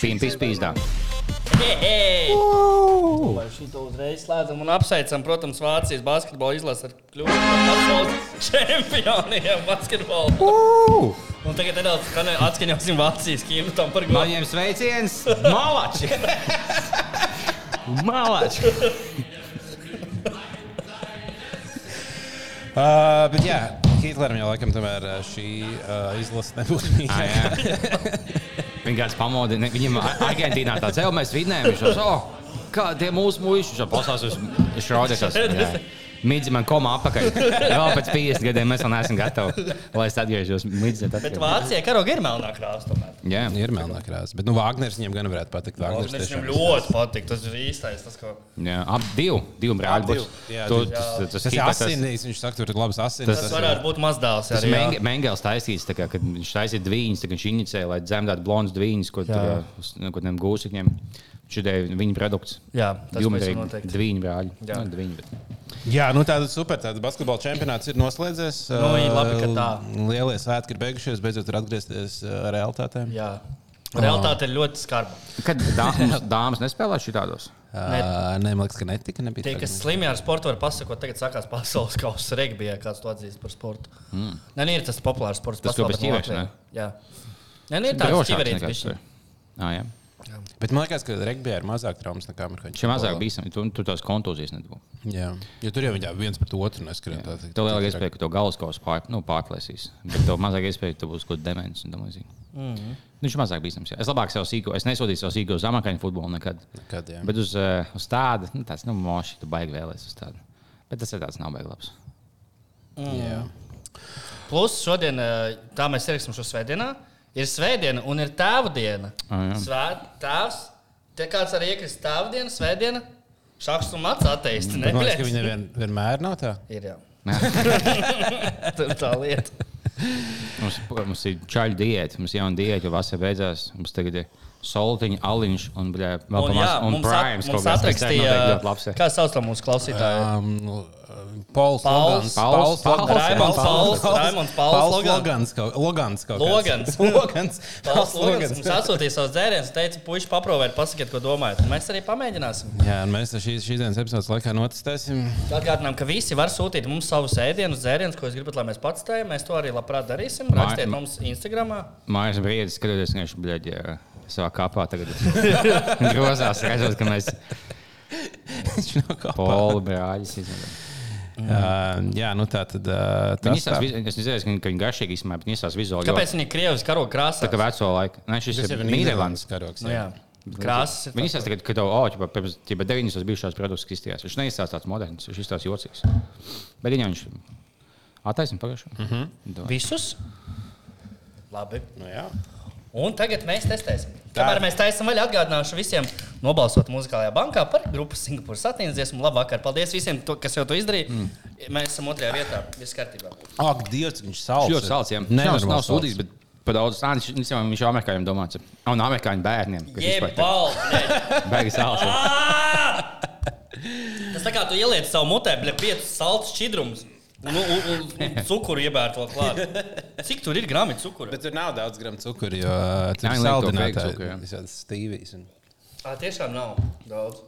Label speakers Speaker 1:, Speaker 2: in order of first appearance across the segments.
Speaker 1: Pimpis pīzdā.
Speaker 2: Hei! Lai šito uzreiz slēdzam un apsveicam, protams, Vācijas basketbola izlasi ar kļūdu par pasaules čempioniem basketbolā. Un tagad nedaudz skanē- atskaņosim Vācijas kīmtam par godu.
Speaker 1: Maņiem sveiciens! Malači! Malači!
Speaker 3: Uh, bet jā, Hitleram jau laikam tomēr uh, šī uh, izlase nebūtu
Speaker 1: Ah,
Speaker 3: mīļākā.
Speaker 1: jā. Vienkārši pamodina. Viņam Argentīnā tāds jau mēs vidinējām. Viņš jau oh, kā tie mūsu mūži, viņš jau pasās uz šraudēšas. Midzi man komā apakaļ. Jā, pēc 50 gadiem mēs vēl neesam gatavi, lai es atgriežos midzi.
Speaker 2: Bet Vācijai karoga ir melnā krāsa. tomēr.
Speaker 1: Jā,
Speaker 3: Ir melnā krāsa, bet nu, Wagners viņam gan varētu patikt. Wagners
Speaker 2: Viņam
Speaker 3: tiešām-
Speaker 2: ļoti patīk. Tas ir īstais. Tas, ko...
Speaker 1: jā. ap divu, divu brāļu būs.
Speaker 3: Jā,
Speaker 1: Tu-
Speaker 3: divi.
Speaker 1: tas- Tas
Speaker 3: Tas ir
Speaker 1: Hitlers-
Speaker 3: asinīs, viņš saka, tur ir labas asinis.
Speaker 2: tas varētu būt mazdēls.
Speaker 1: Tas
Speaker 2: arī, jā.
Speaker 1: Menge- Mengels taisīs, tā kā, kad viņš taisīja dviņas, tad viņš inicēja, lai dzemdētu blondus dviņas, ko
Speaker 2: Jā.
Speaker 1: tur gūsakņiem gūsakņiem. Šodien viņa produkts.
Speaker 2: Jā, tas
Speaker 1: Divi
Speaker 2: pavisam noteikti.
Speaker 1: dviņi brāļi.
Speaker 2: Jā.
Speaker 1: Nu, dviņi, bet-
Speaker 3: Jā, nu tāda super. Tāda basketbola čempionāts ir noslēdzies.
Speaker 2: Nu, viņi labi, ka tā.
Speaker 3: L- Lielie svētki ir beigušies, beidzot ir atgriezties uh, realitātē.
Speaker 2: Jā. Realtāte ir ļoti skarba.
Speaker 1: Kad dāmas, dāmas nespēlē šitādos?
Speaker 3: Uh, Nē, man liekas, ka netika. Nebija
Speaker 2: Tie,
Speaker 3: tā,
Speaker 2: kas slimi ar sportu, var pasakot, tagad sākās pasaules kausa regbijā, kāds to atzīst par sportu. Mm. Nē, nē, ir tas populārs sports.
Speaker 1: Hmm. Tas, ko
Speaker 2: pasaulē,
Speaker 1: bez
Speaker 2: bet
Speaker 1: ķīveriem,
Speaker 2: Latvijā- Jā. Nē, nē, ir tāds ķiverīts bišķiņ.
Speaker 1: Ah, jā.
Speaker 3: ka- Bet man liekas, ka regbijā ir mazāk traumas nekā amerikāņu.
Speaker 1: Šie mazāk bīstami, tu, tu tās kontūzijas nedabū.
Speaker 3: Jā, jo tur jau viņi tā viens pret otru neskrien. tā tik-
Speaker 1: Tev lielākā
Speaker 3: tik-
Speaker 1: iespēja, ka to galvas kausā pār, nu, pārklāsīs. Bet tev mazāk iespēja, ka tu būsi kaut kāds demons un tā līdzīgi. Mm
Speaker 2: Mhm.
Speaker 1: -hmm. Viņš ir mazāk bīstams. jā. Es labāk sev sīko, es nesodīju savu sīko uz amakāņu futbolu nekad.
Speaker 3: Nekad, jā.
Speaker 1: Bet uz, eh, uz tādu, nu, tas, nu, moši, tu baigi vēlēs uz tādu. Bet tas ir tāds nav baigi labs.
Speaker 3: Jā.
Speaker 2: Mm. Plus šodien, eh, tā mēs ierakstām šo svētdienu, ir svētdiena un ir tēva diena.
Speaker 1: Ah, jā.
Speaker 2: Svēt, tēvs, te kāds arī iekrist tēva diena, svētdiena, šāks un mats
Speaker 1: Mm,
Speaker 2: ateisti.
Speaker 3: Bet Man liekas, ka
Speaker 2: nepļēc.
Speaker 3: viņi vien, vienmēr nav tā.
Speaker 2: Ir jau.
Speaker 1: Jā.
Speaker 2: Tur tā lieta.
Speaker 1: mums, mums ir čaļu diēta, mums ir jauna diēta, jo vasarā beidzās. Mums tagad ir soltiņa, aliņš un, bļā, vēl
Speaker 2: Un,
Speaker 1: pa maz-
Speaker 2: jā,
Speaker 1: un
Speaker 2: mums, at,
Speaker 1: primes.
Speaker 2: mums
Speaker 1: kaut kas. Tas noteikti
Speaker 2: atrakstīja,
Speaker 1: ļoti labs, jā.
Speaker 2: kā sauc to mūsu klausītāju.
Speaker 3: Um, Pols,
Speaker 2: Pauls.
Speaker 3: Logans.
Speaker 1: Pauls, Pauls,
Speaker 2: Raimonds Pauls, Raimonds Pauls, Logans.
Speaker 3: Logans. kaut- Logans. kaut
Speaker 2: Logans.
Speaker 3: kāds. Logans.
Speaker 2: Pauls Logans mums atsūtīja savus dzērienus, teica, puiši, paprovērt, pasakiet, ko domājat. Un Mēs arī pamēģināsim.
Speaker 3: Jā, un mēs šīs, šīs dienas epizodes laikā notestēsim.
Speaker 2: Atgādinām, ka visi var sūtīt mums savus ēdienus, dzērienus, ko jūs gribat, lai mēs patstājam. Mēs to arī labprāt darīsim.
Speaker 1: Mā-
Speaker 2: Rakstiet mums Instagram.
Speaker 1: Mājas brīdis, skatoties, ka viņš bļaģi, jā, savā kapā tagad grozās, redzot, ka mēs
Speaker 3: Viņš nav kopā.
Speaker 1: polu brāļus izdarām.
Speaker 3: Uh, jā, nu tā tad. Uh,
Speaker 1: Viņi
Speaker 3: tas
Speaker 1: izsās,
Speaker 3: tā.
Speaker 1: es nezinu, ka viņi- ka viņi garšīgi izsmēja, bet viņi izsās vizuāli.
Speaker 2: Kāpēc viņi ir Krievijas karoga krāsā?
Speaker 1: Tā kā veco laiku. Nē, šis ir
Speaker 3: Tas jau ir
Speaker 1: Nīderlands.
Speaker 3: Nīderlandes karoks.
Speaker 2: Nu, jā, krāsas ir.
Speaker 1: Viņi izsās, tagad, ka tev, oh, ķipa, pirms ķipa, 9 bijušās produkts kristījās. Viņš neizsās tāds moderns, viņš izsās jocīgs. Bet viņam viņš attaisnība pagājušā.
Speaker 3: Mhm.
Speaker 1: Mm
Speaker 2: tā.
Speaker 1: -hmm.
Speaker 2: Visus? Labi.
Speaker 3: Nu, jā.
Speaker 2: Un tagad mēs testēsim.
Speaker 3: Tā.
Speaker 2: Kamēr mēs taisām vaļu, atgādināšu visiem nobalsot muzikālajā bankā par grupu Singapūras satīnas dziesmu. Labvakar! Paldies visiem, to, kas jau to izdarīja. Mm. Mēs esam otrajā vietā. Viss kārtībā.
Speaker 3: Ak, Dievs, cik viņš sāls.
Speaker 1: Ļoti salds, jā.
Speaker 3: Nē,
Speaker 1: Nav, nav sūdīgs, bet par daudz sānis. Viņš jau viņš jau amerikāņiem domāts. Un amerikāņu bērniem. kas vispār tā-
Speaker 2: Jebal!
Speaker 1: Baigi salds. jā.
Speaker 2: Tas tā kā tu ieliec savu mutē, bļa, piecus salds šķidrumus. Un, un, un, un cukuru iebērt vēl klāt. Cik tur ir grami cukura?
Speaker 3: Bet tur nav daudz gramu cukuru, jo ā, tur
Speaker 1: Jā, viņi liek
Speaker 3: ir
Speaker 1: to fake
Speaker 3: saldinātāji.
Speaker 1: cukuru, jā.
Speaker 3: Visādas stīvijas. Un...
Speaker 2: Tā tiešām nav daudz.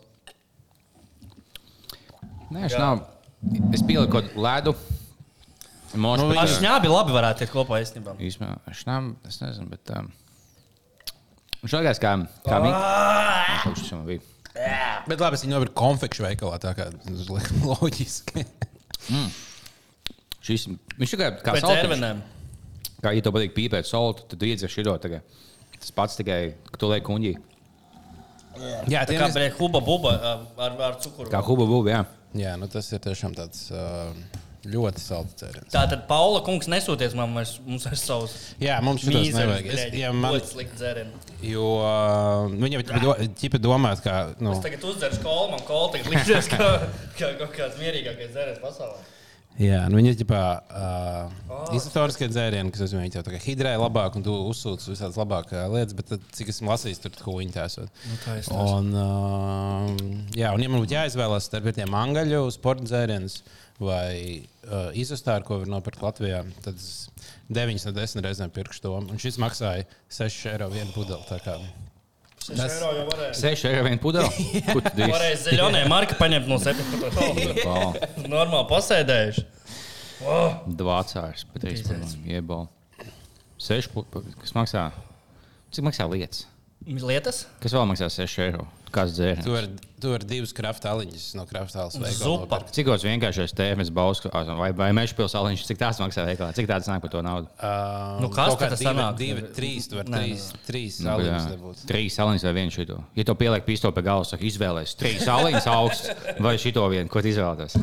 Speaker 1: Nē, viņš
Speaker 2: Jā.
Speaker 1: nav. Es pieliku kaut kādu ledu. Možda,
Speaker 3: Nu,
Speaker 1: nu,
Speaker 2: Ar
Speaker 1: viņš...
Speaker 2: šņābi labi varētu iet kopā īstenībā.
Speaker 1: Īsmā, šnām, es nezinu, bet. Um, viņš likās, kā, kā
Speaker 3: Ah.
Speaker 1: mi... Kaut kas man bija.
Speaker 3: Bet labi, es viņu nopirku konfekšu veikalā, tā kā tas liekas loģiski.
Speaker 1: Šis, viņš tikai kā
Speaker 2: Pēc
Speaker 1: saltiņš.
Speaker 2: ērvenēm.
Speaker 1: Kā ja tev patīk pīpēt soli, tad tu iedzer šito tagad. Tas pats tikai, ka tu liek kuņģī.
Speaker 3: jā,
Speaker 2: Tā
Speaker 3: tiem,
Speaker 2: kā
Speaker 3: kas...
Speaker 2: bija huba buba uh, ar, ar cukuru.
Speaker 1: Kā huba buba, jā.
Speaker 3: jā nu, tas ir tiešām tāds uh, ļoti salds cēliens.
Speaker 2: Tā tad Paula kungs nesūties man vairs, mums ar savus
Speaker 3: Jā, mums šis nevajag. Es, jā, man,
Speaker 2: ļoti slikti dzērienu.
Speaker 3: jo uh, viņam ir ķipa domāt, kā. Nu,
Speaker 2: Es tagad uzdzeru kolu, man kola tagad liksies kā, kā kaut kāds mierīgākais dzēriens pasaulē.
Speaker 3: Jā, nu viņi ir ģipā, uh, oh, izsatoriskie dzērieni, kas uzmēja tev tā kā hidrē labāk, un tu uzsūc visādas labākās lietas, bet tad, cik esmu lasījis, tur ko viņi tās ir. Nu,
Speaker 2: tā es tās.
Speaker 3: un, uh, jā, un ja man būtu jāizvēlās starp tiem angaļu sporta dzērieniem vai uh, izsastāru, ko var nopirkt Latvijā, tad 9 no 10 reizēm pirkšu to. Un šis maksāja 6 eiro vienu pudeli. tā kā
Speaker 2: 6 eiro jau varēja.
Speaker 1: 6 eiro vienā pudelē. Kur tu dīsi?
Speaker 2: Varēja zaļonē marka paņemt no 17.
Speaker 1: Oh,
Speaker 2: Normāli pasēdējuši. Oh,
Speaker 1: Dvācārs, bet es iebau. 6 pudelē. Kas maksā? Cik maksā lietas?
Speaker 2: lietas?
Speaker 1: Kas vēl maksā 6 eiro? Kāds
Speaker 3: Tu
Speaker 1: dzēriens?
Speaker 3: vari tu vari divas kraftāliņas no kraftālas veikala.
Speaker 2: Zupa.
Speaker 1: Cikos vienkāršais tēmas bausks vai, vai mežpilsāliņš, cik tās maksā veikalā? Cik tāds nāk par to naudu?
Speaker 3: Uh,
Speaker 2: Nu, kas tad tas sanāk?
Speaker 3: Divi, trīs, tu vari
Speaker 2: Nē,
Speaker 3: trīs, trīs
Speaker 1: Nu, jā.
Speaker 3: aliņas dabūt.
Speaker 1: Trīs sāliņas vai vienu šito. Ja to pieliek pistoli pie galvas, saka, izvēlēsies trīs sāliņas augsts vai šito vienu, ko tu izvēlēties.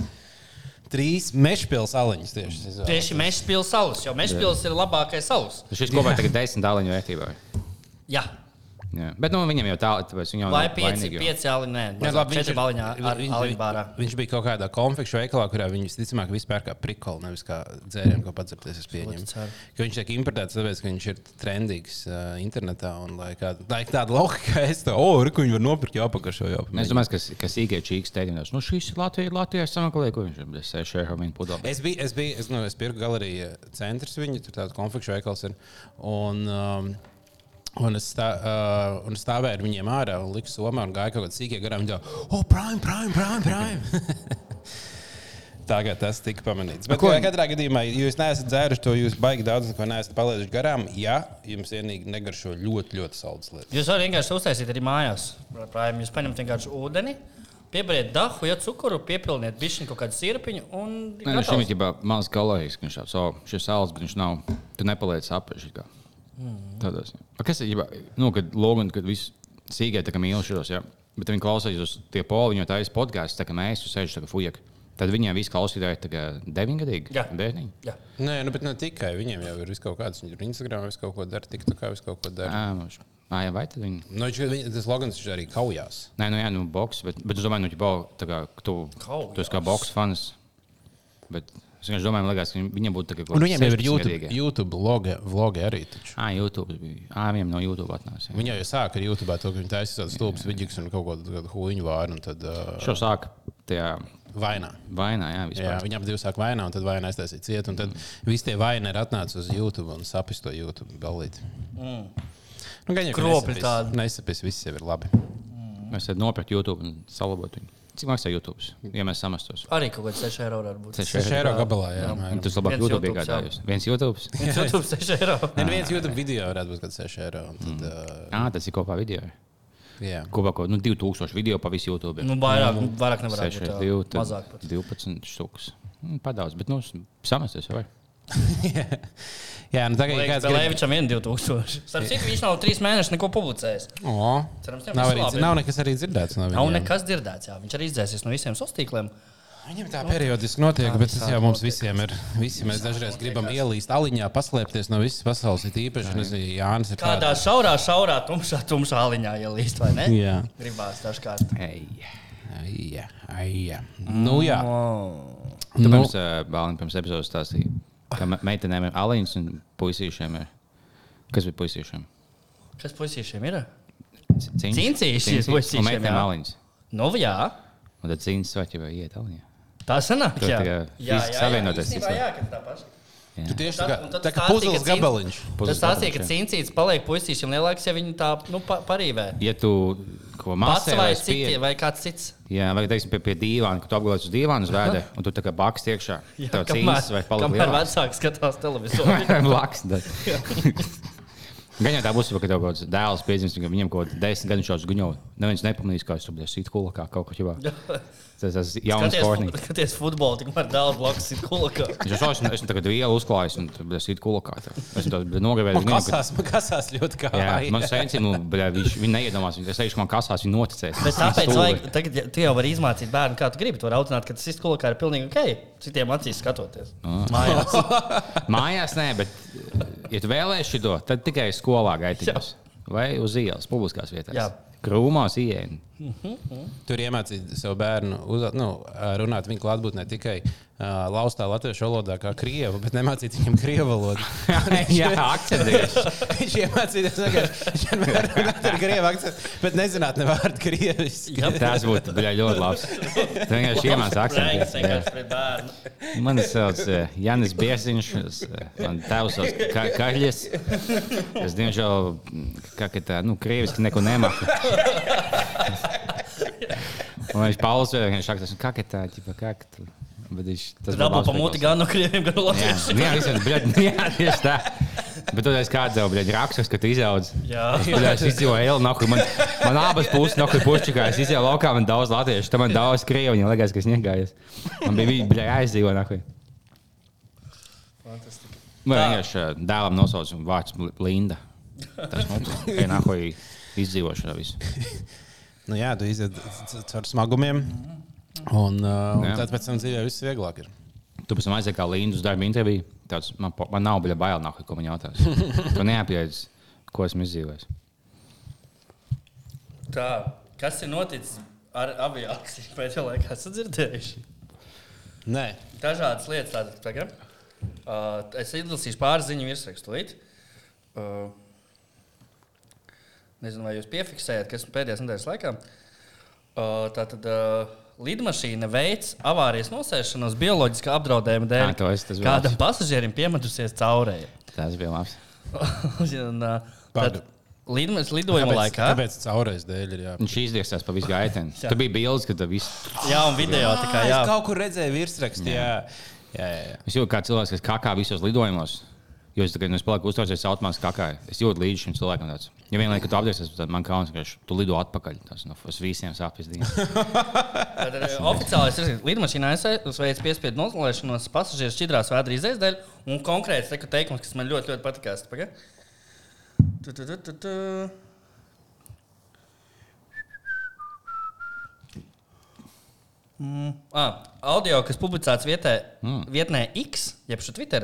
Speaker 3: Trīs mešpils aliņas tieši. es izvēlu.
Speaker 2: Tieši mežpils salas, jo mežpils ir labākais salas.
Speaker 1: Šis kopā tagad ir desmit sāliņu vērtībā.
Speaker 2: Jā,
Speaker 1: Jā. Bet nu, viņam jau tā, tāpēc viņam
Speaker 2: vai pieci, pieci ali, nē,
Speaker 3: Jā, labi,
Speaker 2: četri
Speaker 3: ir-
Speaker 2: baliņā ar
Speaker 3: viņš-
Speaker 2: alibārā.
Speaker 3: Viņš bija kaut kādā konfekšu veikalā, kurā viņi visticamāk vispār kā prikoli, nevis kā dzērienu, ko padzirties. Es pieņemu,
Speaker 2: ceru.
Speaker 3: ka viņš tiek importēts tāpēc, ka viņš ir trendīgs uh, internetā. Un, lai kā, tā ir tāda lauka, ka es to oh, reku, viņi var nopirkt jau apakšā.
Speaker 1: Nu, Es domāju, kas, kas īkšķi čīks teiktās, nu šis ir Latvijas, Latvijas sameklējums, ko viņš ir 6 eiro viņa pudelē.
Speaker 3: Es biju, es biju, es, nu, es pirku galeriju centrus, viņa tur tāda konfekšu veikals ir. Un, um, un, es stā, uh, un es stāvēju ar viņiem ārā un liku somā un gāju kaut kādā sīkā garā. Viņa teica, oh, prime, prime, prime, prime. Tagad tas tika pamanīts. Bet,
Speaker 1: ko-
Speaker 3: ko, katrā gadījumā, ja jūs neesat dzēruši to, jūs baigi daudz ko neesat palaiduši garām. Jā, jums vienīgi negaršo ļoti, ļoti saldus lietas.
Speaker 2: Jūs varat vienkārši uztaisīt arī mājās. Prājām. Jūs paņemat vienkārši ūdeni, pieberiet dahu, ja cukuru, piepilniet bišķiņu kaut kādu sirpiņu un
Speaker 1: Nē, nu, šim ir
Speaker 2: gatavs.
Speaker 1: jau mazs kalorijas, ka viņš tāds oh, - šis sāls, bet viņš nav. Tu nepaliec apēši.
Speaker 2: Mhm.
Speaker 1: Tādās. Pa Kas ir ģibā, nu, kad logs, kad viss sīgai tā kā mīlušos, ja? bet viņi klausās uz tie poli, jo tā ir podkāsts, tā kā mēs tur sēžam, tā kā fujek. Tad viņiem viss klausītāji ir tā kā deviņgadīgi.
Speaker 2: Jā.
Speaker 1: bērniņi.
Speaker 2: Jā.
Speaker 3: Nē, nu, bet ne tikai viņiem jau ir vis kaut kādas. Viņu Instagram jau kaut ko dara, tik tā kā vis kaut ko dara.
Speaker 1: Ā, nu, š- Ā, jā, vai tad viņi?
Speaker 3: Nu, viņš- viņ- tas logans viņš arī kaujās.
Speaker 1: Nē, nu jā, nu boks, bet, bet es domāju, nu, ģibā, tā kā tu,
Speaker 2: Kaujās.
Speaker 1: tu esi kā boks fans. Bet es vienkārši domāju, man liekas, ka viņiem būtu tā kā
Speaker 3: Un viņiem jau ir
Speaker 1: 16-gadīgie.
Speaker 3: YouTube, YouTube vlogi, vlogi arī. Taču.
Speaker 1: Ā, YouTube bija. Ā, viņiem no YouTube atnāca. jā.
Speaker 3: Viņi jau sāk ar YouTube to, ka viņi taisīs tādu stulbu vidus un kaut ko tādu huīņu vāru un tad uh,
Speaker 1: Šo sāk tajā
Speaker 3: vainā.
Speaker 1: vainā, jā,
Speaker 3: Jā,
Speaker 1: vispār.
Speaker 3: viņi ap divi sāk vainā, un tad vainā aiztaisīja cietu. Un
Speaker 2: Mm.
Speaker 3: tad visi tie vaini ir atnācis uz YouTube un sapis to YouTube balīti. Nu, gan jau
Speaker 2: Kropļi Mm. tādi.
Speaker 3: Nesapis, viss jau ir labi.
Speaker 1: Jā. Mēs tad nopirkt YouTube un salabot viņu. Cik maksā YouTube? Ja mēs samestos.
Speaker 2: Arī kaut kāds 6 eiro var būt.
Speaker 1: 6
Speaker 3: 6 eiro gabalā, jā.
Speaker 1: Nu,
Speaker 3: apmēram.
Speaker 1: Tas labāk
Speaker 2: Viens
Speaker 1: YouTube
Speaker 2: YouTubes, jā.
Speaker 1: iegādājos. Viens YouTube.
Speaker 2: Viens YouTube 6 eiro.
Speaker 3: Nē, nu, viens YouTube video varētu būt kaut kāds 6 eiro. un Tad,
Speaker 2: Mm.
Speaker 3: uh,
Speaker 1: Ā, tas ir kopā video.
Speaker 3: jā.
Speaker 1: Kopā kaut nu, 2000 video pa visu YouTube.
Speaker 2: Nu, vairāk, vairāk nevar
Speaker 1: 6,
Speaker 2: būt.
Speaker 1: 2,
Speaker 2: jā. Mazāk. pat.
Speaker 1: 12 štukas. Nu, Padaudz, bet nu, samesties jau vai?
Speaker 3: jā, nu tagad ir
Speaker 2: Liekas,
Speaker 3: kāds grib...
Speaker 2: Belēvičam vien 2000. Starp citu, viņš nav 3 mēnešus neko publicējis.
Speaker 3: O,
Speaker 2: Cerams, viņam
Speaker 3: nav,
Speaker 2: viss
Speaker 3: arī,
Speaker 2: labi.
Speaker 3: nav nekas arī dzirdēts. No
Speaker 2: Nav
Speaker 3: viņiem.
Speaker 2: nekas dzirdēts. Jā. Viņš arī izdzēsies no visiem sastāvdaļiem.
Speaker 3: Viņam tā periodiski notiek, bet tas jau mums visiem ir. Visi mēs dažreiz gribam ielīst aliņā, paslēpties no visas pasaules. Ir īpaši, un es zinu, Jānis ir
Speaker 2: Kādā šaurā, šaurā, tumšā, tumšā aliņā ielīst, vai ne?
Speaker 3: Jā.
Speaker 2: Gribās dažkārt.
Speaker 1: Ei.
Speaker 3: Jā, jā. Nu, jā.
Speaker 2: Mm.
Speaker 1: Tu
Speaker 3: Nu,
Speaker 1: mums bāliņ pirms epizodes stāstīji, ka me- meitenēm ir aliņas un puisīšiem ir. Kas bija puisīšiem?
Speaker 2: Kas puisīšiem ir? Cincīši ir
Speaker 1: Cincīši.
Speaker 2: puisīšiem,
Speaker 1: Un meitenēm
Speaker 2: jā.
Speaker 1: aliņas.
Speaker 2: Nu, jā.
Speaker 1: Un tad cīņas svētki vai iet aliņā.
Speaker 2: Tā sanāk,
Speaker 1: Tur
Speaker 2: jā.
Speaker 1: tā kā fiziski savienoties
Speaker 2: Īstenībā
Speaker 1: vispār.
Speaker 2: Jā, ka tā paša.
Speaker 3: tu tieši tā
Speaker 2: Tad- un
Speaker 3: kā,
Speaker 2: tad
Speaker 3: tā kā
Speaker 2: stāstīja,
Speaker 3: puzles
Speaker 2: ka cīn-
Speaker 3: gabaliņš.
Speaker 2: Tas
Speaker 1: Puzles
Speaker 2: stāstīja, ka
Speaker 1: gabaliņš, jā.
Speaker 2: cincīts paliek puisīšiem lielāks, ja viņi tā, nu, pa, parīvē.
Speaker 1: Ja tu ko
Speaker 2: Pats
Speaker 1: mācījies,
Speaker 2: vai
Speaker 1: vai
Speaker 2: citi,
Speaker 1: spēļ,
Speaker 2: vai kāds cits.
Speaker 1: jā, vai teiksim, pie, pie dīvāna, kad tu apgulēji uz dīvāna zvaigznē, un tu tā kā baksti iekšā, tā cīnās vai paliek
Speaker 2: kamēr
Speaker 1: lielāks.
Speaker 2: vecāks skatās televizoru.
Speaker 1: Vai Blaks. tad. Gan jau tā būs, ka tev kaut kāds dēls piedzimst, ka viņam kaut kāds desmit gadu šāds guņo. Neviens nepamanīs, kā es tur biju sit kulā, kā kaut kā ķivā. Tas tas jauns
Speaker 2: Skaties,
Speaker 1: sportnieks.
Speaker 2: skaties futbolu, tikmēr dēls blakus ir kulakā.
Speaker 1: Es jau esmu, esmu tagad vielu uzklājis, un tur bija sit kulā. Esmu tāds nogavējis. guņo, ka-
Speaker 3: Kasās, man kasās ļoti kā.
Speaker 1: Jā, man sēņķis, nu, bļā, viņš, viņš neiedomās, viņš sēž man kasās, viņš noticēs.
Speaker 2: Bet tāpēc,
Speaker 1: Stulbi.
Speaker 2: vajag, tagad, ja tu jau vari izmācīt bērnu, kā tu gribi to audzināt, ka tas ir skolā, kā ir pilnīgi ok. Citiem acīs skatoties.
Speaker 1: Nu,
Speaker 2: Mājās.
Speaker 1: Mājās nē, bet, ja tu vēlēsi to, tad tikai skolā gaitījos. Vai uz ielas, publiskās vietās.
Speaker 2: Jā.
Speaker 1: Krūmās ienāk.
Speaker 3: Tur iemācīt savu bērnu, uz, nu, runāt viņa klātbūtnē tikai Uh, laustā latviešu valodā, kā krievu, bet nemācīt viņam krievu valodu.
Speaker 1: Jā, akcents.
Speaker 3: Viņš iemācījās vienkārši, viņš vienmēr runāt ar krievu akcentu, bet nezināt ne vārdu krieviski.
Speaker 1: Tas būtu bļa, ļoti labs. Tu vienkārši iemācījies
Speaker 2: Pranks
Speaker 1: akcentu. jā.
Speaker 2: vienkārši pret bērnu.
Speaker 1: Mani sauc eh, Jānis Biesiņš, es, eh, man tēvs sauc Ka- Kaļļis. Es diemžēl, mm, kā ka tā, nu, krieviski neko nemāku. Un viņš pauzē, viņš saka, kā ka tā, tipa, kā ka tā. Bet viņš tas
Speaker 2: Dabū pa muti gan no krieviem, gan no
Speaker 1: Jā,
Speaker 2: latviešiem.
Speaker 1: jā, visiem, bļaļ, jā, tieši tā. Bet tad es kādā jau biju rakstos, ka tu izaudz.
Speaker 2: Jā.
Speaker 1: Es bļaļ, es izdzīvoju elu, nahuj, man, man abas puses nahuj pušķikā. Es izdzīvoju laukā, man daudz latviešu, tam man daudz krievu, un liekas, ka es negāju. Man bija viņa bļaļ aizdzīvo nahuj. Man vienkārši eh, dēlam nosaucam vārds Li- Linda. Tas notiek, ka nahuj izdzīvošana visu.
Speaker 3: Nu, jā, tu iziet c- c- caur smagumiem. Un, uh, un
Speaker 1: Jā.
Speaker 3: tad pēc tam dzīvē viss vieglāk ir.
Speaker 1: Tu pēc tam aizjūji kā Linda uz darba interviju. Tāds, man, po- man nav bijis bail, nahuj, ko man jautās. Tu neapjēdz, ko esmu izdzīvojis.
Speaker 2: Tā, kas ir noticis ar aviāciju pēdējā laikā? Esat dzirdējuši?
Speaker 3: Nē,
Speaker 2: dažādas lietas. Tātad, tagad, uh, es izlasīšu pāris ziņu virsrakstu. līdz. Uh, nezinu, vai jūs piefiksējat, kas pēdējās nedēļas laikā. Uh, tātad uh, lidmašīna veids avārijas nosēšanos bioloģiskā apdraudējuma dēļ.
Speaker 1: Ā, to es- tas vēl
Speaker 2: kādam
Speaker 1: esmu.
Speaker 2: pasažierim piemetusies caurēji.
Speaker 1: Tas bija labs.
Speaker 2: Un, uh,
Speaker 3: Pagad.
Speaker 2: tad lidmas lidojuma laikā.
Speaker 3: Tāpēc caurreiz dēļ ir jā.
Speaker 1: Viņš izdiesās pa visu gaiteni.
Speaker 2: Jā.
Speaker 1: Tur bija bildes, kad viss
Speaker 2: Jā, un video tā kā
Speaker 3: Ā,
Speaker 2: jā.
Speaker 3: Ah, es kaut kur redzēju virsrakstu. Jā, jā, jā. jā.
Speaker 1: Es jūtu kā cilvēks, kas kakā visos lidojumos. Jo es tagad, nu, es palieku uztraucies automātiski kakā. Es jūtu līdzi šim cilvēkam. Tāds. Ja vienlaicīgi tu apdiesies, tad man kauns, ka viņš- tu lido atpakaļ. Tas, nu, uz visiem sāpēs dienas.
Speaker 2: Tad ir eh, Oficiāli es redzu, ka lidmašīnā aizsveicas piespiedu nozlēšanos, pasažieru šķidrās vēdra izaizdēļ un konkrēts teku teikums, kas man ļoti, ļoti patikās. Paga. Tu, tu, tu, tu, tu. Mm. Ah, audio, kas publicēts vietē, mm. vietnē X, jeb šo Twitter.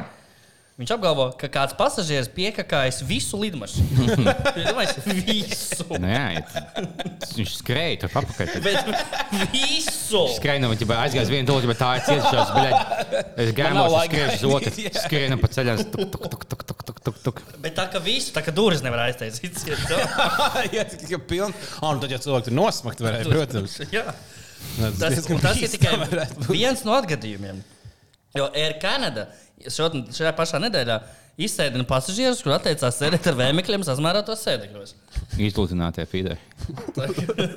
Speaker 2: Viņš apgalvo, ka kāds pasažieris piekakājas visu lidmašīnu. Viņš domāja, visu.
Speaker 1: Nu, jā, ja tu- viņš skrēja tur apakaļ.
Speaker 2: Bet visu.
Speaker 1: Skrēja, nu, ja aizgājis vienu tūlīt, bet tā ir cietušās. bļaļ. Es
Speaker 3: nav
Speaker 1: gājos,
Speaker 3: laika.
Speaker 1: skrēju uz otru.
Speaker 3: Jā.
Speaker 1: Skrēja pa ceļam. Tuk, tuk, tuk, tuk, tuk, tuk, tuk, tuk.
Speaker 2: Bet tā kā visu, tā kā durvis nevar aiztaisīt. ciet.
Speaker 3: jā tas ir pilni. Un tad, ja cilvēki tur nosmakt, varēja, protams. Nu,
Speaker 2: Jā.
Speaker 3: Tas,
Speaker 2: Tas,
Speaker 3: diezgan
Speaker 2: un tas ir
Speaker 3: bīstami
Speaker 2: tikai
Speaker 3: varētu būt.
Speaker 2: viens no atgadījumiem. Jo Air Canada šodien, šajā pašā nedēļā izsēdina pasažierus, kur atteicās sēdēt ar vēmekļiem sasmērētos sēdekļos.
Speaker 1: Izlūtinātie pīdē.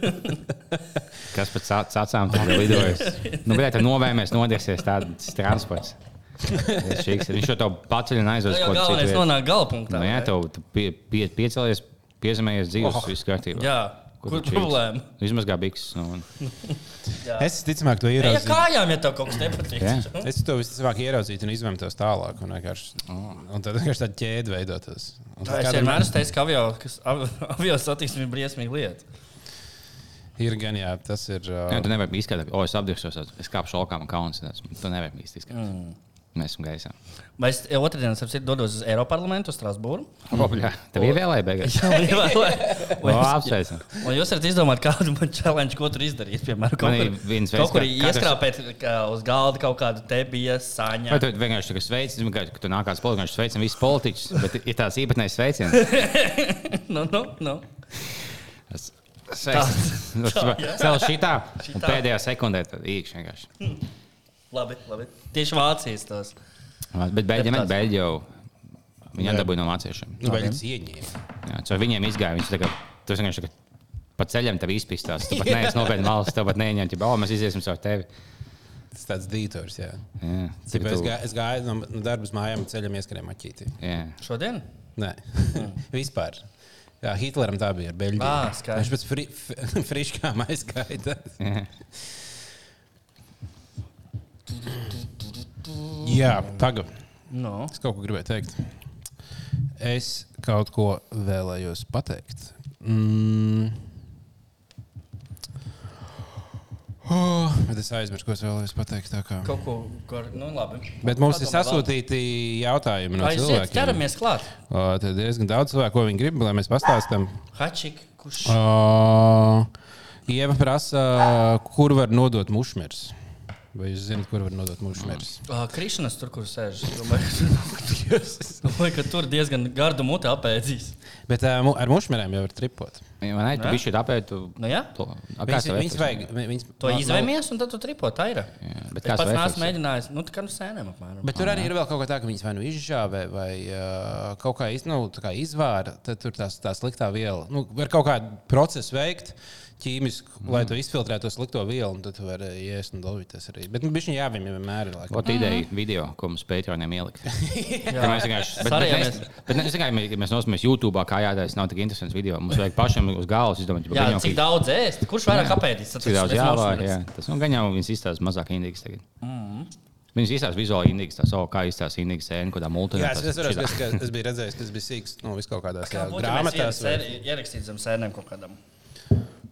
Speaker 1: Kas pēc ca- cacām tur lidojas? Nu, bet tā novēmēs, nodiesies tāds transports. Tas šīks ir. Viņš jau to paceļ un
Speaker 2: Tā
Speaker 1: aizved
Speaker 2: jau
Speaker 1: kaut kur
Speaker 2: galvenais
Speaker 1: citur.
Speaker 2: nonāk gala punktā.
Speaker 1: Nu, jā,
Speaker 2: vai?
Speaker 1: tev tu pie, pie, piecelies, piezemējies dzīves, oh. viss kārtībā.
Speaker 2: jā.
Speaker 1: Kur
Speaker 2: Kur
Speaker 1: tu čīks?
Speaker 2: problēma? Oh.
Speaker 1: Izmazgā bikses. Nu, un-
Speaker 3: Es ticamāk, to
Speaker 2: Ej ar
Speaker 3: ieraudzīju.
Speaker 2: kājām, ja tev kaut kas nepatīk.
Speaker 1: Jā.
Speaker 3: Es to visticamāk ieraudzīju un izvēlētos tālāk. Un, vienkārši- un tad vienkārši tāda ķēde veidotos. Un
Speaker 2: Tā
Speaker 3: tad
Speaker 2: es
Speaker 3: kādam
Speaker 2: vienmēr esmu teicis, ka avio, kas- av- avio satiksme ir briesmīga lieta.
Speaker 3: Ir gan jā, tas ir.
Speaker 1: Jā,
Speaker 3: Uh,
Speaker 1: Nu, tu nevari izskatīt, o, es apdirsos, es kāpšu laukā, man kauns. tāds. Tu nevari īsti izskatīt. Mm. Mēs esam gaisā.
Speaker 2: Vai es otrdienas apsiet dodos uz Eiropas parlamentu, uz Strasbūru?
Speaker 1: Robļā, tev
Speaker 2: Oh.
Speaker 1: ievēlēja beigās.
Speaker 2: Jā, jā, jā.
Speaker 1: O, apsveicam.
Speaker 2: Un jūs varat izdomāt, kādu man challenge, ko tur izdarīt. Piemēram, kaut
Speaker 1: Man ir
Speaker 2: kur,
Speaker 1: viens
Speaker 2: kaut
Speaker 1: veids,
Speaker 2: kur
Speaker 1: kā-
Speaker 2: ieskrāpēt kā, uz galda kaut kādu te bija
Speaker 1: Vai
Speaker 2: sāņu.
Speaker 1: tu vienkārši tā kā sveici, zini, ka ka tu nākās politikā, viņš sveicina visus politiķus, bet ir tās īpatnējas sveiciens.
Speaker 2: nu, nu, nu.
Speaker 1: Tas
Speaker 2: Tā, jā.
Speaker 1: Cēl šitā, un
Speaker 2: Šitā.
Speaker 1: pēdējā sekundē tad īkšķi vienkārši.
Speaker 2: Labi, labi. Tieši Vācijas tos.
Speaker 1: Bet Beļģija,
Speaker 2: Deputāts.
Speaker 1: Beļģija jau, viņi
Speaker 3: Jā.
Speaker 1: atdabūja no vāciešiem.
Speaker 3: nu, Vai viņš ieņēma?
Speaker 1: Jā, caur viņiem izgāja. Viņš tagad, tas vienkārši tagad pa ceļam tev izpistās. Tu pat neesi nopietni valsts, tev pat neieņemti. Bau, mēs iziesim caur tevi.
Speaker 3: Tas tāds dītors, jā.
Speaker 1: Jā,
Speaker 3: Cik
Speaker 1: cik
Speaker 3: es,
Speaker 1: tu,
Speaker 3: gā, es gāju no, no darba uz mājām, ceļam ieskrēju maķīti.
Speaker 1: jā.
Speaker 2: Šodien?
Speaker 3: Nē, vispār. Jā, Hitleram tā bija ar Beļģiju.
Speaker 2: Ā, skaidrs.
Speaker 3: Viņš pēc fri, f, friškām aizgāja. tad.
Speaker 1: Jā.
Speaker 3: Jā, tagad
Speaker 2: Nu.
Speaker 3: es kaut ko gribēju teikt. Es kaut ko vēlējos pateikt. Mm. Oh, bet es aizmirsu, ko es vēlējos pateikt. tā kā.
Speaker 2: Kaut ko, kur, nu labi.
Speaker 3: Bet mums ir sasūtīti jautājumi no
Speaker 2: Vai jūs
Speaker 3: cilvēkiem.
Speaker 2: ķeramies klāt?
Speaker 3: Uh, Tad ir diezgan daudz cilvēku, ko viņi grib, lai mēs pastāstām.
Speaker 2: Hačik, kurš?
Speaker 3: Ah. Uh, Ieva prasa, kur var nodot mušmirs. Vai jūs zināt, kur var nodot mūsu mērķus?
Speaker 2: Ā, Ah, Krišanas tur, kur sēž. Es Domāju, ka tur- domāju, ka tur diezgan gardu muti apēdzīs.
Speaker 3: Bet ā, mu- ar mūsu mērķiem jau var tripot.
Speaker 1: Vai ne? Tu biji šeit apēdi. Tu...
Speaker 2: Nu, jā.
Speaker 1: To, a, kā
Speaker 3: Viņas,
Speaker 1: tev
Speaker 3: viņas
Speaker 1: efekts?
Speaker 3: vajag, vi- viņas,
Speaker 2: To
Speaker 3: nav- nav-
Speaker 2: izvēmies, un tad tu tripo tā ir.
Speaker 1: bet
Speaker 2: Bet
Speaker 1: kāds
Speaker 2: es pats
Speaker 1: veids
Speaker 2: neesmu
Speaker 1: tas ir?
Speaker 2: mēģinājis. Nu, tā kā nu sēnēm apmēram.
Speaker 3: Bet tur arī ir vēl kaut kā tā, ka viņas vai nu izžāvē, vai uh, kaut kā, iz, nu, tā kā izvāra, tad tur tās, tā sliktā viela. Nu, var kaut kādu procesu veikt, ķīmisku,
Speaker 2: Mhm.
Speaker 3: mm. lai to izfiltrētu to slikto vielu, un tad tu vari iest un dolīties arī. Bet nu, viņa jāvim vienmēr ir. laikam.
Speaker 1: Ot ideja video, ko mums Patreoniem ielikt. Ka mēs vienkārši bet- bet
Speaker 2: Sarījāmies.
Speaker 1: mēs- bet ne- es vienkārši- mēs- mēs nosmējamies YouTube, kā jādara. Nav tik interesants video. Mums vajag pašam uz galvas izdomāt,
Speaker 2: Jā,
Speaker 1: gaņau,
Speaker 2: cik
Speaker 1: ka-
Speaker 2: daudz ēst? Kurš vairāk apēdīs? Tas
Speaker 1: cik daudz
Speaker 2: tas
Speaker 1: jāvāk.
Speaker 2: nosmeras.
Speaker 1: Jā. Tas nu, gan jau viņas izstāsta mazāk indīgas tagad.
Speaker 2: Mhm.
Speaker 1: Viņas izstāsta vizuāli indīgas, tās, oh, kā izstāsta indīgas sēne, kādā
Speaker 3: Jā, es,
Speaker 1: multinā.
Speaker 3: es, varu, es, es biju redzējis, tas bija sīgs, nu, vis kaut kādās
Speaker 2: Kā
Speaker 3: jā,
Speaker 2: būtu, ja mēs
Speaker 3: grāmatās.
Speaker 2: vienu sēri- ierakstītu zem sēnēm kaut kādam.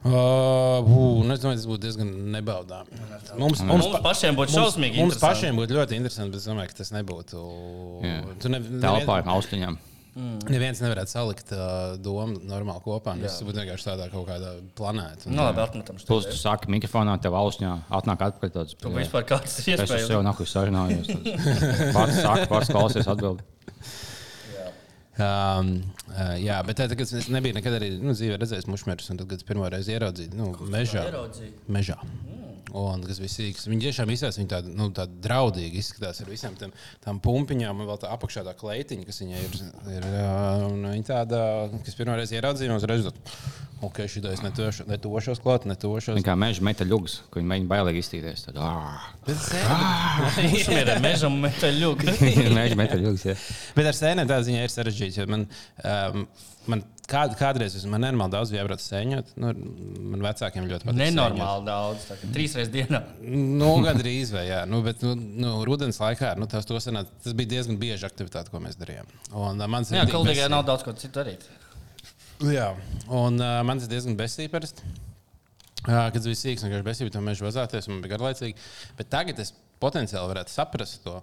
Speaker 3: Uh, nezinu, tas būtu diezgan nebaudāmi. Mums,
Speaker 2: Mums pašiem būtu nu, šausmīgi.
Speaker 3: Mums
Speaker 2: interesanti.
Speaker 3: pašiem būtu ļoti interesanti, bet es domāju, ka tas nebūtu.
Speaker 1: Jā.
Speaker 3: Tu ne,
Speaker 1: Telpā ar austiņām.
Speaker 2: Mm.
Speaker 3: Neviens nevarētu salikt uh, domu normāli kopā. un Tas būtu vienkārši tādā kaut kādā planētā.
Speaker 2: Nu, labi, atmetam šo.
Speaker 1: Plus, tu saki, mikrofonā tev austiņā atnāk atpakaļ tāds.
Speaker 2: Tu vispār kāds ir
Speaker 1: Es uz
Speaker 2: iespējas.
Speaker 1: sevi nahu sarunājos. tāds. Pats saka, pats klausies atbildi.
Speaker 3: Um, uh, jā, bet tā, tā, kad es nebiju nekad arī nu, dzīvē redzējis mušmērus, un tad, kad es pirmo reizi ieraudzīju, nu, mežā.
Speaker 2: ieraudzīji?
Speaker 3: mežā. Un tas bija sīgs. Viņi tiešām izskatās, viņi tādi nu, tā draudīgi izskatās ar visām tam, tām pumpiņām, un vēl tā apakšā tā kleitiņa, kas viņai ir. ir uh, un viņa tāda, kas pirmo reizi ieraudzīja, un uzreiz tādu, ok, šī daļa netošos, netošos klāt, netošos.
Speaker 1: Kā meža meta ļugs, kur viņi mēģina bailīgi izstīties. Tad, "Ā."
Speaker 2: Uzmierē mežam meteļu.
Speaker 1: Meža meta ļugs. jā.
Speaker 3: Bet ar sēnēm tā ziņā ir sarežģīti. jo Man, um, man kād, kādreiz es- man nenormāli daudz bija jābrauc sēņot. Nu, man vecākiem ļoti patīk. sēņot.
Speaker 2: Nenormāli daudz. tā kā Trīs reizes dienā.
Speaker 3: Nu, gandrīz vai jā. Nu, bet nu, nu, rudenī laikā nu, tas, sanā, tas bija diezgan bieži aktivitāte, ko mēs darījām. Un, uh, man tas
Speaker 2: Jā,
Speaker 3: diezgan
Speaker 2: kaldīgā
Speaker 3: besī-
Speaker 2: nav daudz ko citu darīt.
Speaker 3: Jā, un uh, man tas diezgan besīgi. parasti. Uh, kad bija sīgs, vienkārši besīgi, tur mežā vazāties, un man bija garlaicīgi. Bet tagad es potenciāli varētu saprast to.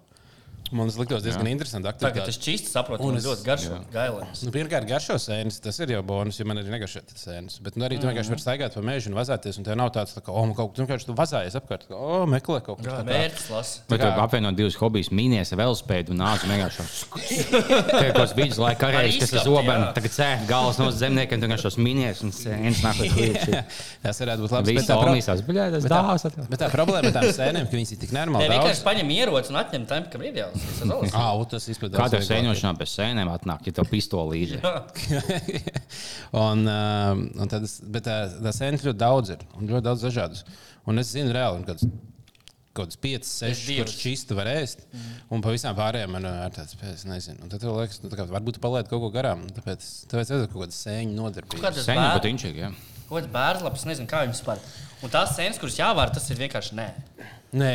Speaker 3: Man tas likās diezgan interesanti.
Speaker 2: Tagad
Speaker 3: aktivitāte.
Speaker 2: tas čīsts saprot,
Speaker 3: Un
Speaker 2: un
Speaker 3: es-
Speaker 2: es ļoti garšo gailēs.
Speaker 3: Nu, Pirmkārt, garšo sēnes, tas ir jau bonus, jo man arī negaršo tas sēnes. Bet nu, arī tu vienkārši vari staigāt pa mežu un vazāties, un tev nav tāds, tā kā, oh, kaut kas tāds, tu vazājies apkārt, kā, oh, meklē kaut ko tādu.
Speaker 2: Mērķis lasa.
Speaker 1: Bet tur apvienot divus hobijus, mīnīties vēl spēju, un nāc vienkārši tādos vidus laika karjeras, kas ir
Speaker 2: izskatu,
Speaker 1: zobens,
Speaker 2: jā.
Speaker 1: tagad cēlās galvas no zemniekiem, tagad šos mīnīties un cēlās nākot līdzi.
Speaker 3: Tas varētu būt labi.
Speaker 1: Visi
Speaker 3: tā, pro-
Speaker 1: tomīs tās biļētas,
Speaker 3: bet tā-
Speaker 1: dāvās atļauj.
Speaker 3: bet tā problēma ar tām sēnēm, ka viņas ir tik
Speaker 2: Nē,
Speaker 3: nenormāli
Speaker 2: vienkārši
Speaker 3: daudz.
Speaker 2: paņem ieroci un atņem tam, kam ir jāsaka.
Speaker 3: Au, tas izpildās.
Speaker 1: Kāda ir sēņošanā bez sēnēm atnāk, ja tev pistole līdzi?
Speaker 3: un, uh, un tad, es- bet tā, tā sēnes ļoti daudz ir, un ļoti daudz dažādas. Un es zinu, reāli, kādas kaut kādas 5, 6,
Speaker 2: divas.
Speaker 3: 4 šīs var ēst, un pa visām pārējām man ir tāds, es nezinu. Un tad tev liekas, nu, tā kā varbūt tu palaid kaut ko garām, un tāpēc tev vajadzētu kaut kādas sēņu nodarbības.
Speaker 2: Kāds
Speaker 1: Sēņu patīņšīgi, jā.
Speaker 2: bērns, nezinu, kā viņus spēr. Un tās sēnes, kuras jāvāra, tas ir vienkārši nē.
Speaker 3: Nē,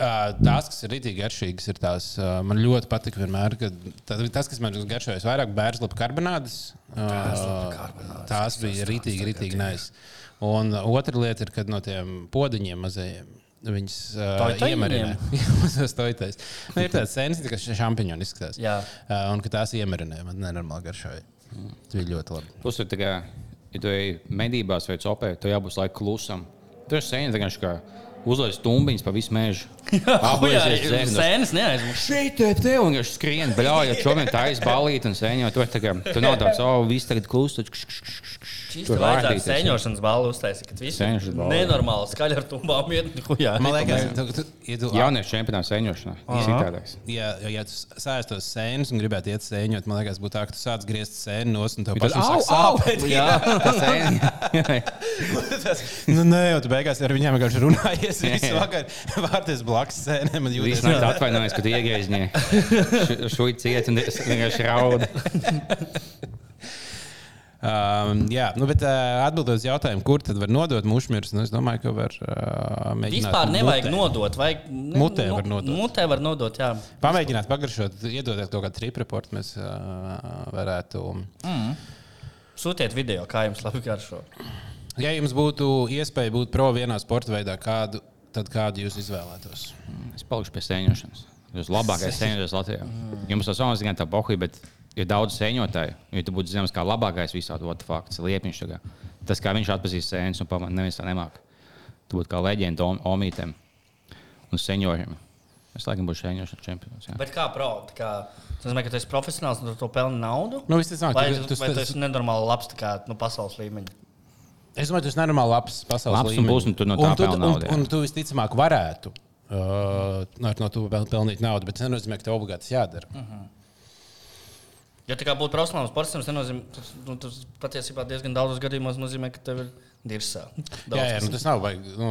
Speaker 3: ā, tās, kas ir rītīgi garšīgas, ir tās. ā, Man ļoti patīk vienmēr, ka tā- tas, kas man garšojas vairāk, bērnslapa karbonādes. ā, Tās bija rītīgi, rītīgi nais. Un ā, otra lieta ir, kad no tiem podiņiem mazajiem. Viņas uh,
Speaker 2: Toiteņiem?
Speaker 3: iemarina. Jā, tas toitais. Nu, ir tāds sēnes, kas šampūņā izskatās.
Speaker 2: Jā.
Speaker 3: Uh, un ka tās iemarinē, man nenormāli garšoja. Tas bija ļoti labi.
Speaker 1: Plus, ir tā kā, ja tu ej medībās vai copē, tu jābūt laikam klusam. Tur sēņa vienkārši kā uzliek stumbiņas pa visu mēžu. Apgūsies zēnu.
Speaker 2: Sēnes neaizmirst.
Speaker 1: Šeit te te un viņš skrien, bļauj, jo čomien tā aizbalīt un sēņo. Tu, vari tā kā, tu nav tāds, oh, viss tagad klustu.
Speaker 2: Šīs
Speaker 1: Tur
Speaker 2: vajadzētu
Speaker 1: vārdīties.
Speaker 2: sēņošanas balvu uztaisīt, kad viss
Speaker 1: Sēņošanas balva.
Speaker 2: nenormāli skaļi ar tumbām iet. nu, jā.
Speaker 3: Man liekas, tu, tu, ja tu
Speaker 1: Jauniešu čempionāts sēņošanā. Tas ir tādāks.
Speaker 3: Ja, ja, ja tu sēž tos sēnes un gribētu iet sēņot, man liekas, būtu tā, ka tu sāc griezt sēnes no un tev
Speaker 1: Tad,
Speaker 3: pašam
Speaker 1: au,
Speaker 3: sāk
Speaker 1: au,
Speaker 3: sāpēt.
Speaker 1: jā, tā sēņa.
Speaker 3: Nu, nē, jau tu beigās ar viņiem vienkārši runājies.
Speaker 1: Jā,
Speaker 3: Visu
Speaker 1: jā.
Speaker 3: vakaru vārties blakus sēnēm. man jūtas-
Speaker 1: Viss nāk atvainojas, ka tu iegriezņē. Šūj ciet un es vienkārši raudu.
Speaker 3: Um, jā, nu, bet uh, atbildot uz jautājumu, kur tad var nodot mušmirus, nu, es domāju, ka var uh, mēģināt.
Speaker 2: Vispār nevajag
Speaker 3: mutē.
Speaker 2: nodot. Vajag, ne,
Speaker 3: Mutē
Speaker 2: nu,
Speaker 3: var nodot.
Speaker 2: Mutē var nodot, jā.
Speaker 3: Pamēģināt pagaršot, iedodiet kaut kādu tripreportu, mēs uh, varētu.
Speaker 2: Sūtiet video, kā jums labi garšo.
Speaker 3: Ja jums būtu iespēja būt pro vienā sporta veidā, kādu, tad kādu jūs izvēlētos?
Speaker 1: Es palikšu pie sēņošanas. Tas labākais sēņotājs Latvijā. Jums tas nav zināms, tā bohuļa, bet ir daudz sēņotāju. Ja tu būtu zināms, kā labākais visā to fakts, liepņš. tā kā. Tas, kā viņš atpazīst sēnes un pamanīja, neviens to nemāk. Tu būtu kā leģenda om- omītēm. un senioriem. Es laikam būšu senioršu čempions. jā.
Speaker 2: Bet kā prāti? Kā... Tas nozīmē, ka tu esi profesionāls un tu ar to pelni naudu?
Speaker 3: Nu, visticamāk,
Speaker 2: vai
Speaker 3: tu-
Speaker 2: tu,
Speaker 3: tu-
Speaker 2: vai tu esi nenormāli labs, tā kā nu, pasaules līmeņa?
Speaker 3: Es domāju, tas ir normāli labs pasaules
Speaker 1: Labs un būs, un tu no tā
Speaker 3: tu,
Speaker 1: pelni
Speaker 3: un,
Speaker 1: naudu, jā.
Speaker 3: un tu visticamāk varētu uh, no no to pel- pelnīt naudu, bet tas nenozīmē, ka tev obligāti tas jādara. Mm.
Speaker 2: Ja tā kā būtu profesionāls sportists, tas nenozīmē, tas, nu, tas patiesībā diezgan daudzos gadījumos nozīmē, ka tev ir dirsā.
Speaker 3: Jā, jā nu, tas nav baigi. Nu,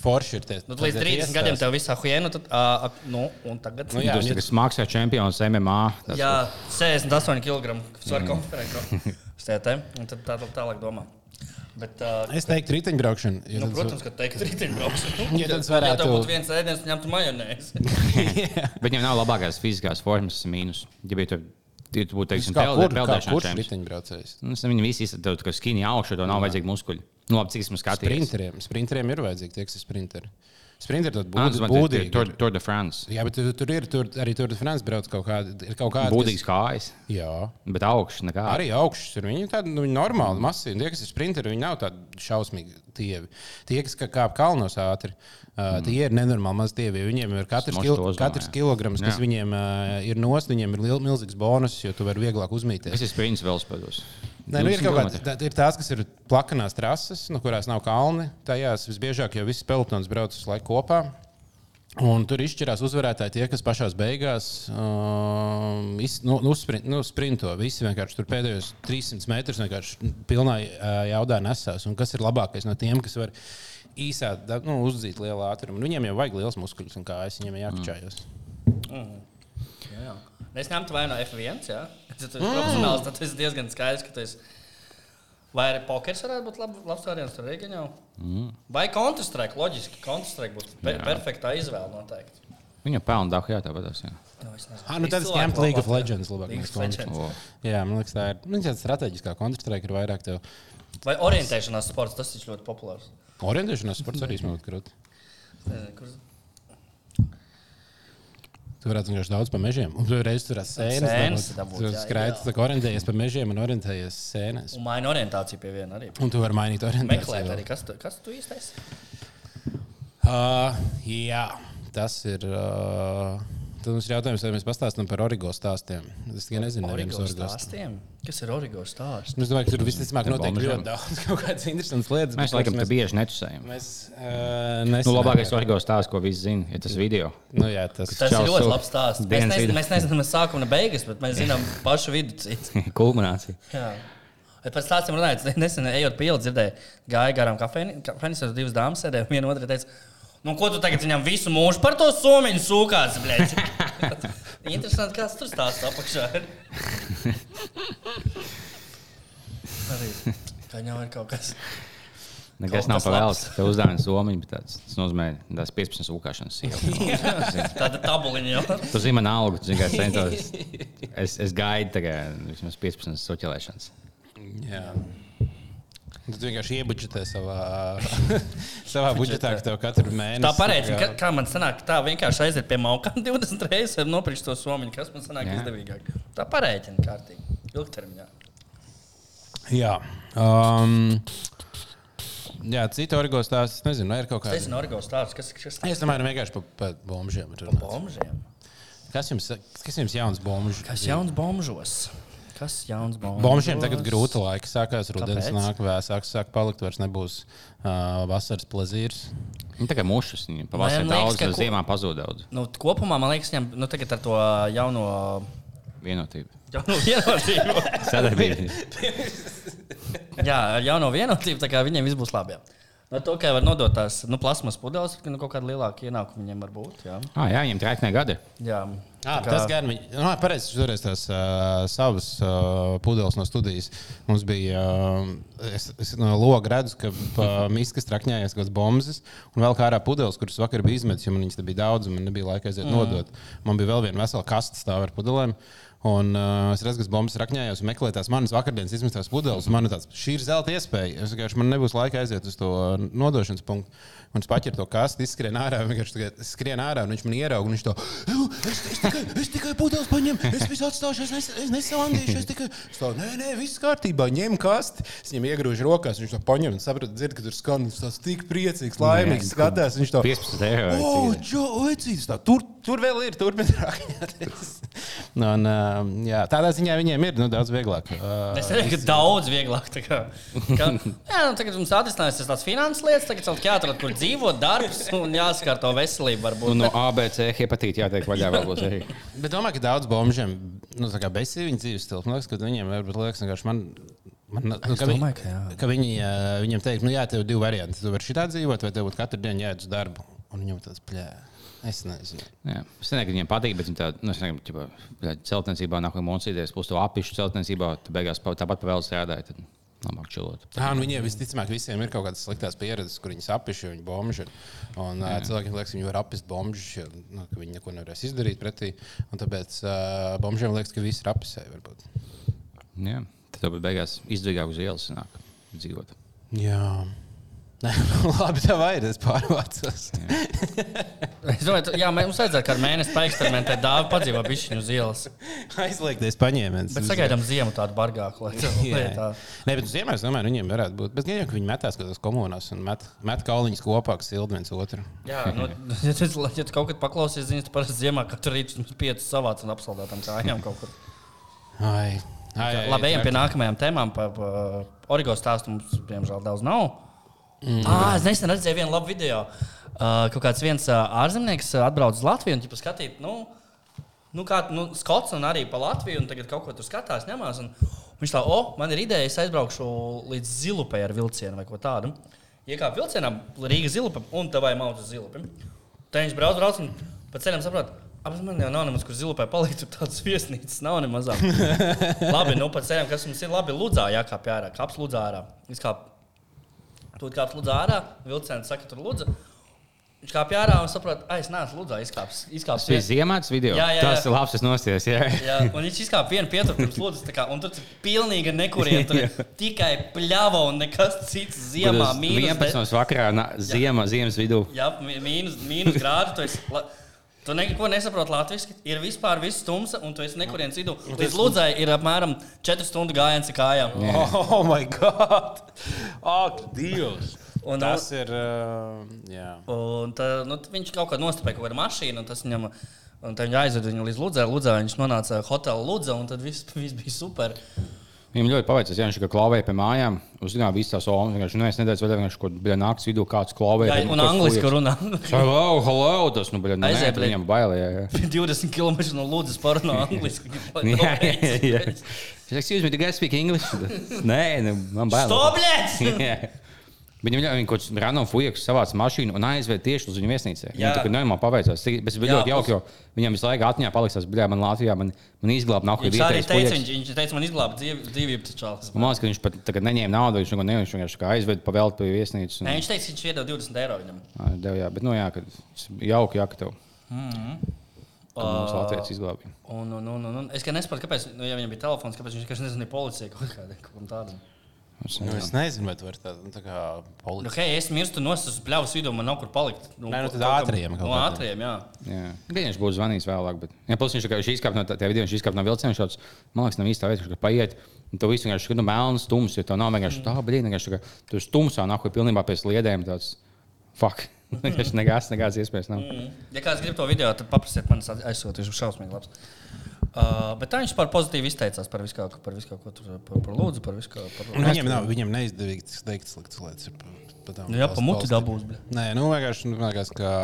Speaker 3: forši ir tas.
Speaker 2: Nu, līdz 30 gadiem tev visā huijēna, tad, uh, nu, un tagad.
Speaker 3: Nu,
Speaker 1: Jā,
Speaker 3: jā,
Speaker 1: tas
Speaker 3: un ja
Speaker 1: ir smags čempions MMA. Tas,
Speaker 2: Jā, 68 kg
Speaker 3: Mm.
Speaker 2: svaru konferencē. Sētē, un tad tā, tā tālāk domā. Bet, uh,
Speaker 3: Es teiktu, riteņbraukšana. Ja
Speaker 2: nu,
Speaker 3: tas-
Speaker 2: protams, ka teikt, riteņbrauks.
Speaker 3: Ja tas
Speaker 2: Ja
Speaker 3: varētu
Speaker 2: tev būtu viens ēdiens, tu ņemtu majonēzi.
Speaker 1: Bet viņam nav labākās fiziskās formas, tas ir mīnus. Ja bija tur, ja tu būtu, teiksim,
Speaker 3: kā
Speaker 1: peldē-
Speaker 3: kur, kā
Speaker 1: peldēšanas
Speaker 3: kurš
Speaker 1: čempions.
Speaker 3: riteņbraucējs?
Speaker 1: Nu, es- Viņi visi izsaka, ka skinī augšā, to nav vajadzīgi muskuļi. Nu, labi, cik esmu skatījis.
Speaker 3: Sprinteriem. Sprinteriem ir vajadzīgi tie, kas ir sprinteri. Sprinteri tad
Speaker 1: Ah, tas
Speaker 3: būtu
Speaker 1: man
Speaker 3: būtīgi.
Speaker 1: ir Tour- Tour de France.
Speaker 3: Jā, bet tur, tur ir tur, arī tur Frančs brauc kaut kāda. ir Kaut kāda
Speaker 1: Būtīgs kājas,
Speaker 3: Kas, jā.
Speaker 1: bet augšs nekā.
Speaker 3: Arī augšas ir. Viņi ir tādi nu, viņi normāli, masīvi. Tie, kas ir sprinteri, viņi nav tādi šausmīgi tievi. Tie, kas kā- kāp kalnos ātri, uh,
Speaker 1: Mm.
Speaker 3: tie ir nenormāli maz tievi. jo Viņiem ir katrs,
Speaker 1: Smož
Speaker 3: kil,
Speaker 1: to zonu,
Speaker 3: katrs
Speaker 1: jā.
Speaker 3: kilograms, kas
Speaker 1: Jā.
Speaker 3: viņiem uh, ir nost, viņiem ir liel, milzīgs bonus, jo tu vari vieglāk uzmīties.
Speaker 1: Es esmu sprints velospēdos.
Speaker 3: Nē, nu, ir kaut kāda tā, ir tās, kas ir plakanās trases, nu, kurās nav kalni. Tajās visbiežāk jau viss pelotons brauc uz laiku kopā. Un tur izšķirās uzvarētāji, tie, kas pašā beigās um, iz, nu, nu, sprint, nu, sprinto. Visi vienkārši tur pēdējos 300 metrus vienkārši pilnā uh, jaudā nesās. Un kas ir labākais no tiem, kas var īsā da- nu, uzdzīt lielu ātrumu? Un Viņiem jau vajag liels muskuļus un kājas, viņiem ir jākačājas.
Speaker 2: Mm. Jā, jā. Es ņemtu vai no F1, jā. Ja tu esi profesionāls, tad tas ir diezgan skaidrs, ka tas ir. Vai arī pokers varētu būt lab, labs variants ar Rīgāņu? Mm. Vai Counter-Strike, loģiski, Counter-Strike būtu pe
Speaker 1: Jā.
Speaker 2: perfektā izvēle noteikti.
Speaker 1: Viņa pelna dahu, jā, tā vadās. jā.
Speaker 2: Nu, es nezinu.
Speaker 3: Ah, nu, tad es
Speaker 2: Cilvēku
Speaker 3: ņemtu League of
Speaker 2: labāk, jā.
Speaker 3: Legends. labāk
Speaker 2: League
Speaker 3: nekā
Speaker 2: of Legends.
Speaker 3: Counter.
Speaker 1: O.
Speaker 3: Jā, man liekas, tā ir nu, tāda strateģiskā kontrastrēka, ir vairāk tev.
Speaker 2: Vai orientēšanās sports, tas ir ļoti populārs.
Speaker 3: Orientēšanās sports arī smags grūti.
Speaker 2: Es nezinu, kur-
Speaker 3: Tu varētu vienkārši daudz pa mežiem. Un tu reiz tur esi
Speaker 2: Sēnes
Speaker 3: sēnes.
Speaker 2: dabūt,
Speaker 3: Tu
Speaker 2: jā,
Speaker 3: skraidzi, tā kā orientējies pa mežiem un orientējies sēnes.
Speaker 2: Un maina orientāciju pie viena arī.
Speaker 3: Un tu vari mainīt
Speaker 2: Meklēt arī,
Speaker 3: orientāciju.
Speaker 2: kas tu, kas tu īstais ir.
Speaker 3: Uh, jā, tas ir. Uh, tad mums ir jautājums, vai mēs pastāstām par origo stāstiem. Es tikai nezinu,
Speaker 2: Origo
Speaker 3: kādas origo stāstus.
Speaker 2: stāstiem. Kas ir origo stāsts?
Speaker 3: Es domāju, ka tur visticamāk notiek
Speaker 1: bombažiem.
Speaker 3: ļoti daudz kaut kādas interesantas lietas.
Speaker 1: Mēs
Speaker 3: bet
Speaker 1: laikam te
Speaker 3: mēs,
Speaker 1: bieži netusējam.
Speaker 3: mēs uh, nesanāk.
Speaker 1: Nu, labākais originālais stāsts, ko visi zina, ir tas video.
Speaker 3: Nu, jā, tas
Speaker 2: Tas
Speaker 1: Čau,
Speaker 2: ir ļoti
Speaker 1: Sof.
Speaker 2: labs stāsts. Mēs,
Speaker 1: Dienas
Speaker 2: nezin,
Speaker 1: vidu.
Speaker 2: mēs nezinām, kas ir sākuma un beigas, bet mēs zinām pašu vidu. citu.
Speaker 1: Kulminācija.
Speaker 2: Jā. Bet par stāstiem runājot, es nesen ejot pie ielas, dzirdēju, gāja garām kafejnīcā, tur divas dāmas sēdēja, un viena otra teica, nu ko tu tagad viņam visu mūžu par to somiņu sūkās, blēķi. Interesanti, kāds tur stāsta apakšā. ir. Arī Viņam ir kaut kas.
Speaker 1: Nekas
Speaker 2: Kaut
Speaker 1: nav
Speaker 2: kas
Speaker 1: pavēlts. Tev uzdāvinājums somiņš, bet tāds, tas nozīmē tās 15 sūkāšanas.
Speaker 2: Tāda tabuliņa jau.
Speaker 1: Tu zini, man algu, tu zini, kā es centos. Es, es gaidu tagad vismaz 15 soķelēšanas.
Speaker 3: Jā. Tu vienkārši iebuģetē savā, savā budžetā, ka tev katru mēnesi.
Speaker 2: Tā pareizi, kā, kā man sanāk, tā vienkārši aiziet pie maukām 20 reizes un nopirkt to somiņu, kas man sanāk
Speaker 1: Jā.
Speaker 2: izdevīgāk. Tā pareizi, kārtīgi, ilgtermiņā.
Speaker 3: Jā. Um, jā, citu orgo stāstu. Es nezinu, vai ir kaut
Speaker 2: Tas
Speaker 3: kāda.
Speaker 2: ir Norgos stāsts, kas ir
Speaker 3: Es domāju, vienkārši par pa bombžiem. ir runāts.
Speaker 2: bombžiem.
Speaker 3: Kas jums, kas jums jauns bombžs?
Speaker 2: Kas jauns bombžos? Kas jauns bombžos?
Speaker 3: Bombžiem tagad grūti laiki sākās, rudens
Speaker 2: Kāpēc?
Speaker 3: nāk, vēsāks sāk palikt, vairs nebūs uh, vasaras plazīrs.
Speaker 1: Nu, tā kā mušas viņam
Speaker 2: Man
Speaker 1: pavasarī
Speaker 2: liekas,
Speaker 1: daudz,
Speaker 2: ka
Speaker 1: bet
Speaker 2: ko-
Speaker 1: ziemā pazūd daudz
Speaker 2: Nu, kopumā man liekas, viņam nu, tagad ar to jauno,
Speaker 1: vienotību.
Speaker 2: jauno vienotību.
Speaker 1: Sadarbība.
Speaker 2: jā, ar jauno vienotību tā kā viņiem viss būs labi. jā. No to, ka var nodot tās nu, plasmas pudeles, ka nu, kaut kāda lielāka ienākuma viņiem var būt. Jā,
Speaker 1: Ah, jā, viņam trēknē gadi.
Speaker 2: jā.
Speaker 3: Jā,
Speaker 2: Tā kā-
Speaker 3: tas gan bija. Nu, pareizi, es turēju tās uh, savas uh, pudeles no studijas. Mums bija, uh, es, es no loga redzu, ka pa miskas trakņājās kaut kāds bombas, un vēl kā ārā pudeles, kuras vakar bija izmetas, jo man viņas te bija daudz, un man nebija laika aiziet mm. nodot. Man bija vēl viena vesela kasta stāv ar pudelēm. Un uh, es redzu, ka bombas rakņājos, meklēju tās manas vakardienas izmestās pudeles. Man ir tāds, šī ir zelta iespēja. Es vienkārši man nebūs laika aiziet uz to uh, nodošanas punktu. Un es paķēru to kastu, izskrien ārā, vienkārši tagad skrien ārā, un viņš man ieraudzīja. Viņš to "Jū, es, es tikai, es tikai pudeles paņēmu, es visu atstāšu, es, nes, es nesalandīšu. Es tikai, es to, nē, nē, viss kārtībā, ņem kasti. Es viņam iegrūžu rokās, viņš to paņem un saprot, dzird, ka tur skan. Viņš tāds tik priecīgs, laimīgs, skatās. Viņš to "Oh,
Speaker 1: 15 nu eiro vai
Speaker 3: "O,
Speaker 1: cik ir?"
Speaker 3: Čo, vecītis, tā, tur, tur vēl ir, turpiniet rākņāties. Un, uh, jā, tādā ziņā viņiem ir nu, daudz vieglāk. Uh,
Speaker 2: Es domāju, ka daudz vieglāk. tā Kā, kā, jā, nu, tagad mums atrisinājās tās finanses lietas, tagad mums jāatrod, kur dzīvot, darbs un jāskārto veselību. Varbūt.
Speaker 1: Un no ABC hepatīta jātiek vaļā vēl būs arī.
Speaker 3: bet domāju, ka daudz bomžiem nu, tā kā bezsīvi viņa dzīves stils. Man liekas, ka viņiem varbūt liekas, vienkārši man. Man, nu, ka
Speaker 4: domāju, ka jā.
Speaker 3: ka viņi, uh, viņam teikt, nu jā, tev ir divi varianti. Tu vari šitā dzīvot, vai tev būtu katru dienu jāiet uz darbu. Un viņam tāds plē. Es nezinu.
Speaker 1: Jā. Es nezinu, ka viņiem patīk, bet viņi tā, nu, es nezinu, ka tā celtniecībā nākamajā mūcīties, būs to apišu celtniecībā, tad beigās pa- tāpat pa vēl strādāja, tad labāk čilot.
Speaker 3: Jā, nu viņiem visticamāk, visiem ir kaut kādas sliktas pieredzes, kur viņi apšuļo, viņi bombži. Un uh, cilvēkiem liekas, viņi var apšuļot bombži, nu, ka viņi neko nevarēs izdarīt pretī. Un tāpēc uh, bombžiem liekas, ka viss ir apšuļots.
Speaker 1: Jā. Tad tev beigās izdevīgāk uz ielas nāk dzīvot.
Speaker 3: Jā. Nē, nu, labi, tā vajag. Es pārvācos.
Speaker 2: Es domāju, tu- jā, mē- mums vajadzētu kādu mēnesi paeksperimentēt, dāvā padzīvot pišķiņu uz ielas.
Speaker 3: Aizliegties, paņēmiens.
Speaker 2: Bet sagaidām ziemu tādu bargāku. Lai, lai tā.
Speaker 3: Jā. Nē, bet uz ziemas, domāju, viņiem varētu būt. Bet gan jau, ka viņi metās kaut kādās komunās un met, met kauliņus kopā, kas silda viens otru.
Speaker 2: Jā, nu, ja tu, ja tu kaut kad paklausies ziņas, tad parasti ziemā katru rītu mums piecas savāc un apsaldētām kājām kaut kur.
Speaker 3: Ai, ai, ai,
Speaker 2: Labi, ejam pie nākamajām tēmām. Par pa, origo stāstu mums, diemžēl, daudz nav. Mm. Ah, es nesen redzēju vienu labu video. Uh, kaut kāds viens uh, ārzemnieks uh, atbrauc uz Latviju un viņa paskatīt, nu, nu kā nu, skots un arī pa Latviju, un tagad kaut ko tur skatās, ņemās. un Viņš tā, o, man ir ideja, es aizbraukšu līdz zilupai ar vilcienu vai ko tādu. Iekāp vilcienā Rīgas zilupam un tā vai mauta zilupam. Tad viņš brauc, brauc un pa ceļam saprot. Apmēram man jau nav nemaz, kur zilupai palikt, tur tādas viesnīcas nav nemaz. labi, nu pa ceļam, kas mums ir labi, Ludzā jākāp ārā, kāps Ludzā ārā. Viņš kāp, tur kāp Ludzā ārā, vilciens saka, tur Ludzā. Viņš kāp ārā un saprot, ai, es neesmu Ludzā, izkāps. izkāps
Speaker 1: Tas bija ziemāts video.
Speaker 2: Jā, jā, jā.
Speaker 1: Tas ir labs, es nosties. Jā.
Speaker 2: Jā, un viņš izkāpa vienu pietuvu slūdzu, tā kā, un tur tas pilnīgi nekurien. Tur ir tikai pļava un nekas cits ziemā
Speaker 1: Kad uz
Speaker 2: mīnus.
Speaker 1: 11. vakarā, na- ziemā, ziemas vidū.
Speaker 2: Jā, mī- mīnus, mīnus grādu. Tu, esi, la, tu neko nesaproti latviešu. Ir vispār viss tums, un tu esi nekurienes vidū. Līdz Lūdzai ir apmēram 4 stundu gājiens ar kājām.
Speaker 1: Jā.
Speaker 3: Oh, my God! Ak, Dievs!
Speaker 2: Un-
Speaker 3: tas ir. Uh, jā.
Speaker 2: Un tā, nu, t- viņš kaut kā nostipēja kaut kādu mašīnu, un tas viņam. Un tad viņi aizveda viņu līdz Lūdzai. Lūdzā viņš nonāca hotelā Lūdzā, un tad viss, viss bija super.
Speaker 1: Viņam ļoti paveicās, ja viņš kā klauvēja pie mājām. Uzzināja visas tās olas. Viņš vienkārši nedēļas vēl vienkārši kaut kādā naktas vidū kāds klauvēja.
Speaker 2: Jā,
Speaker 1: tad
Speaker 2: un
Speaker 1: kaut
Speaker 2: angliski
Speaker 1: fujas.
Speaker 2: runā.
Speaker 1: Hello, hello, tas nu, bija
Speaker 2: Aiziet,
Speaker 1: aizēpēc.
Speaker 2: bet-
Speaker 1: Viņam bailēja.
Speaker 2: 20 km no Lūdzes parunā angliski.
Speaker 1: Jā, jā, jā. jā. Viņš teica, excuse me, do you guys speak English? Nē, nu, man bail.
Speaker 2: Stopliet!
Speaker 1: Jā. Viņam ļauj viņa kaut kādā random fujaks savāca mašīnu un aizveda tieši uz viņa viesnīcu.
Speaker 2: Jā.
Speaker 1: Viņam tā kā normāli paveicās. Cik- Bet es biju
Speaker 2: Jā,
Speaker 1: ļoti jauki, jo viņam visu laiku atņā paliks tas, bija man Latvijā, man, man izglāba nav
Speaker 2: Viņš
Speaker 1: kāda
Speaker 2: arī
Speaker 1: vietējais
Speaker 2: teica,
Speaker 1: fujaks.
Speaker 2: viņš, viņš teica, man izglāba dzīvi- dzīvību. taču, Čārlis.
Speaker 1: Man liekas, ka viņš pat tagad neņēma naudu, viņš neko neņēma, viņš vienkārši kā aizveda pavēlēt pie viesnīcas. Un,
Speaker 2: Nē, viņš teica, viņš iedod 20 eiro viņam.
Speaker 1: Ai, Dev, jā, bet, nu, jā, kad tas jauki, jā, ka tev.
Speaker 2: Mhm.
Speaker 1: Kad mums Latvijas izglābīja.
Speaker 2: Un, un, un, un, un es kā nesaprotu, kāpēc, nu, ja viņam bija telefons, kāpēc viņš vienkārši nezināja policijai kaut kādam kaut kam tādam.
Speaker 3: Nu, es nezinu, vai tu vari tādu tā kā
Speaker 2: Nu,
Speaker 3: policija.
Speaker 2: hei, es mirstu no savas pļavas vidū, man nav kur palikt. Nu,
Speaker 3: Nē, nu, tad
Speaker 2: kaut kam-
Speaker 3: ātriem kaut
Speaker 2: No
Speaker 3: kādiem.
Speaker 2: ātriem, jā.
Speaker 1: Jā, Gan viņš būtu zvanījis vēlāk, bet ja, plus viņš vienkārši izkāpa no tā tā video, viņš izkāpa no vilciena. viņš tāds, Man liekas, nav īsta vieta, kur paiet. Un tev viss vienkārši ir nu, melns, tums, jo tev nav vienkārši tā brīdī, vienkārši tā kā tu esi tumsā, nāk, pilnībā pēc sliedēm. Tāds, fuck, vienkārši nekāds, nekāds iespējas nav.
Speaker 2: Mm. Ja kāds grib to video, tad paprasiet man, es aizsūtīšu šausmīgi labs. Uh, bet tā viņš par pozitīvu izteicās par visu, kaut- par visu kaut ko tur, par, par lūdzu, par visu. kaut- Par...
Speaker 3: Viņam, Nu, nav, viņam neizdevīgi tas teikt sliktas lietas. ir pa- pa tām
Speaker 2: Nu, jā, pa
Speaker 3: valsts
Speaker 2: muti
Speaker 3: valstīm.
Speaker 2: dabūs, bļa.
Speaker 3: Nē, nu vienkārši nu, man liekas, ka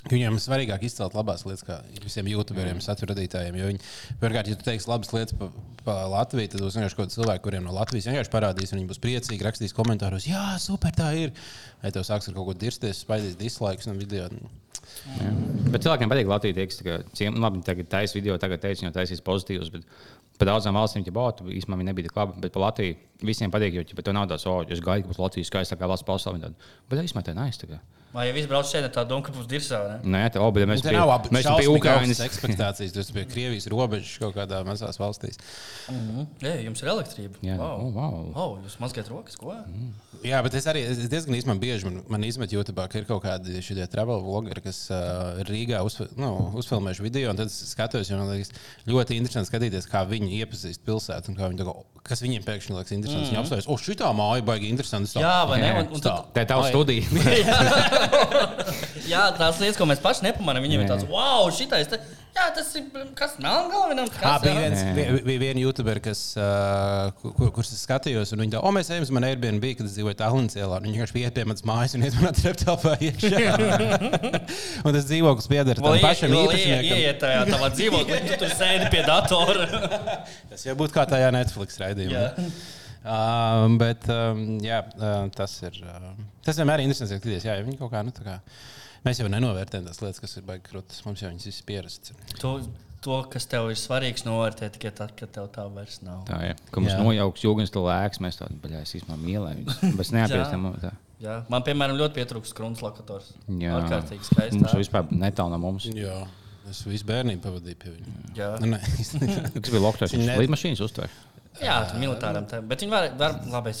Speaker 3: ka viņiem ir svarīgāk izcelt labās lietas, kā visiem
Speaker 1: Mm.
Speaker 3: youtuberiem, satura radītājiem. Jo viņi, pirmkārt, ja tu teiksi labas lietas par pa Latviju, tad būs vienkārši kaut kādi cilvēki, kuriem no Latvijas vienkārši parādīs, un viņi būs priecīgi, rakstīs komentāros, jā, super, tā ir. Vai tev sāks ar kaut ko dirsties, spaidīs dislikes no video. nu,
Speaker 1: nu, Bet cilvēkiem patīk Latvijas tie, kas tā kā ciem- labi, viņi tagad taisa video, tagad teica, jau taisīs pozitīvus. Bet Pa daudzām valstīm, ja būtu, īstenībā viņi nebija tik labi. Bet par Latviju visiem patīk, jo ja tev nav tāds, oh, es gaidu, ka būs Latvijas skaistākā valsts pasaulē. tad, Bet īstenībā tā nav.
Speaker 2: Vai jau viss brauc šeit ar tādu dunku pus dirsā, vai ne?
Speaker 1: Nē, tā oh, bet mēs
Speaker 3: Tur
Speaker 1: pie-
Speaker 3: nu, nav abi
Speaker 1: mēs esam pie Ukrainas.
Speaker 3: ekspektācijas. Tas bija Krievijas robežas kaut kādā mazās valstīs.
Speaker 2: Mhm. Jā, jums ir elektrība.
Speaker 1: Mm. Jā,
Speaker 2: Vau.
Speaker 1: oh, wow. Mm.
Speaker 2: Vau, jūs mazgājat rokas, ko?
Speaker 3: Jā, bet es arī es diezgan īstenībā bieži man, man izmetu YouTube, ka ir kaut kādi šie travel vlogeri, kas uh, Rīgā uzfi, nu, uzfilmējuši video. un Tad es skatos, jo man liekas, ļoti interesanti skatīties, kā viņi iepazīst pilsētu un kā viņi to, kas viņiem pēkšņi liekas interesants. Mm -hmm. Viņi apstājas, o, šī tā māja baigi interesanti.
Speaker 2: Jā, vai ne?
Speaker 1: Jā,
Speaker 2: Un, un tad,
Speaker 1: Tā ir tava
Speaker 3: Vai-
Speaker 1: studija.
Speaker 2: jā, tās lietas, ko mēs paši nepamanām, viņiem ir
Speaker 1: Jā.
Speaker 2: tāds, wow, šitais. Te, jā, tas ir blim, kas nav galvenam.
Speaker 3: Tā
Speaker 2: Kas,
Speaker 3: bija
Speaker 2: jā?
Speaker 3: viens, vi- vi- viena YouTuber, kas, uh, kur, kurš es skatījos, un viņa teica, o, mēs ejam uz mani Airbnb, kad es dzīvoju Tallinas ielā. un Viņa vienkārši pieiet pie manas mājas un iet manā treptelpā iekšā. un tas dzīvoklis pieder tam
Speaker 2: Vēl ie-
Speaker 3: pašam
Speaker 2: vēl ie-
Speaker 3: īpašniekam.
Speaker 2: Ieiet tajā tavā dzīvoklī, tu tur sēdi pie datora.
Speaker 3: Tas jau būtu kā tajā Netflix raidījumā. Um, bet um, jā, um, tas ir. Um, tas vienmēr ir interesanti skatīties. Jā, ja viņi kaut kā, nu, tā kā. Mēs jau nenovērtējam tās lietas, kas ir baigi krūtis. Mums jau viņas viss pierastas. ir.
Speaker 2: to, to, kas tev ir svarīgs, novērtē tikai tad, kad tev tā vairs nav.
Speaker 1: Tā ir. Kad mums
Speaker 3: Jā.
Speaker 1: nojauks jūgas lēks, mēs tādu baļā es īstenībā mīlēju. viņus. Bet es neapjūstu tam. tā.
Speaker 2: Jā. Man, piemēram, ļoti pietrūkst krūms lakators.
Speaker 1: Jā,
Speaker 2: ārkārtīgi skaisti.
Speaker 1: Mums vispār netālu no mums.
Speaker 3: Jā, es visu bērnību pavadīju pie viņiem.
Speaker 2: Jā.
Speaker 3: Nu, nē, īstenībā.
Speaker 1: Kas bija lokāts?
Speaker 3: Viņa
Speaker 1: Viņš
Speaker 3: ne-
Speaker 1: lidmašīnas uztvēra.
Speaker 2: Jā, tā ir militāram tēmam. Bet viņi var, var labi, es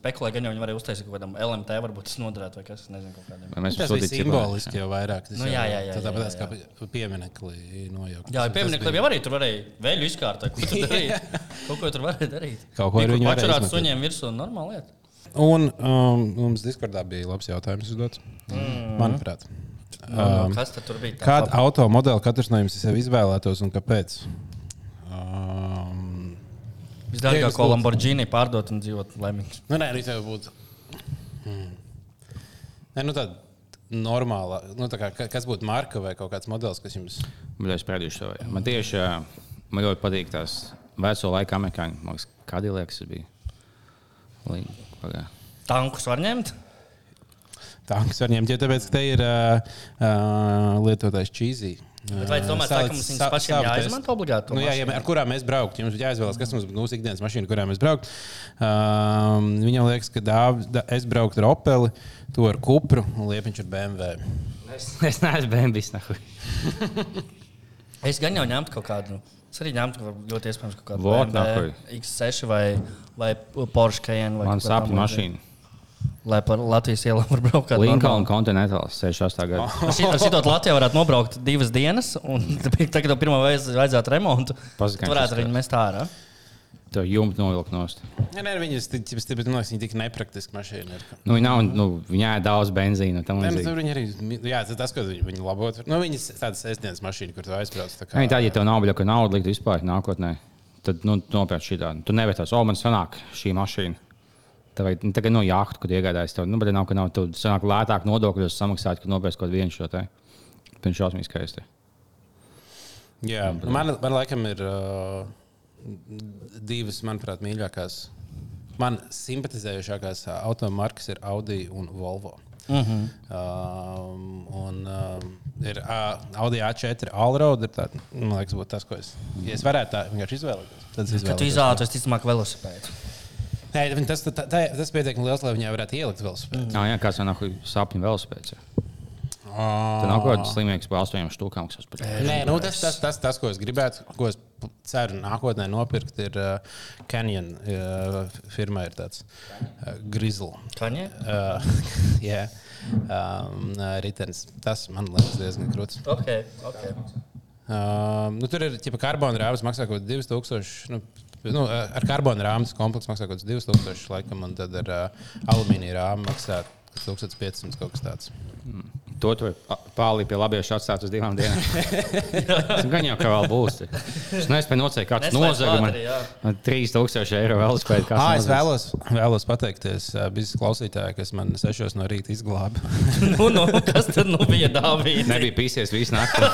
Speaker 2: spekulēju, gan jau viņi varēja uztaisīt kaut kādam LMT, varbūt tas noderētu vai kas, es nezinu, kaut kādam.
Speaker 1: Vai Mēs
Speaker 3: Tas bija
Speaker 1: cilvēku?
Speaker 3: simboliski jau vairāk. Tas
Speaker 2: Nu,
Speaker 3: jau-
Speaker 2: jā, jā, jā,
Speaker 3: tas Tāpat
Speaker 2: jā,
Speaker 3: tās kā piemineklī
Speaker 2: Jā,
Speaker 3: nojaukt. Tas- tas
Speaker 2: pieminiekam,
Speaker 3: bija-
Speaker 2: jau arī tur varēja vēļu izkārtot. Ko tur darīja? Kaut ko tur varēja darīt.
Speaker 3: Kaut ko ar viņu varēja
Speaker 2: Atcerās
Speaker 3: izmantot.
Speaker 2: suņiem virsū, normāli lieta.
Speaker 3: Un um, mums diskordā bija labs jautājums uzdots.
Speaker 2: Mm.
Speaker 3: Manuprāt. Um,
Speaker 2: Kas tad tur bija? Tā
Speaker 3: kādu
Speaker 2: laba-
Speaker 3: automobili katrs no jums sev izvēlētos un kāpēc? Um, Dievs
Speaker 2: Visdārgāko
Speaker 3: lūdzu.
Speaker 2: Lamborghini pārdot un dzīvot laimīgi.
Speaker 3: nu, nē, arī tev būtu. Mm. Nē, nu tāda normāla. Nu, tā kā, ka- kas būtu marka vai kaut kāds modelis, kas jums.
Speaker 1: Bet es pēdēju šo. Man tieši ā, man ļoti patīk tās veco laiku amerikāņu. Man liekas, kādi liekas, tas bija. Lī- pagā.
Speaker 2: Tankus var ņemt?
Speaker 3: Tanks var ņemt, jo tāpēc, ka te ir uh, uh, lietotājs čīzī.
Speaker 2: Bet vai tu domā, ka mums viņas pašiem jāizmanto obligāti? to
Speaker 3: Nu, jā,
Speaker 2: mašīnu?
Speaker 3: ja, mē- ar kurām mēs brauktu? Jums ir jāizvēlas, kas mums būs ikdienas mašīna, ar kurām mēs brauktu. Um, viņam liekas, ka dāv, da, es brauktu ar Opeli, to ar Kupru un Liepiņš ar BMW.
Speaker 1: Es neesmu bērns.
Speaker 2: Es gan jau ņemtu kaut kādu. Es arī ņemtu, var- ļoti iespējams, kaut kādu
Speaker 1: Vot,
Speaker 2: BMW, X6 vai, vai Porsche Cayenne. vai
Speaker 1: Man
Speaker 2: kaut kā
Speaker 1: sāp
Speaker 2: tam
Speaker 1: mašīna.
Speaker 2: Lai par Latvijas ielām var braukt kādā
Speaker 1: Linkoln Continental 68. gada.
Speaker 2: Oh. Šito Latvijā varētu nobraukt divas dienas, un tagad, kad tev pirmo reizi vajadzētu remontu,
Speaker 1: Pasakām,
Speaker 2: tad varētu
Speaker 1: kas
Speaker 2: arī
Speaker 1: tas.
Speaker 2: mest ārā.
Speaker 1: Tev jumta novilkt nost.
Speaker 3: Nē, nē, viņas tik- tips- tips- man nu, liekas, viņa tik nepraktiska mašīna. Ir.
Speaker 1: Nu, viņa nav, nu, viņai ir daudz benzīna. tam
Speaker 3: Nē, nu,
Speaker 1: līdzīgi.
Speaker 3: tur Viņa arī, jā, tas, tas, ko viņi, viņi labot. Nu, viņas tādas sestdienas mašīna, kur tu aizbrauc. tā kā-
Speaker 1: Nē, tā, ja tev nav bijusi nauda, likt vispār nākotnē, tad nu, nopietni šī tāda. Tu nevari tās, oh, man sanāk šī mašīna. Tā vajag nu, tagad no jahta, kad iegādājies to. Nu, bet nav, ka nav, tu sanāk lētāk nodokļus samaksāt, kad nopērci kaut vienu šo te. Viņš šausmīgi skaisti.
Speaker 3: Jā, nu, man, man laikam ir uh, divas, manuprāt, mīļākās. Man simpatizējušākās uh, automarkas ir Audi un Volvo. Uh -huh. um, un um, ir uh, Audi A4 Allroad. ir tā- Man liekas, būtu tas, ko es. Ja es varētu tā vienkārši izvēlēties. Tad es
Speaker 2: Kad tu
Speaker 3: izvēlētos.
Speaker 2: izvēlēties, ticamāk, velosipēdu.
Speaker 3: Nē, viņi- tas, tā, tā, tas pietiekami liels, lai viņai varētu ielikt vēl spēku.
Speaker 1: Jā, jā kāds nāk sapņu velosipēds. ja?
Speaker 3: Uh,
Speaker 1: Tur nav kaut kāds slimnieks par astoņiem stūkām, kas pat
Speaker 3: Nē, nu, tas, tas, tas, tas, ko es gribētu, ko es p- ceru nākotnē nopirkt, ir uh, Canyon. Uh, firma ir tāds uh, Grizzle.
Speaker 2: Kaņē?
Speaker 3: Uh, jā, um, ritenis. Tas man liekas diezgan krūts.
Speaker 2: Ok, ok.
Speaker 3: Um, nu, tur ir tipa karbona rāmas, maksā kaut kāds 2000. Nu, Nu, uh, ar karbona rāmas kompleksu maksā kaut kāds 2000, laikam, un tad ar uh, alumīnija rāmu maksā 1500 kaut kas tāds.
Speaker 1: To tur pāri pie labiešu atstāt uz divām dienām. Tas gan jau kā vēl būs. te. Es nespēju nocēt, kāds
Speaker 2: Nespēj
Speaker 1: nozaga man
Speaker 2: klāt arī, jā.
Speaker 1: man 3000 eiro velosipēdu. kāds
Speaker 3: Ah, es
Speaker 1: nozaga.
Speaker 3: vēlos, vēlos pateikties uh, visiem klausītājiem, kas man sešos no rīta izglāba.
Speaker 2: Nu, nu, kas tad nu bija dāvīts?
Speaker 1: Nebija pīsies visu naktī.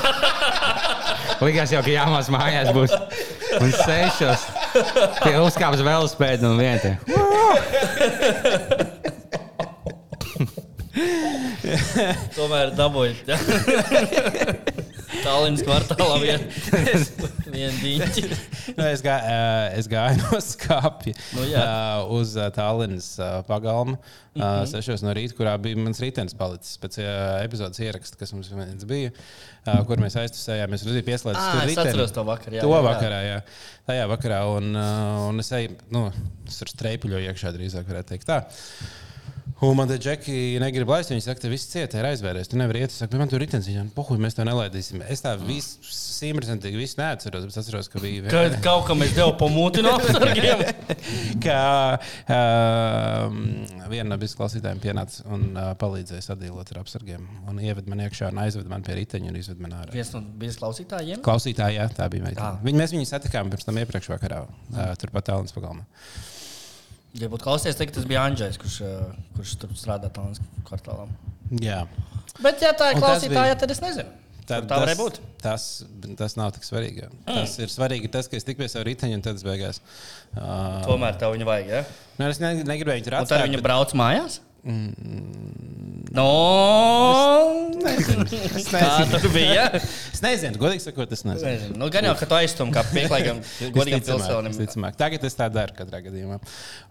Speaker 1: Likās jau, ka jāmās mājās būs. Un sešos tie uzkāpa uz velospēdu un vietā.
Speaker 2: Tomēr dabūju. Tallinas kvartālā vien- Vienu diņķi.
Speaker 3: Nu, es, gā, eh, es gāju no skāpja
Speaker 2: Nu,
Speaker 3: nu,
Speaker 2: jā.
Speaker 3: uz eh, Tallinas eh, pagalmu mm -hmm.
Speaker 2: Mhm.
Speaker 3: sešos no rīta, kurā bija mans rītdienas palicis pēc eh, epizodes ieraksta, kas mums viens bija, eh, kur mēs aiztusējāmies. Tur bija pieslēdzis
Speaker 2: Ā,
Speaker 3: tur
Speaker 2: Ah, es
Speaker 3: riteni.
Speaker 2: atceros to vakaru, jā,
Speaker 3: to
Speaker 2: jā, jā.
Speaker 3: vakarā, jā. Tajā vakarā. Un, eh, un es eju, nu, es tur streipuļoju iekšā drīzāk, varētu teikt. Tā. Un man te džeki negrib laist, viņi saka, te viss cieta, ir aizvērties. Tu nevari iet, es saku, "Bet man tur ir rītdienas, viņa pohuļ, mēs to nelaidīsim. Es tā visu simtprocentīgi visu neatceros, bet es atceros, ka bija.
Speaker 2: Kad kaut kam es devu pamūti no apsargiem.
Speaker 3: ka uh, viena no bizklausītājiem pienāca un uh, palīdzēja sadalīt ar apsargiem. Un ieved man iekšā, un aizved man pie riteņa un izved man ārā.
Speaker 2: Viens no bijis klausītājiem.
Speaker 3: Klausītāji, jā, tā bija meitene.
Speaker 2: Tā.
Speaker 3: Viņu, mēs viņu satikām pirms tam iepriekšējā vakarā, uh, turpat Tālānas pagalmā.
Speaker 2: Ja būtu klausies, teikt, tas bija Andrzejs, kurš, eh, kurš tur strādā Tallinas kvartālā.
Speaker 3: Jā.
Speaker 2: Bet, ja tā ir
Speaker 3: Un tas
Speaker 2: klausītāja,
Speaker 3: bija-
Speaker 2: tad es nezinu.
Speaker 3: Tā,
Speaker 2: Tad, tā varēja būt.
Speaker 3: Tas, tas nav tik svarīgi. jā. Tas ir svarīgi, tas, ka es tiku pie sava riteņa un tad es beigās. Uh,
Speaker 2: Tomēr tev viņa vajag. Ja?
Speaker 3: nu, es ne, negribēju viņu tur
Speaker 2: Un tad
Speaker 3: atstāt.
Speaker 2: viņa
Speaker 3: bet- Mm.
Speaker 2: brauc mājās. No,
Speaker 3: Es
Speaker 2: tā
Speaker 3: nezinu.
Speaker 2: tur bija.
Speaker 3: Es nezinu, godīgi sakot, es nezinu.
Speaker 2: Nezinu. Nu, gan jau, ka tu aizstumji kā pieklājīgam, godīgam pilsonim.
Speaker 3: Ticamāk. Tagad es tā daru katrā gadījumā.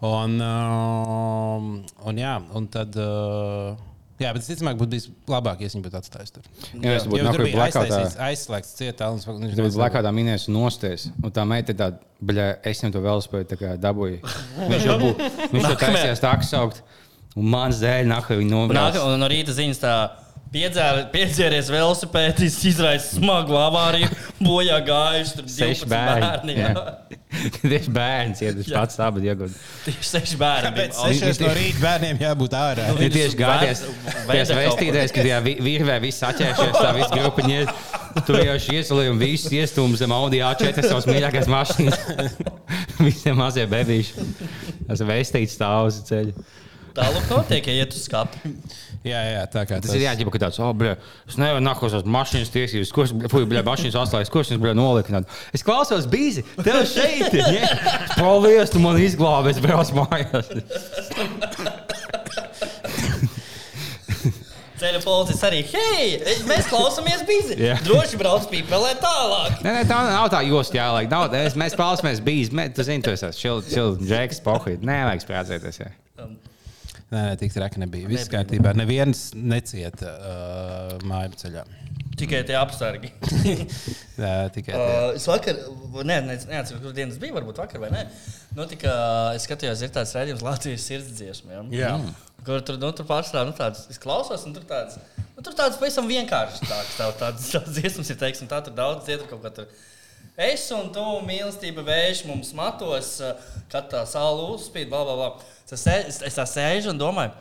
Speaker 3: Un, um, un, jā, un tad, uh, jā, bet es ticamāk būtu bijis labāk, ja viņš būtu atstājis tur.
Speaker 1: Jā, es
Speaker 3: Jo
Speaker 1: būtu
Speaker 3: tur
Speaker 1: nākamajā
Speaker 3: bija
Speaker 1: blackoutā.
Speaker 3: aiztaisīts- aizslēgts cietā. un es- un viņš
Speaker 1: Tad
Speaker 3: nezināja.
Speaker 1: bija blakāta minēs un nostēs. Un tā meita ir tāda, bļa, es viņam to vēl spēju tā kā dabūju. Viņš jau būtu, viņš jau taisījās tā aksaukt. Un mans dēļ nākamajā viņa
Speaker 2: Nākamā
Speaker 1: nobrauc.
Speaker 2: un no rīta ziņas tā. piedzēri- Piedzēries velosipēdis, izraisa smagu avāriju, bojā gājuši tur
Speaker 1: Seši
Speaker 2: 12
Speaker 1: bērni.
Speaker 2: bērni. jā.
Speaker 1: jā. Tieši bērns, ja viņš pats abi iegūda.
Speaker 2: Tieši seši bērni. bija.
Speaker 3: Pēc sešiem no rīta bērniem jābūt ārā.
Speaker 1: Viņa tieši gājās pie
Speaker 2: Veda kaut
Speaker 1: vēstītājiem, kad tajā vi- virvē viss atķēršies, tā viss grupiņa. Tur jau šī iesalīja un viss iestūmis zem Audi A4 savas mīļākās mašīnas. Visiem mazie bebīši. Tas vēstīts stāvus ceļu.
Speaker 2: Tālāk notiek, ja iet uz skatu.
Speaker 3: Jā, jā, tā kā
Speaker 1: Tas ir jāatzīmē, ka tāds, oh, blē, es nevaru nākos uz mašīnas tiesības, kurš, fuck, blē, mašīnas atslēgas, kurš viņas, blē, nolika. Es klausos, bīzi, tev šeit ir. Ja? Paldies, tu man izglābies, brauc mājās.
Speaker 2: Ceļa policija arī, hei, mēs klausāmies bizi.
Speaker 1: Jā.
Speaker 2: Yeah. Droši brauc pīpelē tālāk.
Speaker 1: Nē, nē, tā nav tā josta jālaik. Nav, es, mēs klausāmies, bīzi, mē, tu zini, tu esi chill, chill, džeks, pohīt. Nē, vajag sprādzēties. Ja.
Speaker 3: Nē, nē, tik traki nebija. Viss kārtībā. Neviens necieta uh, māju ceļā.
Speaker 2: Tikai tie apsargi.
Speaker 3: Tā tikai. tie.
Speaker 2: Uh, es vakar, ne, ne, neatceros, kur dienas bija, varbūt vakar vai nē. Notika, es skatījos, ir tāds redzējums Latvijas sirds dziesmām.
Speaker 3: Jā.
Speaker 2: Kur tur, nu, tur pārstāv, nu, tāds, es klausos, un tur tāds, nu, tur tāds pavisam vienkāršs tāds, tāds, tāds, tāds dziesmas ir, teiksim, tā tur daudz dziedru kaut kā tur. Es un tu mīlestība vējš mums matos, uh, kad tā saule uzspīd, bla, bla, bla. Tas sē- Es, es tā sēžu un domāju.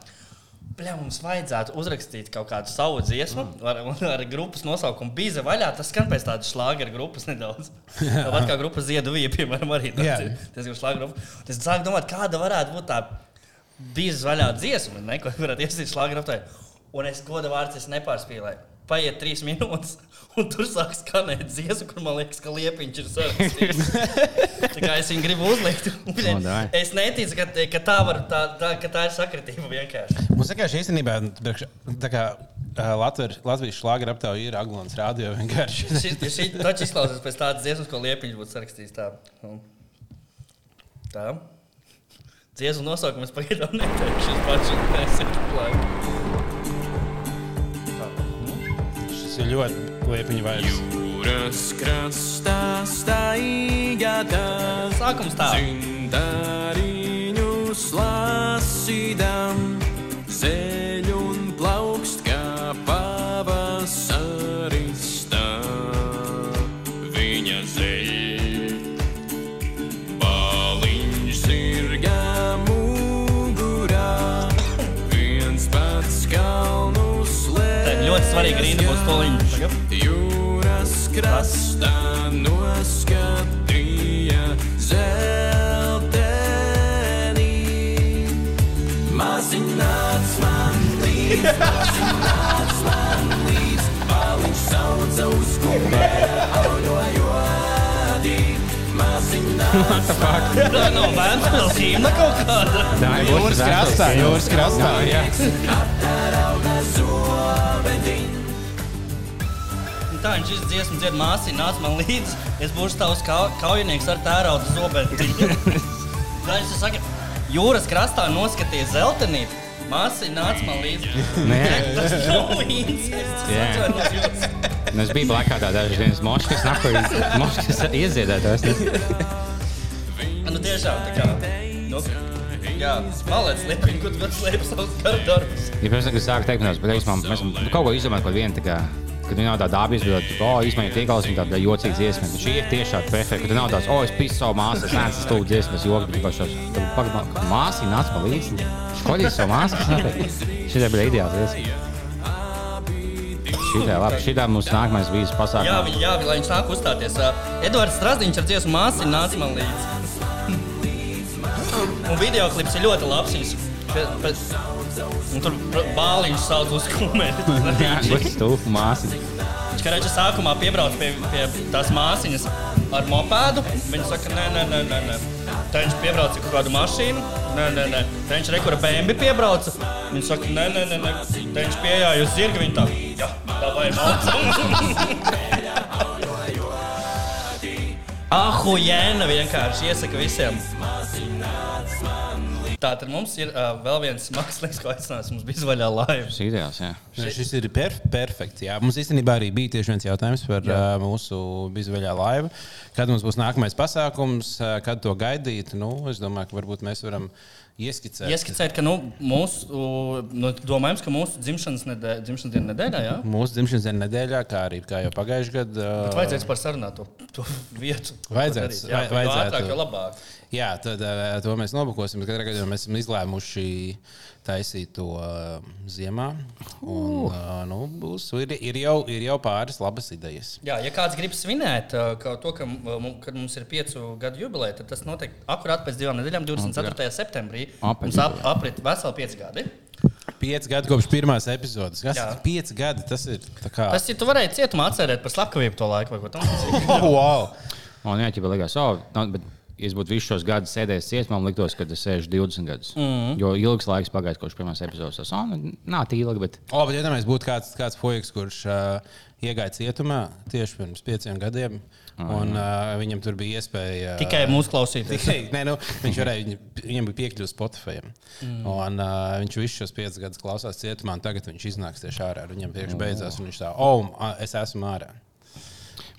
Speaker 2: Bļā, mums vajadzētu uzrakstīt kaut kādu savu dziesmu ar, ar grupas nosaukumu. Bija vaļā, tas skan pēc tādas šlāgera grupas nedaudz. Tāpat kā grupa Ziedonija, piemēram, arī
Speaker 3: Jā.
Speaker 2: tāds ir. Tas ir šlāgera grupa. Un Es sāku domāt, kāda varētu būt tā bija vaļā dziesma, ne, ko varētu iesīt šlāgera aptē. Un es goda vārds es nepārspīlēju. Paiet trīs minūtes, un tur sāk skanēt dziesmu, kur man liekas, ka liepiņš ir sarakstījis. Tā kā es viņu gribu uzlikt.
Speaker 1: Nu, dai.
Speaker 2: Es neticu, ka, ka, tā, var, tā, tā, ka tā ir sakritība vienkārši.
Speaker 3: Mums vienkārši īstenībā priekš- tā kā, ā, Latver- Latvijas šlāga aptaujā ir Aglons Rādio. vienkārši.
Speaker 2: Šī šī taču izklausās pēc tādas dziesmas, ko Liepiņš būtu sarakstījis. Tā. Nu. tā. Dziesmu nosaukums pagaidām neteikšu. Es pašu nesaku klāt.
Speaker 3: Šis ir ļoti liepiņu vairs.
Speaker 4: Jūras krastā staigā tas
Speaker 2: Sākums tā.
Speaker 4: cintariņu slasīdam, zeļ un plaukst kā pavasaristā. Viņa zeļ, baliņš zirgā mugurā, viens pats kalnu
Speaker 2: Tā
Speaker 4: slēdz.
Speaker 2: ir ļoti svarīga rīna būs toliņš.
Speaker 4: Jūras krastā noskatīja zeltenī. Mazināts man līdz, mazināts man līdz, paliņš sauca uz kumbē, aujojodī. Mazināts
Speaker 2: Tā nav bērns, zīme Nu, kaut kāda.
Speaker 1: Tā ir
Speaker 3: Jūras krastā, jūras krastā. Jā.
Speaker 4: atarauga zobedī.
Speaker 2: Un Nu tā, viņš šis dziesmu dzied māsī, nāc man līdzi, es būšu tavs kau- kaujinieks ar tērauda zobentiņu. Tad viņš saka, jūras krastā noskaties zeltenību. Māsī nāc man līdzi.
Speaker 1: Nē,
Speaker 2: Tas nav līdzi.
Speaker 1: Jā.
Speaker 2: Es atceros jūs.
Speaker 1: nu, es biju blakus tādā dažas dienas moškas, nakojas, moškas ieziedētājs.
Speaker 2: Nu tiešām tā kā. Nu, jā, malēc liepiņu, kur tu vēl slēp savus karu darbus.
Speaker 1: Ja pēc tam, kad sāku teikt, mēs, mēs, mēs, mēs nu, kaut ko izdomājām par vienu, tā kā, kad viņi nav tādi abi izdomāti, ka, oh, īstenībā tie galvas ir tāda jocīga dziesma, bet šī ir tiešām perfekta, kad nav tāds, oh, es pisu savu māsu, es neesmu stūlis dziesmas, joks, bet pašās, tad pagamā, māsī nāc pa līdzi, skoļīs savu māsu, kas notiek. Šitā bija ideāla dziesma. Šitā, labi, šitā mums nākamais vīzes
Speaker 2: Jā,
Speaker 1: pasākums.
Speaker 2: viņa, jā, lai viņš nāk uzstāties. Ā, Edvards Strasdiņš ar dziesmu māsī nāca man līdzi. Un video klips ir ļoti labs. Viņš, pe- pe- un tur br- bāliņš sauc uz
Speaker 1: Jā,
Speaker 2: kumēni.
Speaker 1: stūlis māsī.
Speaker 2: Viņš karāķis sākumā piebrauc pie, pie tās māsīņas ar mopēdu. Viņa saka, nē, nē, nē, nē. nē. Tā viņš piebrauca ar kaut kādu mašīnu. Nē, nē, nē. Tā viņš rekur bēnbi piebrauca. Viņa saka, nē, nē, nē. nē. Tā viņš pieejāja uz zirga. Viņa tā, jā, tā vajag mācīt. Ahu, jēna Ah, vienkārši iesaka visiem. Tātad mums ir uh, vēl viens mākslinieks, ko aicinās. Mums bija zvaigžā laiva.
Speaker 1: Tas ir ideāls, jā.
Speaker 3: Nē, Šis ir perf perfekts. Jā. Mums īstenībā arī bija tieši viens jautājums par uh, mūsu bizveļā laivu. Kad mums būs nākamais pasākums, uh, kad to gaidīt? Nu, es domāju, ka varbūt mēs varam ieskicēt.
Speaker 2: Ieskicēt, ka nu, mūsu, u, nu, domājams, ka mūsu dzimšanas, nedē, dzimšanas dienas nedēļā jā?
Speaker 3: Mūsu dzimšanas dienas nedēļā, kā arī kā jau pagājušajā gadā.
Speaker 2: Bet vajadzēs par sarunāt to, to vietu. ko
Speaker 3: Vajadzētu,
Speaker 2: darīt. Jā,
Speaker 3: vai-
Speaker 2: jo
Speaker 3: vajadzētu.
Speaker 2: ātrāk, jo labāk.
Speaker 3: Jā, tad ā, to mēs nobukosim. bet Katrā gadījumā mēs esam izlēmuši taisīt to ā, ziemā. Un, ā, nu, būs, ir, ir, jau, ir jau pāris labas idejas.
Speaker 2: Jā, ja kāds grib svinēt ā, ka to, ka, mu- kad mums ir piecu gadu jubileja, tad tas notiek akurāt pēc divām nedēļām, 24. septembrī.
Speaker 1: Apēc
Speaker 2: Mums ap, aprit veseli pieci gadi.
Speaker 3: Pieci gadi kopš pirmās epizodes. Kas
Speaker 2: Jā.
Speaker 3: ir pieci gadi? Tas ir tā kā.
Speaker 2: Tas, ja tu varēji cietumā atcerēt par slepkavību to laiku vai ko tamlīdzīgu.
Speaker 3: Oh, wow.
Speaker 1: Un jā, ķipa likās, oh, nav, bet ja es būtu visus šos gadus sēdējis cietumā, man liktos, ka es sēžu 20 gadus.
Speaker 2: Mhm.
Speaker 1: Mm. Jo ilgs laiks pagājis, kopš pirmās epizodes. Tas oh, nu, nav tik ilgi, bet
Speaker 3: O, Oh, bet iedomājieties, būtu kāds, kāds puisis, kurš uh, iegāja cietumā tieši pirms pieciem gadiem, un uh, viņam tur bija iespēja. ā,
Speaker 2: Tikai mūsu klausītājiem.
Speaker 3: Tikai, nē, nu, viņš varēja, viņ- viņam bija piekļuve Spotify. Mm. Un, uh, viņš visu šos piecus gadus klausās cietumā, un tagad viņš iznāks tieši ārā. ar Viņam priekšā beidzās, un viņš tā, oh, es esmu ārā.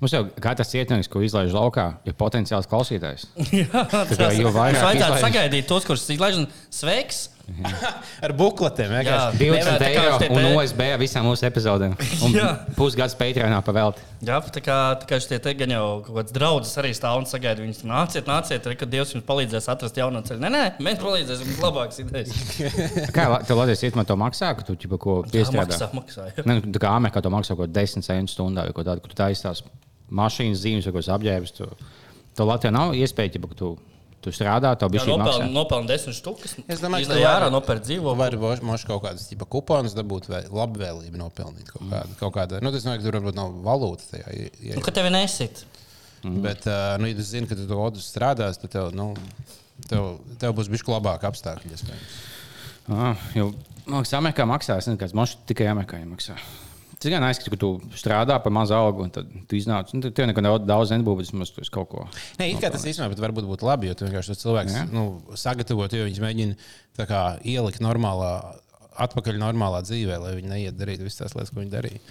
Speaker 1: mums jau katrs cietumnieks, ko izlaiž laukā, ir potenciāls klausītājs.
Speaker 2: Jā,
Speaker 1: kā
Speaker 2: tas
Speaker 1: jo vairāk
Speaker 2: Vajadzētu
Speaker 1: izlaiž-
Speaker 2: sagaidīt tos, kurus izlaiž un sveiks.
Speaker 3: Ar bukletiem vienkārši.
Speaker 1: 20
Speaker 2: tā kā
Speaker 1: eiro
Speaker 2: uz tie
Speaker 1: un
Speaker 2: pē-
Speaker 1: OSB visām mūsu epizodēm. Un
Speaker 2: Jā.
Speaker 1: pusgads Patreonā pavēlti.
Speaker 2: Jā, tā kā, tā kā šitie te gan jau kaut kāds draugs arī stāv un sagaida, viņas nāciet, nāciet, re, kad Dievs jums palīdzēs atrast jaunu ceļu. Nē, nē, mēs palīdzēsim, jums labākas idejas.
Speaker 1: Kā la- tev Latvijas cietumā to maksā, ka tu ķipa ko
Speaker 2: Jā,
Speaker 1: piestrādā?
Speaker 2: maksā, maksā. jā.
Speaker 1: Ne, nu, tā kā Amerikā to maksā kaut ko 10 centus stundā, vai ko tādu, kur tā izstāsta mašīnas zīmes, vai ko apģērbs. Tu, tu Latvijā nav iespēja, ja tu, tu strādā, tev
Speaker 2: Jā,
Speaker 1: bija šī
Speaker 2: Nopelnīt
Speaker 1: maksā.
Speaker 2: nopeln desmit štukas.
Speaker 3: Es domāju, ka
Speaker 2: ka
Speaker 3: tu
Speaker 2: jā,
Speaker 3: vari-
Speaker 2: nopērk dzīvo.
Speaker 3: Var mož kaut kādas tipa, kuponus dabūt, vai labvēlību nopelnīt kaut kādu. Kaut kādu. Nu, tas nozīmē, ka tur varbūt nav valūta tajā. ie- ie-
Speaker 2: Nu, ka tevi nesit.
Speaker 3: Mm. Bet, uh, nu, ja tu zini, ka tu to odu strādās, tad tev, nu, tev, tev būs bišķi labāk apstākļi. iespējams.
Speaker 1: Ah, jo, man liekas, Amerikā maksā, es nezinu, kāds mašs tikai Amerikā ja maksā. Tas gan aizskats, ka tu strādā par mazu algu, un tad tu iznāc. Nu, tad tev neko nav daudz nebūs, bet tu esi kaut ko.
Speaker 3: Nē, it kā tas īstenībā pat varbūt būtu labi, jo tu vienkārši tos cilvēkus nu, sagatavot, jo viņi mēģina tā kā ielikt normālā. Atpakaļ normālā dzīvē, lai viņi neiet darīt visas tās lietas, ko viņi darīja.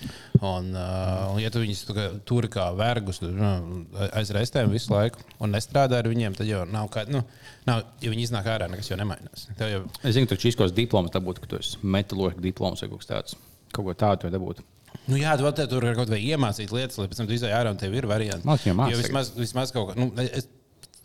Speaker 3: Un, uh, un ja tu viņus tā kā tur kā vergus tu, nu, aiz restēm visu laiku un nestrādā ar viņiem, tad jau nav kā, nu, nav, ja viņi iznāk ārā, nekas jau nemainās. Tev jau
Speaker 1: Es zinu, ka tur šīs kaut kādas diplomas dabūt, ka tu esi metālurgs diploms vai kaut kas tāds. Kaut ko tādu tev dabūt.
Speaker 3: Nu, jā, tu vēl te tur var kaut vai iemācīt lietas, lai pēc tam tu izai ārā un tev ir varianti.
Speaker 1: Māc viņam māc
Speaker 3: Jo vismaz, vismaz kaut kā. Nu, es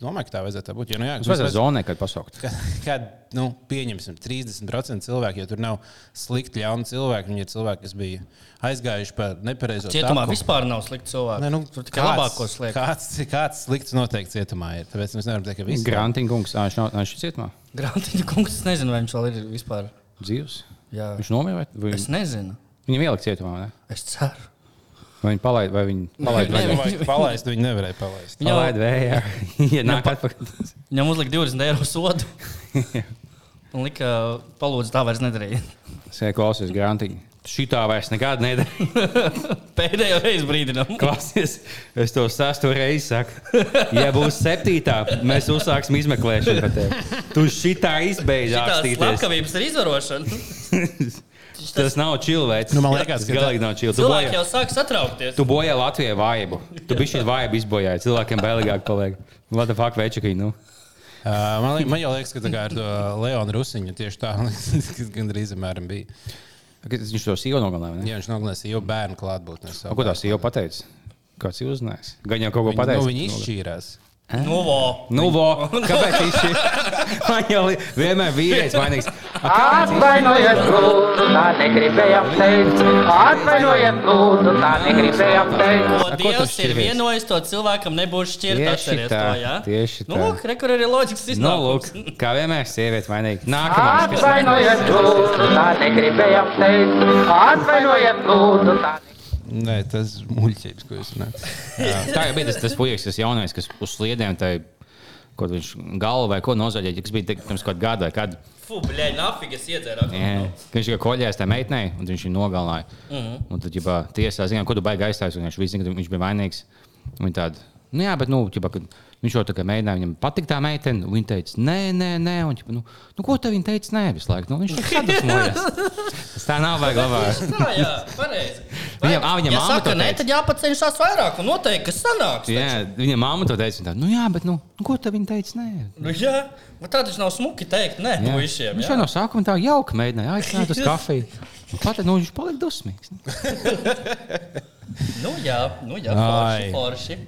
Speaker 3: domāju, ka tā vajadzētu tā būt. Jo, nu, jā,
Speaker 1: Tas vajadzēja zonē, kad pasaukt.
Speaker 3: Kad, kad nu, pieņemsim 30% cilvēku, ja tur nav slikti, ļauni cilvēki, viņi ir cilvēki, kas bija aizgājuši par nepareizo
Speaker 2: Cietumā
Speaker 3: taku.
Speaker 2: vispār nav slikti cilvēki.
Speaker 3: Nē, nu,
Speaker 2: Tur tikai labākos liek.
Speaker 3: Kāds, kāds slikts noteikti cietumā ir. Tāpēc mēs nevaram teikt, ka viss
Speaker 1: Grantinkungs, ah, viņš ir cietumā.
Speaker 2: Grāmatiņa kungs, es nezinu, vai viņš vēl ir vispār.
Speaker 1: Dzīves.
Speaker 2: Jā.
Speaker 1: Viņš nomira vai
Speaker 2: Es nezinu.
Speaker 1: viņu ielika cietumā? Ne?
Speaker 2: Es ceru.
Speaker 1: Vai viņi palaid, vai viņi palaid, vai
Speaker 2: Nē,
Speaker 1: viņi
Speaker 3: Palaist, palaist viņi nevarēja palaist.
Speaker 2: Viņam-
Speaker 1: palaid vējā? Ja nāk atpakaļ.
Speaker 2: Viņam uzlika 20 eiro sodu. Un lika, palūdzu, tā vairs nedarīja.
Speaker 1: Sēž klausies, Grantiņ. Šitā vairs nekad nedara.
Speaker 2: Pēdējo reizi brīdinām.
Speaker 1: Klausies, es to sesto reizi saku. Ja būs septītā, mēs uzsāksim izmeklēšanu par tevi. Tu šitā izbeidz
Speaker 2: Tā
Speaker 1: rakstīties.
Speaker 2: slepkavības ir izvarošana.
Speaker 1: Tas nav čilvēks.
Speaker 3: Nu, man liekas,
Speaker 1: tas
Speaker 3: ka
Speaker 1: galīgi nav
Speaker 2: Cilvēki
Speaker 1: čilvēks.
Speaker 2: jau sāk satraukties.
Speaker 1: Tu bojā Latvijai vājību. Tu biji šī vājība izbojāja. Cilvēkiem bailīgāk paliek. What the fuck, večakī? Nu?
Speaker 3: Uh, man, li- man jau liekas, ka tā kā ar to Leonu Rusiņu tieši tā, kas gandrīz apmēram bija.
Speaker 1: Viņš to sīvo nogalināja. vai ne?
Speaker 3: Jā, viņš nogalināja jau bērnu klātbūtnē. savu
Speaker 1: Nu, Ko
Speaker 3: bērnu.
Speaker 1: tas jau pateicis? Kāds ir uzzinājis? Gan jau kaut ko
Speaker 3: Viņi, nu,
Speaker 1: pateicis.
Speaker 3: viņi izšķīrās.
Speaker 2: Nu, vau.
Speaker 1: Nu, vo, kāpēc viņš ir? Man jau li- vienmēr vīrietis vainīgs. A, kāpēc viņš-
Speaker 5: Atvainojiet, lūdzu, tā negribējām teikt. Atvainojiet, lūdzu, tā negribējām teikt.
Speaker 2: Ko
Speaker 1: Ar ko
Speaker 2: Dievs
Speaker 1: tu
Speaker 2: ir
Speaker 1: šķiries?
Speaker 2: vienojis, to cilvēkam nebūs šķirta.
Speaker 1: Tieši
Speaker 2: Atceries
Speaker 1: tā,
Speaker 2: to, jā?
Speaker 1: tieši
Speaker 2: Nu,
Speaker 1: tā.
Speaker 2: lūk, re, kur ir loģikas
Speaker 1: Nu,
Speaker 2: iznākums.
Speaker 1: lūk, kā vienmēr sieviete vainīga. Nākamais. kas-
Speaker 5: Atvainojiet, lūdzu, tā negribējām teikt. Atvainojiet, lūdzu, tā.
Speaker 3: Nē, tas ir muļķības, ko jūs runājat.
Speaker 1: Tā jau bija tas, tas puisis, kas jaunais, kas uz sliedēm tai, ko viņš galvu vai ko nozaļēja, kas bija tik- pirms kaut kāda gada. Kad,
Speaker 2: Fū, bļaļ, nafīgi es iedzēru.
Speaker 1: jā, ka viņš kā koļējās tajā meitenei, un viņš viņu nogalināja. Un tad, ja tiesā zina, ko tu baigi aizstājas, un viņš visi zina, ka viņš bija vainīgs. Un Viņa tāda, nu jā, bet, nu, ķipa, kad viņš jau tā kā mēģināja viņam patikt tā meitene, un viņa teica, nē, nē, nē, un, ķipa, nu, nu, ko te viņa teica, nē, visu laiku. Nu, viņš tur sadusmojās. Tas tā nav vajag labāk.
Speaker 2: Tā, jā, pareizi.
Speaker 1: Viņam- Nu, ā, viņam
Speaker 2: ja
Speaker 1: mamma
Speaker 2: saka,
Speaker 1: to
Speaker 2: nē,
Speaker 1: teica.
Speaker 2: tad jāpacenšas vairāk, un noteikti, ka sanāks.
Speaker 1: Jā, viņa māma to teica. viņa Tā, nu, jā, bet nu, nu, ko tad viņa teica? Nē,
Speaker 2: Nu, jā, bet tā taču nav smuki teikt, nē,
Speaker 1: Nu,
Speaker 2: nu,
Speaker 1: Jā.
Speaker 2: puišiem.
Speaker 1: Viņš jau no sākuma tā jauki mēģināja aicināt uz kafiju. Pat nu, viņš palika dusmīgs. nu.
Speaker 2: Nu, jā, nu, jā,
Speaker 3: Ai.
Speaker 2: forši, forši.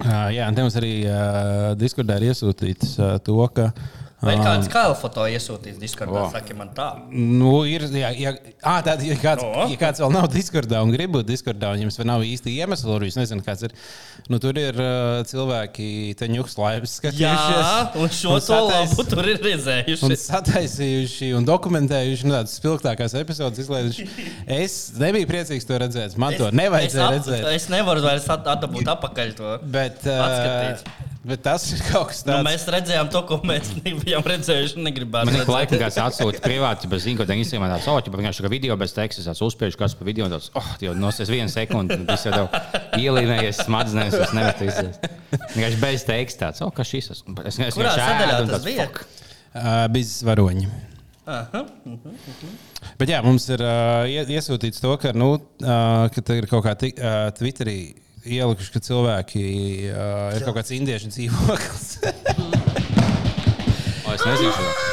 Speaker 3: Uh, jā, un te mums arī uh, diskutē ir iesūtīts uh, to, ka. ah,
Speaker 2: Vai
Speaker 3: ā,
Speaker 2: kāds kā foto iesūtīs diskordā, saki man tā.
Speaker 3: Nu, ir, ja, ja, à, tad, ja, kāds,
Speaker 2: No.
Speaker 3: ja kāds vēl nav diskurdā un grib būt diskurdā, un jums vēl nav īsti iemesls, un jūs nezināt, kāds ir, nu, tur ir uh, cilvēki, te ņūks laivas
Speaker 2: Jā,
Speaker 3: skatījušies.
Speaker 2: un šo
Speaker 3: un
Speaker 2: to
Speaker 3: satais-
Speaker 2: labu tur ir
Speaker 3: Un
Speaker 2: redzējuši.
Speaker 3: sataisījuši un dokumentējuši nu, tādas spilgtākās epizodes, izlaiduši. Es nebiju priecīgs to redzēt. Man to nevajadzēja
Speaker 2: es,
Speaker 3: redzēt.
Speaker 2: Es nevaru vairs at- atdabūt atpakaļ to.
Speaker 3: Bet,
Speaker 2: Atskatīt.
Speaker 3: uh, bet tas ir kaut kas
Speaker 2: Nu,
Speaker 3: tāds.
Speaker 2: mēs redzējām to, ko mēs bijām redzējuši. un Negribētu
Speaker 1: Man ik pa
Speaker 2: redzēt.
Speaker 1: laikam kāds atsūta privāti, bet zinu, ka tā Instagramā tā sauc, ka vienkārši kā video bez teksta, tas uzspiež kāds pa video, un tāds, oh, jau nosies vienu sekundi, un tas jau tev ielīmējies smadzenēs, tas nemetīsies. Vienkārši bez teksta tāds, oh, kas šis esmu. Es nezinu,
Speaker 2: Kurā sadaļā tas bija?
Speaker 3: Uh, bija zvaroņi. Bet jā, mums ir uh, ie- iesūtīts to, ka, nu, uh, ka tur ir kaut kā tik- uh, Twitterī ielikuši, ka cilvēki uh, ir kaut kāds indiešu dzīvoklis.
Speaker 1: O, Oh, es nezinu, šo.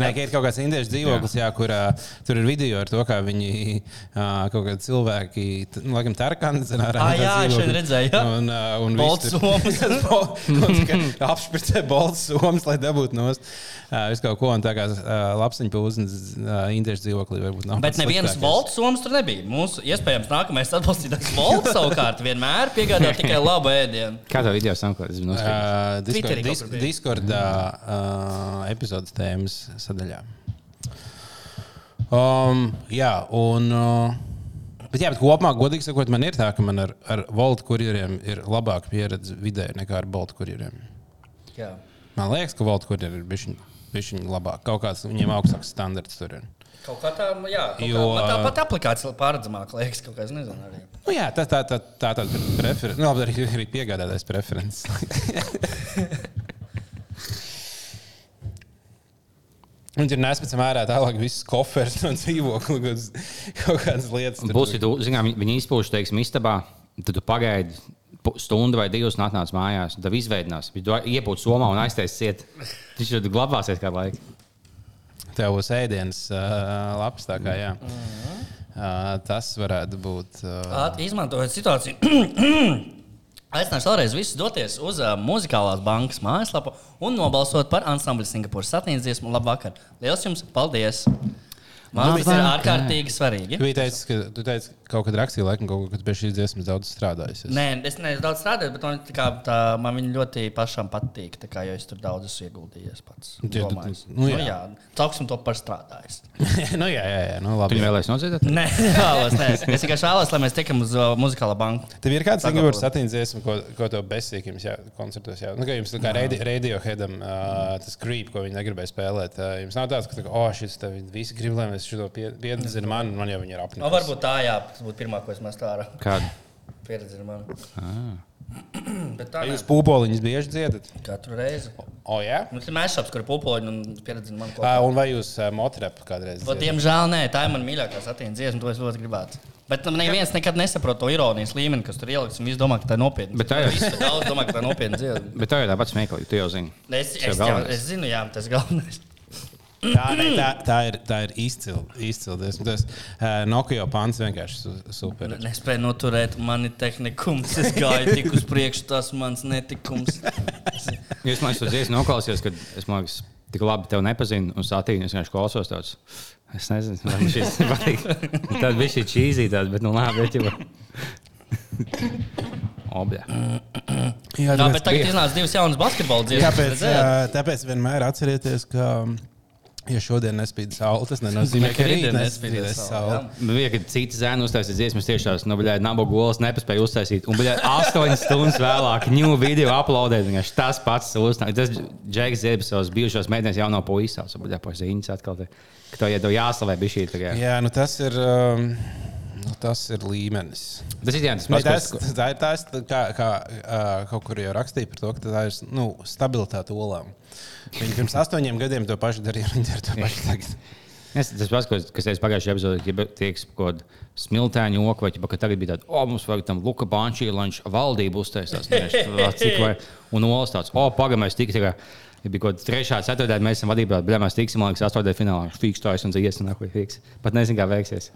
Speaker 3: Nē, ka ir kaut kāds indiešu dzīvoklis, jā. Jā, kur uh, tur ir video ar to, kā viņi uh, kaut kādi cilvēki, t- nu, laikam, Tarkāns ir
Speaker 2: Ā, jā, es šeit redzēju, jā.
Speaker 3: Un, uh, un
Speaker 2: Bolts somas.
Speaker 3: apšpricē bolts somas, lai dabūtu nost. Uh, visu kaut ko, un tā kā uh, lapsiņu pūznes uh, indiešu dzīvoklī varbūt nav.
Speaker 2: Bet
Speaker 3: pats
Speaker 2: nevienas
Speaker 3: sliktākais.
Speaker 2: valsts somas tur nebija. Mūsu iespējams nākamais atbalstītājs valsts savukārt vienmēr piegādā tikai labu ēdienu.
Speaker 1: Kā tā video sameklēt? Es biju noskatījies.
Speaker 3: Uh,
Speaker 2: Twitterī kaut
Speaker 3: Discord, dis,
Speaker 2: kur bija.
Speaker 3: Discordā uh, epizodes tēmas sadaļā. Um, jā, un. Uh, Bet, jā, bet kopumā, godīgi sakot, man ir tā, ka man ar, ar Volta kurjeriem ir labāka pieredze vidē nekā ar Bolta kurjeriem.
Speaker 2: Jā.
Speaker 3: Man liekas, ka Volta kurjeri ir bijuši labāk. Kaut kāds viņiem augstāks standarts tur ir.
Speaker 2: Kaut kā tā, jā, kaut
Speaker 3: Jo,
Speaker 2: kā, man tāpat aplikācija pārredzamāk liekas, kaut kā es nezinu. Arī.
Speaker 3: Nu, jā, tā tā tā tā tā ir preference. Nu, labi, arī, arī piegādātais preference. Un tur nespēcam ārā tālāk visus koferus no dzīvokļa, kaut kādas- kaut kādas lietas. tur.
Speaker 1: Būs, ja tu, zinām, viņi izpūš, teiksim, istabā, tad tu pagaidi pu- stundu vai divas un atnāc mājās. un Tev izveidinās, viņš to iepūta somā un aiztais ciet. Viņš jau glabāsies kādu laiku.
Speaker 3: Tev būs ēdienas uh, lapas, tā kā jā. Uh, tas varētu būt. Uh,
Speaker 2: Ātri izmantojot situāciju. Aicināšu vēlreiz visus doties uz uh, Mūzikālās bankas mājaslapu un nobalsot par ansambli Singapūras satīnas dziesmu. Labvakar! Liels jums paldies! Man tas ir
Speaker 1: Labvakar.
Speaker 2: ārkārtīgi svarīgi.
Speaker 3: tu biji teicis, ka tu teici, ka kaut kad rakstīji, laikam, kaut kad pie šīs dziesmas daudz strādājis.
Speaker 2: Nē, es neesmu daudz strādājis, bet man, tā kā, tā, man viņa ļoti pašam patīk. tā Kā, jo es tur daudz esmu ieguldījies pats.
Speaker 3: Jā, tu-
Speaker 2: domājis.
Speaker 3: nu jā.
Speaker 2: Nu jā, Cauksim to par strādājis.
Speaker 3: nu, jā, jā, jā, nu, labi.
Speaker 1: Viņu vēlēs nodziedāt?
Speaker 2: Nē, vēlos, nē. Es tikai vēlos, lai mēs tiekam uz uh, Mūzikālā banku.
Speaker 3: Tev ir kāds Singapūras satīns dziesma, ko, ko tev besīkums jā, koncertos jau. Nu, kā jums tā kā radio, radioheadam uh, tas krīp, ko viņi negribēja spēlēt. Uh, jums nav tāds, ka, tā kā, oh, šis tev visi grib, lai mēs Es šo pieredzi man, man jau viņi ir
Speaker 2: Nu,
Speaker 3: apņēmuši.
Speaker 2: varbūt tā, jā, tas būtu pirmā, ko es mestu ārā.
Speaker 1: Kāda?
Speaker 2: Pieredzi ir man.
Speaker 1: Ah.
Speaker 2: Bet tā
Speaker 3: Jūs
Speaker 2: jūs
Speaker 3: pūpoliņus bieži dziedat?
Speaker 2: katru reizi.
Speaker 3: O, jā.
Speaker 2: Mums ir mēsāps, kur ir pupoļi un pieredzi ir man.
Speaker 1: Ah.
Speaker 2: kopā.
Speaker 3: Ā, Un vai jūs motrep kādreiz?
Speaker 2: Bet,
Speaker 3: dziedat?
Speaker 2: diemžēl, nē, tā ir mana mīļākā satīna dziesma, to es ļoti gribētu. Bet tam neviens nekad nesaprot to ironijas līmeni, kas tur ieliks, un viss domā, ka tā ir nopietna.
Speaker 1: Bet tā ir-
Speaker 2: Visi Daudz domā, ka tā ir nopietna dziesma.
Speaker 1: Bet tā jau tāpat smieklīgi, tu jau zini.
Speaker 2: Nu, Es,
Speaker 1: Tas jau
Speaker 2: es, jau,
Speaker 1: galvenais.
Speaker 2: es zinu, jā, tas galvenais.
Speaker 3: Tā, ne, tā, tā ir, tā ir izcila. izcila dziesma. Tas uh, Nokia pants vienkārši su- super. ir.
Speaker 2: Nespēju noturēt mani tehnikums. Es gāju tik uz priekšu, tas mans netikums.
Speaker 1: Jūs man esat dziesmu noklausījies, kad es domāju, ka tik labi tevi nepazinu, un satīni es vienkārši klausos tāds. Es nezinu, vai man šis patīk. Tad bija šī čīzītās, bet nu labi, bet jau. Obļā.
Speaker 3: Jā,
Speaker 2: Jā, bet tagad iznāca divas jaunas basketbola
Speaker 3: Tāpēc,
Speaker 2: dziesmas.
Speaker 3: ā, tāpēc vienmēr atcerieties, ka, um, ja šodien nespīd saule, tas
Speaker 2: Nozīmē,
Speaker 3: nenozīmē, ka
Speaker 2: ka
Speaker 3: rīt
Speaker 2: rītdien
Speaker 3: nespīdēs
Speaker 2: nespīdēs saule,
Speaker 3: saule.
Speaker 1: Man liekas, ka citi zēni uztaisīja dziesmas tiešās, nu, bļā, nabaga gulas nepaspēja uztaisīt. Un, bļā, astoņas stundas vēlāk, ņūmu video aplaudēt, vienkārši tas pats uztaisīja. Tas Džeks Ziedbis savas bijušās mēdienas jauno puisās, un, bļā, pa ziņas atkal, te, ka to iedod jāslavē bišķī. tā kā.
Speaker 3: Jā, nu tas ir. Um, Nu, tas ir līmenis.
Speaker 1: Tas ir jā,
Speaker 2: Nu,
Speaker 1: tas
Speaker 3: Bet
Speaker 1: pats,
Speaker 3: Tas,
Speaker 1: kas-
Speaker 3: tā ir tā, es kā, kā uh, kaut kur jau rakstīju par to, ka tā ir nu, stabilitāte olām. Viņi pirms astoņiem gadiem to pašu darīja. Viņi dara to pašu tagad.
Speaker 1: Es, tas pats, ko es- kas teicu pagājušajā epizodē, ja tieks kaut kāda smiltēņa oka, vai ķipa, ka tagad bija tāda, o, mums vajag tam Luka Bančī, lai viņš valdību uztaisās. Neviens, cik vai, un olas tāds, o, pagamēs tik tikai. Ja bija kaut kāda trešā, ceturtā, mēs esam vadībā, bet mēs tiksim, man liekas, astotajā finālā. Fiks to esmu dziesmu, nākamajā fiks. Pat nezinu, kā veiksies.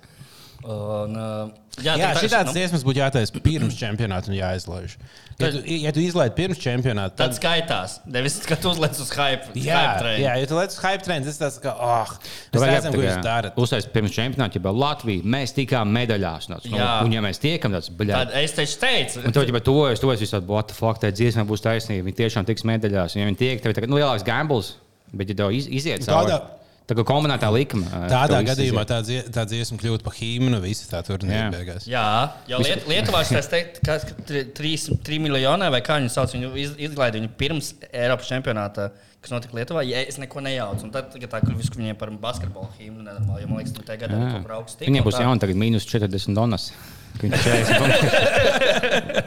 Speaker 2: Un, uh, jā,
Speaker 3: Jā,
Speaker 2: tā ir
Speaker 3: šādas dziesmas būtu jātaisa pirms čempionāta un jāizlaiž. Ja tu, ja tu izlaiž pirms čempionāta,
Speaker 2: Tad skaitās. Nevis, ka tu uzliec uz hype.
Speaker 3: Jā,
Speaker 2: hype train.
Speaker 3: jā, ja tu lec uz hype trends, tas tas, ka, ah, mēs redzam, ko jūs darat.
Speaker 1: Uztais pirms čempionāta, ja Latvija, mēs tikām medaļās. Nāc, nu,
Speaker 2: Jā.
Speaker 1: un ja mēs tiekam, tāds, bļā.
Speaker 2: Tad es teicu, teicu.
Speaker 1: Un tev jau tuvojas, tuvojas visādi, what the fuck, tā dziesma būs taisnība. Viņi tiešām tiks medaļās. Ja viņi tiek, tad ir tagad, nu, lielāks gambles, bet ja tev iz, iziet cauri.
Speaker 3: Nu, Tādā-
Speaker 1: Tā kā kombinētā likme. eh,
Speaker 3: Tādā
Speaker 1: tev viss
Speaker 3: gadījumā
Speaker 1: iziet.
Speaker 3: tā, dzie, tā dziesma kļūtu par himnu, nu, visa tā turnīra
Speaker 1: Jā.
Speaker 3: beigās.
Speaker 2: Jā, jau Liet, Lietuvā šis teikt, ka 3 miljoni vai kā viņi sauc, viņu iz- izlaida viņu pirms Eiropas čempionāta, kas notika Lietuvā. Ja es neko nejaucu, un tad tagad tā kļuvis viņiem par basketbolu himnu. Nenormāli, jo man liekas, tur tagad ir kaut kur augstāk.
Speaker 1: Viņiem būs jauna tagad mīnus 40 donas. Viņi 40 donas.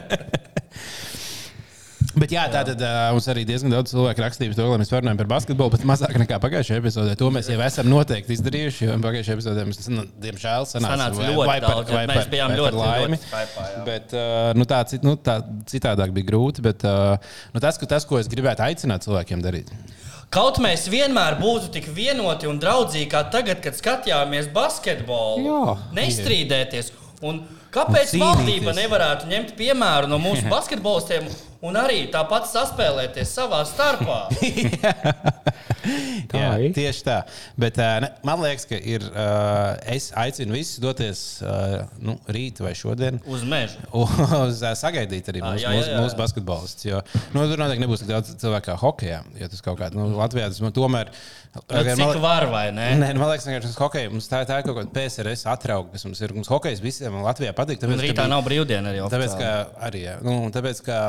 Speaker 3: Bet jā, tā tad uh, mums arī diezgan daudz cilvēku rakstīja par to, lai mēs runājam par basketbolu, bet mazāk nekā pagājušajā epizodē. To mēs jau esam noteikti izdarījuši, jo pagājušajā epizodē mums, nu, diemžēl, sanāca
Speaker 2: Sanāca ļoti daudz, jā, mēs bijām ļoti,
Speaker 3: laimi.
Speaker 2: ļoti kaipā, jā.
Speaker 3: Bet uh, nu, tā, cit- nu, tā citādāk bija grūti. Bet uh, nu, tas, ka, tas, ko es gribētu aicināt cilvēkiem darīt,
Speaker 2: Kaut mēs vienmēr būtu tik vienoti un draudzīgi kā tagad, kad skatījāmies basketbolu.
Speaker 3: Jā.
Speaker 2: Nestrīdēties. Un kāpēc un
Speaker 3: Un cīnīties.
Speaker 2: valdība nevarētu ņemt piemēru no mūsu basketbolistiem un arī tāpat saspēlēties savā starpā?
Speaker 1: Tā
Speaker 3: Jā,
Speaker 1: ir.
Speaker 3: tieši tā. Bet, ā, ne, man liekas, ka ir. ā, Es aicinu visus doties ā, nu, rīt vai šodien.
Speaker 2: Uz meža.
Speaker 3: Uz, ā, sagaidīt arī
Speaker 2: Ā,
Speaker 3: mūsu,
Speaker 2: jā, jā,
Speaker 3: mūsu,
Speaker 2: jā.
Speaker 3: mūsu basketbolistus. Jo nu, tur noteikti nebūs tik daudz cilvēku kā hokeja. Ja tas kaut kādā nu, Latvijā tas man tomēr.
Speaker 2: Nu,
Speaker 3: Gan man
Speaker 2: cik
Speaker 3: liek-
Speaker 2: var vai ne?
Speaker 3: Nē, nu, man liekas, ka tas hokeja mums tā, tā ir kaut kāda PSRS atrauga, kas mums ir. Mums hokejs visiem Latvijā patīk.
Speaker 2: Un
Speaker 3: Tāpēc, ka
Speaker 2: rītā
Speaker 3: bija-
Speaker 2: nav brīvdiena arī.
Speaker 3: Tāpēc, ka arī jā, nu, tāpēc, ka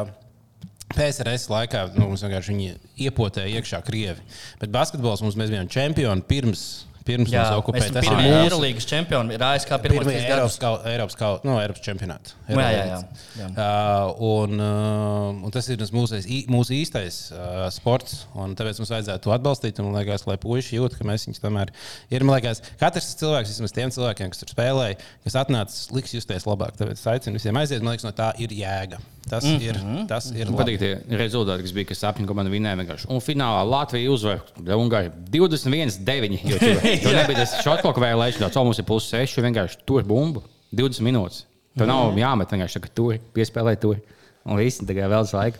Speaker 3: PSRS laikā nu, mums vienkārši viņi iepotēja iekšā krievi. Bet basketbols mums mēs bijām čempioni pirms, pirms
Speaker 2: Jā,
Speaker 3: mums
Speaker 2: mēs
Speaker 3: okupēja.
Speaker 2: esam pirmie Eirolandes čempioni. Ir ASK pirmā
Speaker 3: Pirmie Eiropas, kau- Eiropas, kau- nu, Eiropas čempionāti.
Speaker 2: Jā, jā, jā. Jā.
Speaker 3: Uh, un, uh, un tas ir tas mūsu, mūsu īstais uh, sports. un Tāpēc mums vajadzētu to atbalstīt. un Man liekas, lai puikas jūt, ka mēs viņus tomēr ir. Man liekas, katrs cilvēks, vismaz tiem cilvēkiem, kas tur spēlēja, kas atnācis, liks justies labāk. Tāpēc es aicinu visiem aiziet. Man liekas, no tā ir jēga. Tas
Speaker 2: Mhm.
Speaker 3: ir. Tas ir
Speaker 1: Man
Speaker 3: labi.
Speaker 1: patīk tie rezultāti, kas bija, kas sapņu komanda vinēja vienkārši. Un finālā Latvija uzvarēja Ungāriju 21-9. jo Tur tur nebija tas šotkloka vēlēšanas, o, mums ir plus 6, vienkārši tur bumbu 20 minūtes. Tev nav
Speaker 3: Mm.
Speaker 1: jāmet vienkārši, tā ka tur piespēlē tur. Un viss tagad vēl uz laiku.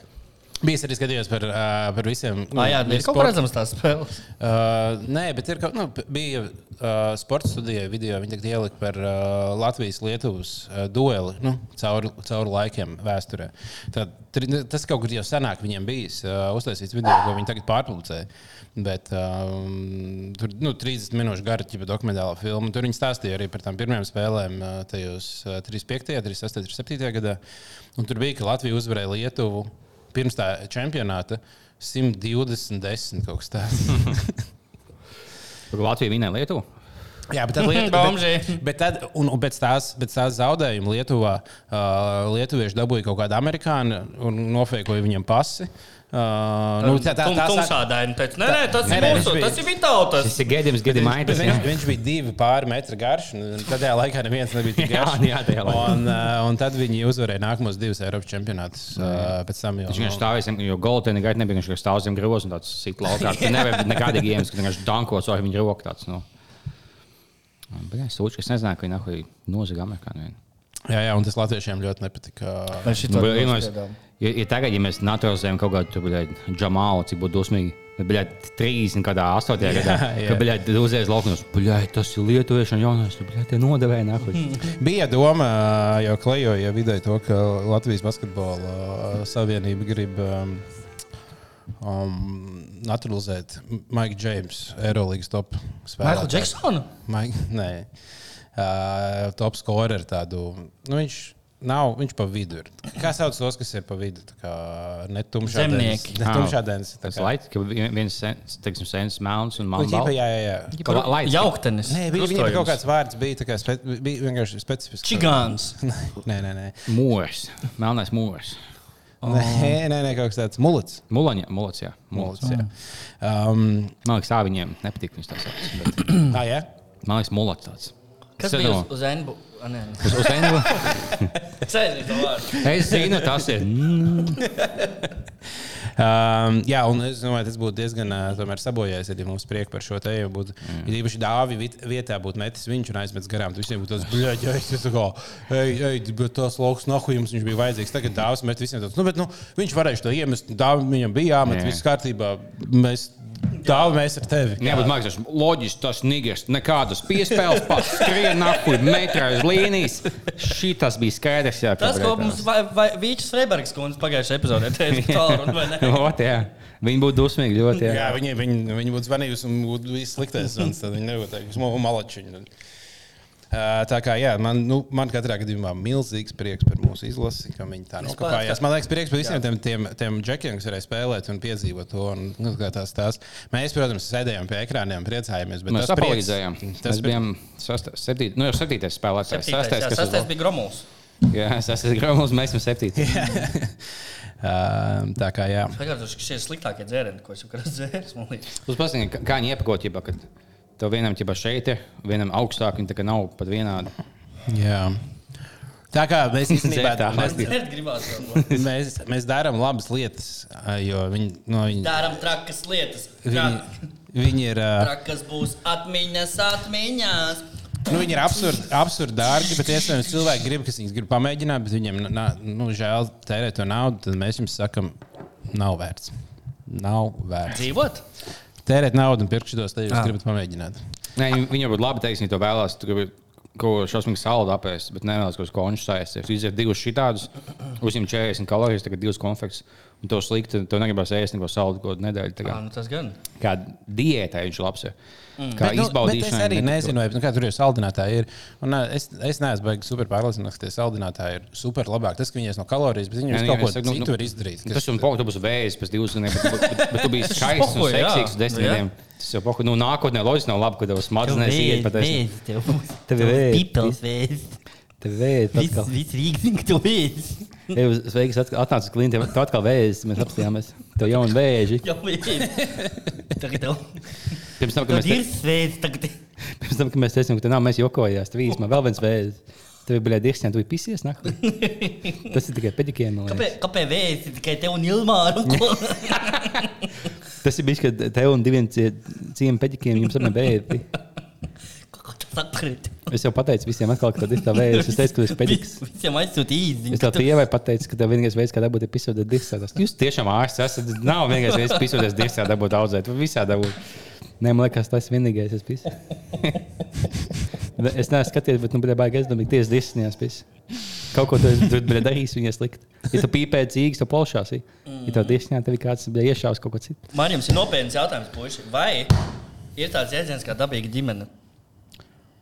Speaker 3: Bija arī skatījums par, uh, par visiem. nu,
Speaker 2: Ah, Jā,
Speaker 3: ir
Speaker 2: ir kaut
Speaker 3: sporta-
Speaker 2: kā redzams tās spēles.
Speaker 3: Uh, nē, bet ir kaut nu, p- bija uh, sporta studijā, video. Viņi tagad ielika par uh, Latvijas-Lietuvas uh, dueli nu, cauri, cauri laikiem vēsturē. Tad, tur, tas kaut kur jau senāk viņiem bijis uh, uztaisīts video, ko viņi tagad pārpublicēja. Bet um, tur nu, 30 minūšu gara ķipa dokumentālā filma. Tur viņi stāstīja arī par tām pirmajām spēlēm uh, tajos uh, 35, 36, 37 gadā. Un tur bija, ka Latvija uzvarēja Lietuvu pirms tā čempionāta 120, 10 kaut kas tāds.
Speaker 1: Tur Latvija vinēja Lietuvu.
Speaker 3: Jā, bet tad Lietuva.
Speaker 2: Bomži.
Speaker 3: bet tad, un, un pēc tās, pēc tās zaudējuma Lietuvā uh, lietuvieši dabūja kaut kādu amerikāņu un nofēkoja viņam pasi. Uh, nu, tā, tā,
Speaker 2: Tum-
Speaker 3: tā, tā,
Speaker 2: Tumšādaini teica, nē, nē, tas
Speaker 3: Nē,
Speaker 2: ir
Speaker 3: nē,
Speaker 2: mūsu,
Speaker 3: viņš bija-
Speaker 2: tas ir Vitautas.
Speaker 1: Tas ir gēdījums, gēdījums aitas.
Speaker 3: viņš, viņš bija divi pāri metru garš, un tajā laikā neviens nebija tik
Speaker 1: Jā,
Speaker 3: garš.
Speaker 1: jā, tajā laikā.
Speaker 3: un, uh, un tad viņi uzvarēja nākamos divus Eiropas čempionātus. Uh, pēc tam jau
Speaker 1: Viņš vienkārši stāvēja zem, jo Goldenē gaita nebija. Viņš vienkārši stāvēja zem grozā un tāds sit laukā. Tur nebija nekādīgi iemesli, ka viņš vienkārši dankos ar viņu roku. Tāds, nu. Bļā, sūčka, es nezināju, ka viņi nahuj nozaga amerikāņu. vienu.
Speaker 3: Jā, jā, un tas latviešiem ļoti nepatika.
Speaker 6: Vai šī
Speaker 1: Nu, bļā, ja, mēs, ja, ja tagad, ja mēs naturalizējam kaut kādu tur, bļā, džamālu, cik būtu dusmīgi. Bija 30, kādā 8. gadā.
Speaker 3: jā.
Speaker 1: Kad bija uzreiz laukums, bija tas ir lietuviešu jaunais, bija tie nodevēji nākuši.
Speaker 3: Bija doma, ā, jau klejoja vidē, to, ka Latvijas basketbola ā, savienība grib um, um, naturalizēt Maiku Džeimsu, Eirolandes top
Speaker 2: Michael
Speaker 3: spēlētāju.
Speaker 2: Jackson?
Speaker 3: Mike, nē, uh, top scorer tādu. Nu, viņš, Nav, viņš pa vidu ir. Kā sauc tos, kas ir pa vidu? Tā kā netumšā
Speaker 2: Zemnieki.
Speaker 3: Netumšā dēns.
Speaker 1: Tas laiks, ka viens sens, teiksim, sens melns un
Speaker 3: Jā,
Speaker 1: mākslinieks.
Speaker 3: jā, jā.
Speaker 1: Laiks.
Speaker 2: Jauktenis.
Speaker 3: Nē, bija, viņam bija kaut
Speaker 2: Krustojums.
Speaker 3: kāds vārds, bija, tā kā spe, bija vienkārši specifisks.
Speaker 2: Čigāns.
Speaker 3: Nē, nē, nē.
Speaker 1: Mūrs. Melnais mūrs.
Speaker 3: Nē, nē, nē, kaut kas tāds - mulets.
Speaker 1: Mulaņa, mulats, jā. Mulats.
Speaker 3: Mulets, jā. Um,
Speaker 1: Man liekas, tā viņiem nepatīk. Viņus tā sauc. bet
Speaker 3: ah, jā.
Speaker 1: Man liekas, mulats tāds.
Speaker 2: Kas
Speaker 1: Es
Speaker 2: bija
Speaker 1: nezinu.
Speaker 2: uz- uz Enbu? A, nē, nē.
Speaker 1: Uz- uz Engla-
Speaker 2: Cēlīt to vārdu.
Speaker 1: Es zinu, tas ir.
Speaker 3: Um, jā, un es domāju, tas būtu diezgan ā, tomēr sabojājis, ja mums priekā par šo te jau būtu. Ir īpaši dāvi vit- vietā būtu metis viņš un aizmetis garām. Tur visiem būtu tas bļaģis, ja es esmu kā, ej, ej, bet tas lauks nahu jums viņš bija vajadzīgs. Tagad dāvis met visiem tāds, nu, bet nu, viņš varēja to iemest, dāvi viņam bija jāmet,
Speaker 1: Jā.
Speaker 3: viss kārtībā. Mēs, dāvi mēs ar tevi.
Speaker 1: Jā, bet man liekas, tas loģiski, tas nigers, nekādas piespēles, pats skrien apkuļ metrā uz līnijas. Šī tas bija skaidrs, jā.
Speaker 2: Tas, ko mums vai- vai- Vīčs Freibergs kundze pagājušajā epizodē teica, ka tālu runa vai ne?
Speaker 1: Ot, jā. Viņi būtu dusmīgi ļoti. Jā.
Speaker 3: Jā, viņi, viņi, viņi būtu zvanījusi un būtu bijis sliktais. zvans, Tad viņi nebūtu teikuši, ka malačiņa. Uh, tā kā jā, man, nu, man katrā gadījumā milzīgs prieks par mūsu izlasi, ka viņi tā nokāpās. Man liekas, prieks par visiem tiem, tiem, tiem džekiem, kas varēja spēlēt un piedzīvot to. Un, nu, kā tās, tās. Mēs, protams, sēdējām pie ekrāniem, priecājāmies. bet
Speaker 1: Mēs
Speaker 3: tas prieks-
Speaker 1: apalīdzējām.
Speaker 3: Tas
Speaker 1: Mēs
Speaker 3: bija.
Speaker 1: bijām sastā- septīt- nu, jau septītais spēlētājs.
Speaker 2: Septītais,
Speaker 1: Sastais,
Speaker 2: jā,
Speaker 1: kas
Speaker 2: Sastais
Speaker 1: uzvar-
Speaker 2: bija Gromovs.
Speaker 1: Jā, sastais grāmatas, mēs esam septītais.
Speaker 3: Uh, tā kā jā.
Speaker 2: Pagājušajā gadā šie ir sliktākie dzērieni, ko es jau kādā dzēris, man liekas.
Speaker 1: Jūs pasakiet, kā- kā viņi iepakot, ja kad tev vienam ķipa šeit ir, vienam augstāk, viņi tā kā nav pat vienādi.
Speaker 3: jā. Tā kā mēs īstenībā
Speaker 1: Dzērtā.
Speaker 3: mēs,
Speaker 2: Dzērt gribās kaut ko.
Speaker 3: mēs, mēs darām labas lietas, ā, jo viņi. No, viņi
Speaker 2: Dāram trakas lietas. Trak-
Speaker 3: Viņi, viņi ir, ā,
Speaker 2: Trakas būs atmiņas, atmiņas.
Speaker 3: nu, viņi ir absurdi, absurdi dārgi, bet iespējams cilvēki grib, kas viņus grib pamēģināt, bet viņiem nā, nu, žēl tērēt to naudu. Tad mēs jums sakam, nav vērts. Nav vērts.
Speaker 2: Dzīvot?
Speaker 3: Tērēt naudu un pirkt šitos,
Speaker 1: Ah.
Speaker 3: te jūs gribat pamēģināt.
Speaker 1: Nē, viņi- viņi jau būtu labi teiks, viņi to vēlās. Tu gribi Ko šausmīgi saldu apēst, bet nevēlas kaut ko konšus. Es izdarīju divus šādus, uzņēmu 40 kalorijas, tagad divas konfekts. Un to slikti, to negribas ēst neko saldu kaut kādu nedēļu. tā
Speaker 2: Jā,
Speaker 1: Kā,
Speaker 2: nu tas gan.
Speaker 1: kā diētai viņš labs ir. Kā
Speaker 3: Bet, nu, bet
Speaker 1: izbaudīšanai.
Speaker 3: es arī
Speaker 1: nepatīk.
Speaker 3: nezinu, vai, nu, kā tur ir saldinātāji. Ir. Un, nā, es, es neesmu baigts super pārliecināts, ka tie saldinātāji ir super labāk. Tas, ka viņi ir no kalorijas, bet viņi
Speaker 1: Jā,
Speaker 3: jau
Speaker 1: nē,
Speaker 3: kaut ko
Speaker 1: es saku, nu,
Speaker 3: citu
Speaker 1: nu,
Speaker 3: var izdarīt.
Speaker 1: Tas jau pohuļ, tu būsi vējš pēc diviem gadiem, bet, bet, bet tu biji skaists un
Speaker 2: Pohuj, jā.
Speaker 1: seksīgs uz desmit
Speaker 2: Jā.
Speaker 1: gadiem. Tas jau pohuļ, nu nākotnē loģiski nav labi, ka tev smadzenēs iet pat es. Tev ir vēzi.
Speaker 7: Pipels vēzi.
Speaker 1: Tev vējš
Speaker 7: Viss, viss Rīgas zina, ka tu vēzi.
Speaker 1: Tev sveiks atk- atnācis klientiem, tu atkal vējš, mēs apstājāmies. Tev jauni vēži.
Speaker 2: Jā, bija.
Speaker 7: Tagad tev
Speaker 1: Pirms tam, kad
Speaker 7: tev
Speaker 1: mēs,
Speaker 7: ir
Speaker 1: te,
Speaker 7: svēts,
Speaker 2: tá
Speaker 7: tagad tev-
Speaker 1: pirms tam, kad mēs teicām, ka te nav, mēs jokojās. Tev īstenībā vēl viens vējš. Tev ir biļē dirsnē, tu biji pisies nakti. Tas ir tikai pedikiem.
Speaker 7: kāpēc- kāpēc vēzi tikai
Speaker 2: um
Speaker 7: tev un Ilmāru?
Speaker 1: Tas ir bijis, ka tev un diviem ciem pedikiem jums apmēram vējš.
Speaker 7: Kā
Speaker 2: é
Speaker 7: tas atkrīt?
Speaker 1: Es jau pateicu visiem atkal, ka tev ir tā vējš. Es teicu, ka tu esi pediks.
Speaker 2: é
Speaker 7: Vis- Visiem aizsūta
Speaker 1: Es
Speaker 7: īziņu.
Speaker 1: tev
Speaker 2: então.
Speaker 1: tikai pateicu, ka tev vienīgais veids, kā dabūt epizodē disādas. Jūs tiešām ārsts esat. Nav vienīgais veids, kā epizodē disādā dabūt audzēt. vai Visā dabūt. Nē, man liekas, tas vienīgais es pisu. Es neesmu skatījies, bet, nu, bija baigi, es domāju, tiesa disnijās pisu. Kaut ko tu esi tur, bija darījis, viņa slikti. Ja tu pīpē cīgas, tu polšās. i. Ja tev disnijā, tev ir kāds bija iešāvis kaut ko citu.
Speaker 2: Man jums ir nopietns jautājums, puiši. Vai ir tāds jēdziens kā dabīga ģimene?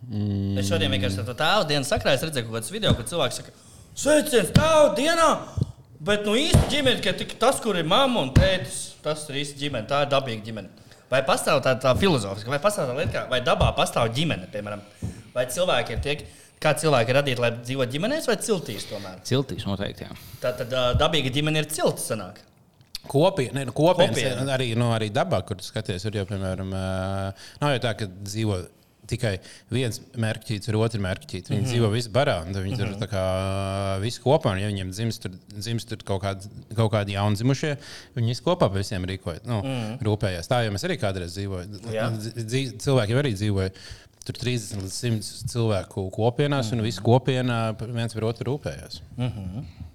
Speaker 2: Mm. Es šodien vienkārši tādu tēvu dienu sakrā, es redzēju kaut kādus video, kur cilvēks saka, sveiciens tēvu dienā! Bet nu īsti ģimene, ka tik tas, kur ir mamma un tētis, tas ir īsti ģimene, tā ir dabīga ģimene. Vai pastāv tāda tā filozofija, vai pastāv tāda lieta, kā- vai dabā pastāv ģimene, piemēram, vai cilvēki ir tiek, kā cilvēki ir radīti, lai dzīvotu ģimenēs vai ciltīs tomēr?
Speaker 1: Ciltīs noteikti. Jā.
Speaker 2: Tā tad ā, dabīga ģimene ir cilts, sanāk.
Speaker 3: Kopie, ne, nu, kopienas,
Speaker 2: Kopiena.
Speaker 3: kopiena. Arī, nu, arī dabā, kur tu skaties, ir jau, piemēram, ā, nav jau tā, ka dzīvo tikai viens mērķis, ir otrs mērķis.
Speaker 2: Mhm.
Speaker 3: Viņi mm -hmm. dzīvo visi barā, un tad viņi mm -hmm. tur tā kā visi kopā. Un, ja viņiem dzimst, tur, dzimst tur kaut, kādi, kaut kādi jaundzimušie, viņi visi kopā par visiem rīkojas, nu, mm -hmm. rūpējās. Tā jau mēs arī kādreiz dzīvojam.
Speaker 2: Mhm. Jā.
Speaker 3: Dzīv, cilvēki jau arī dzīvoja. Tur 30 līdz 100 cilvēku kopienās,
Speaker 2: Mhm.
Speaker 3: un visi kopienā par- viens par otru rūpējās.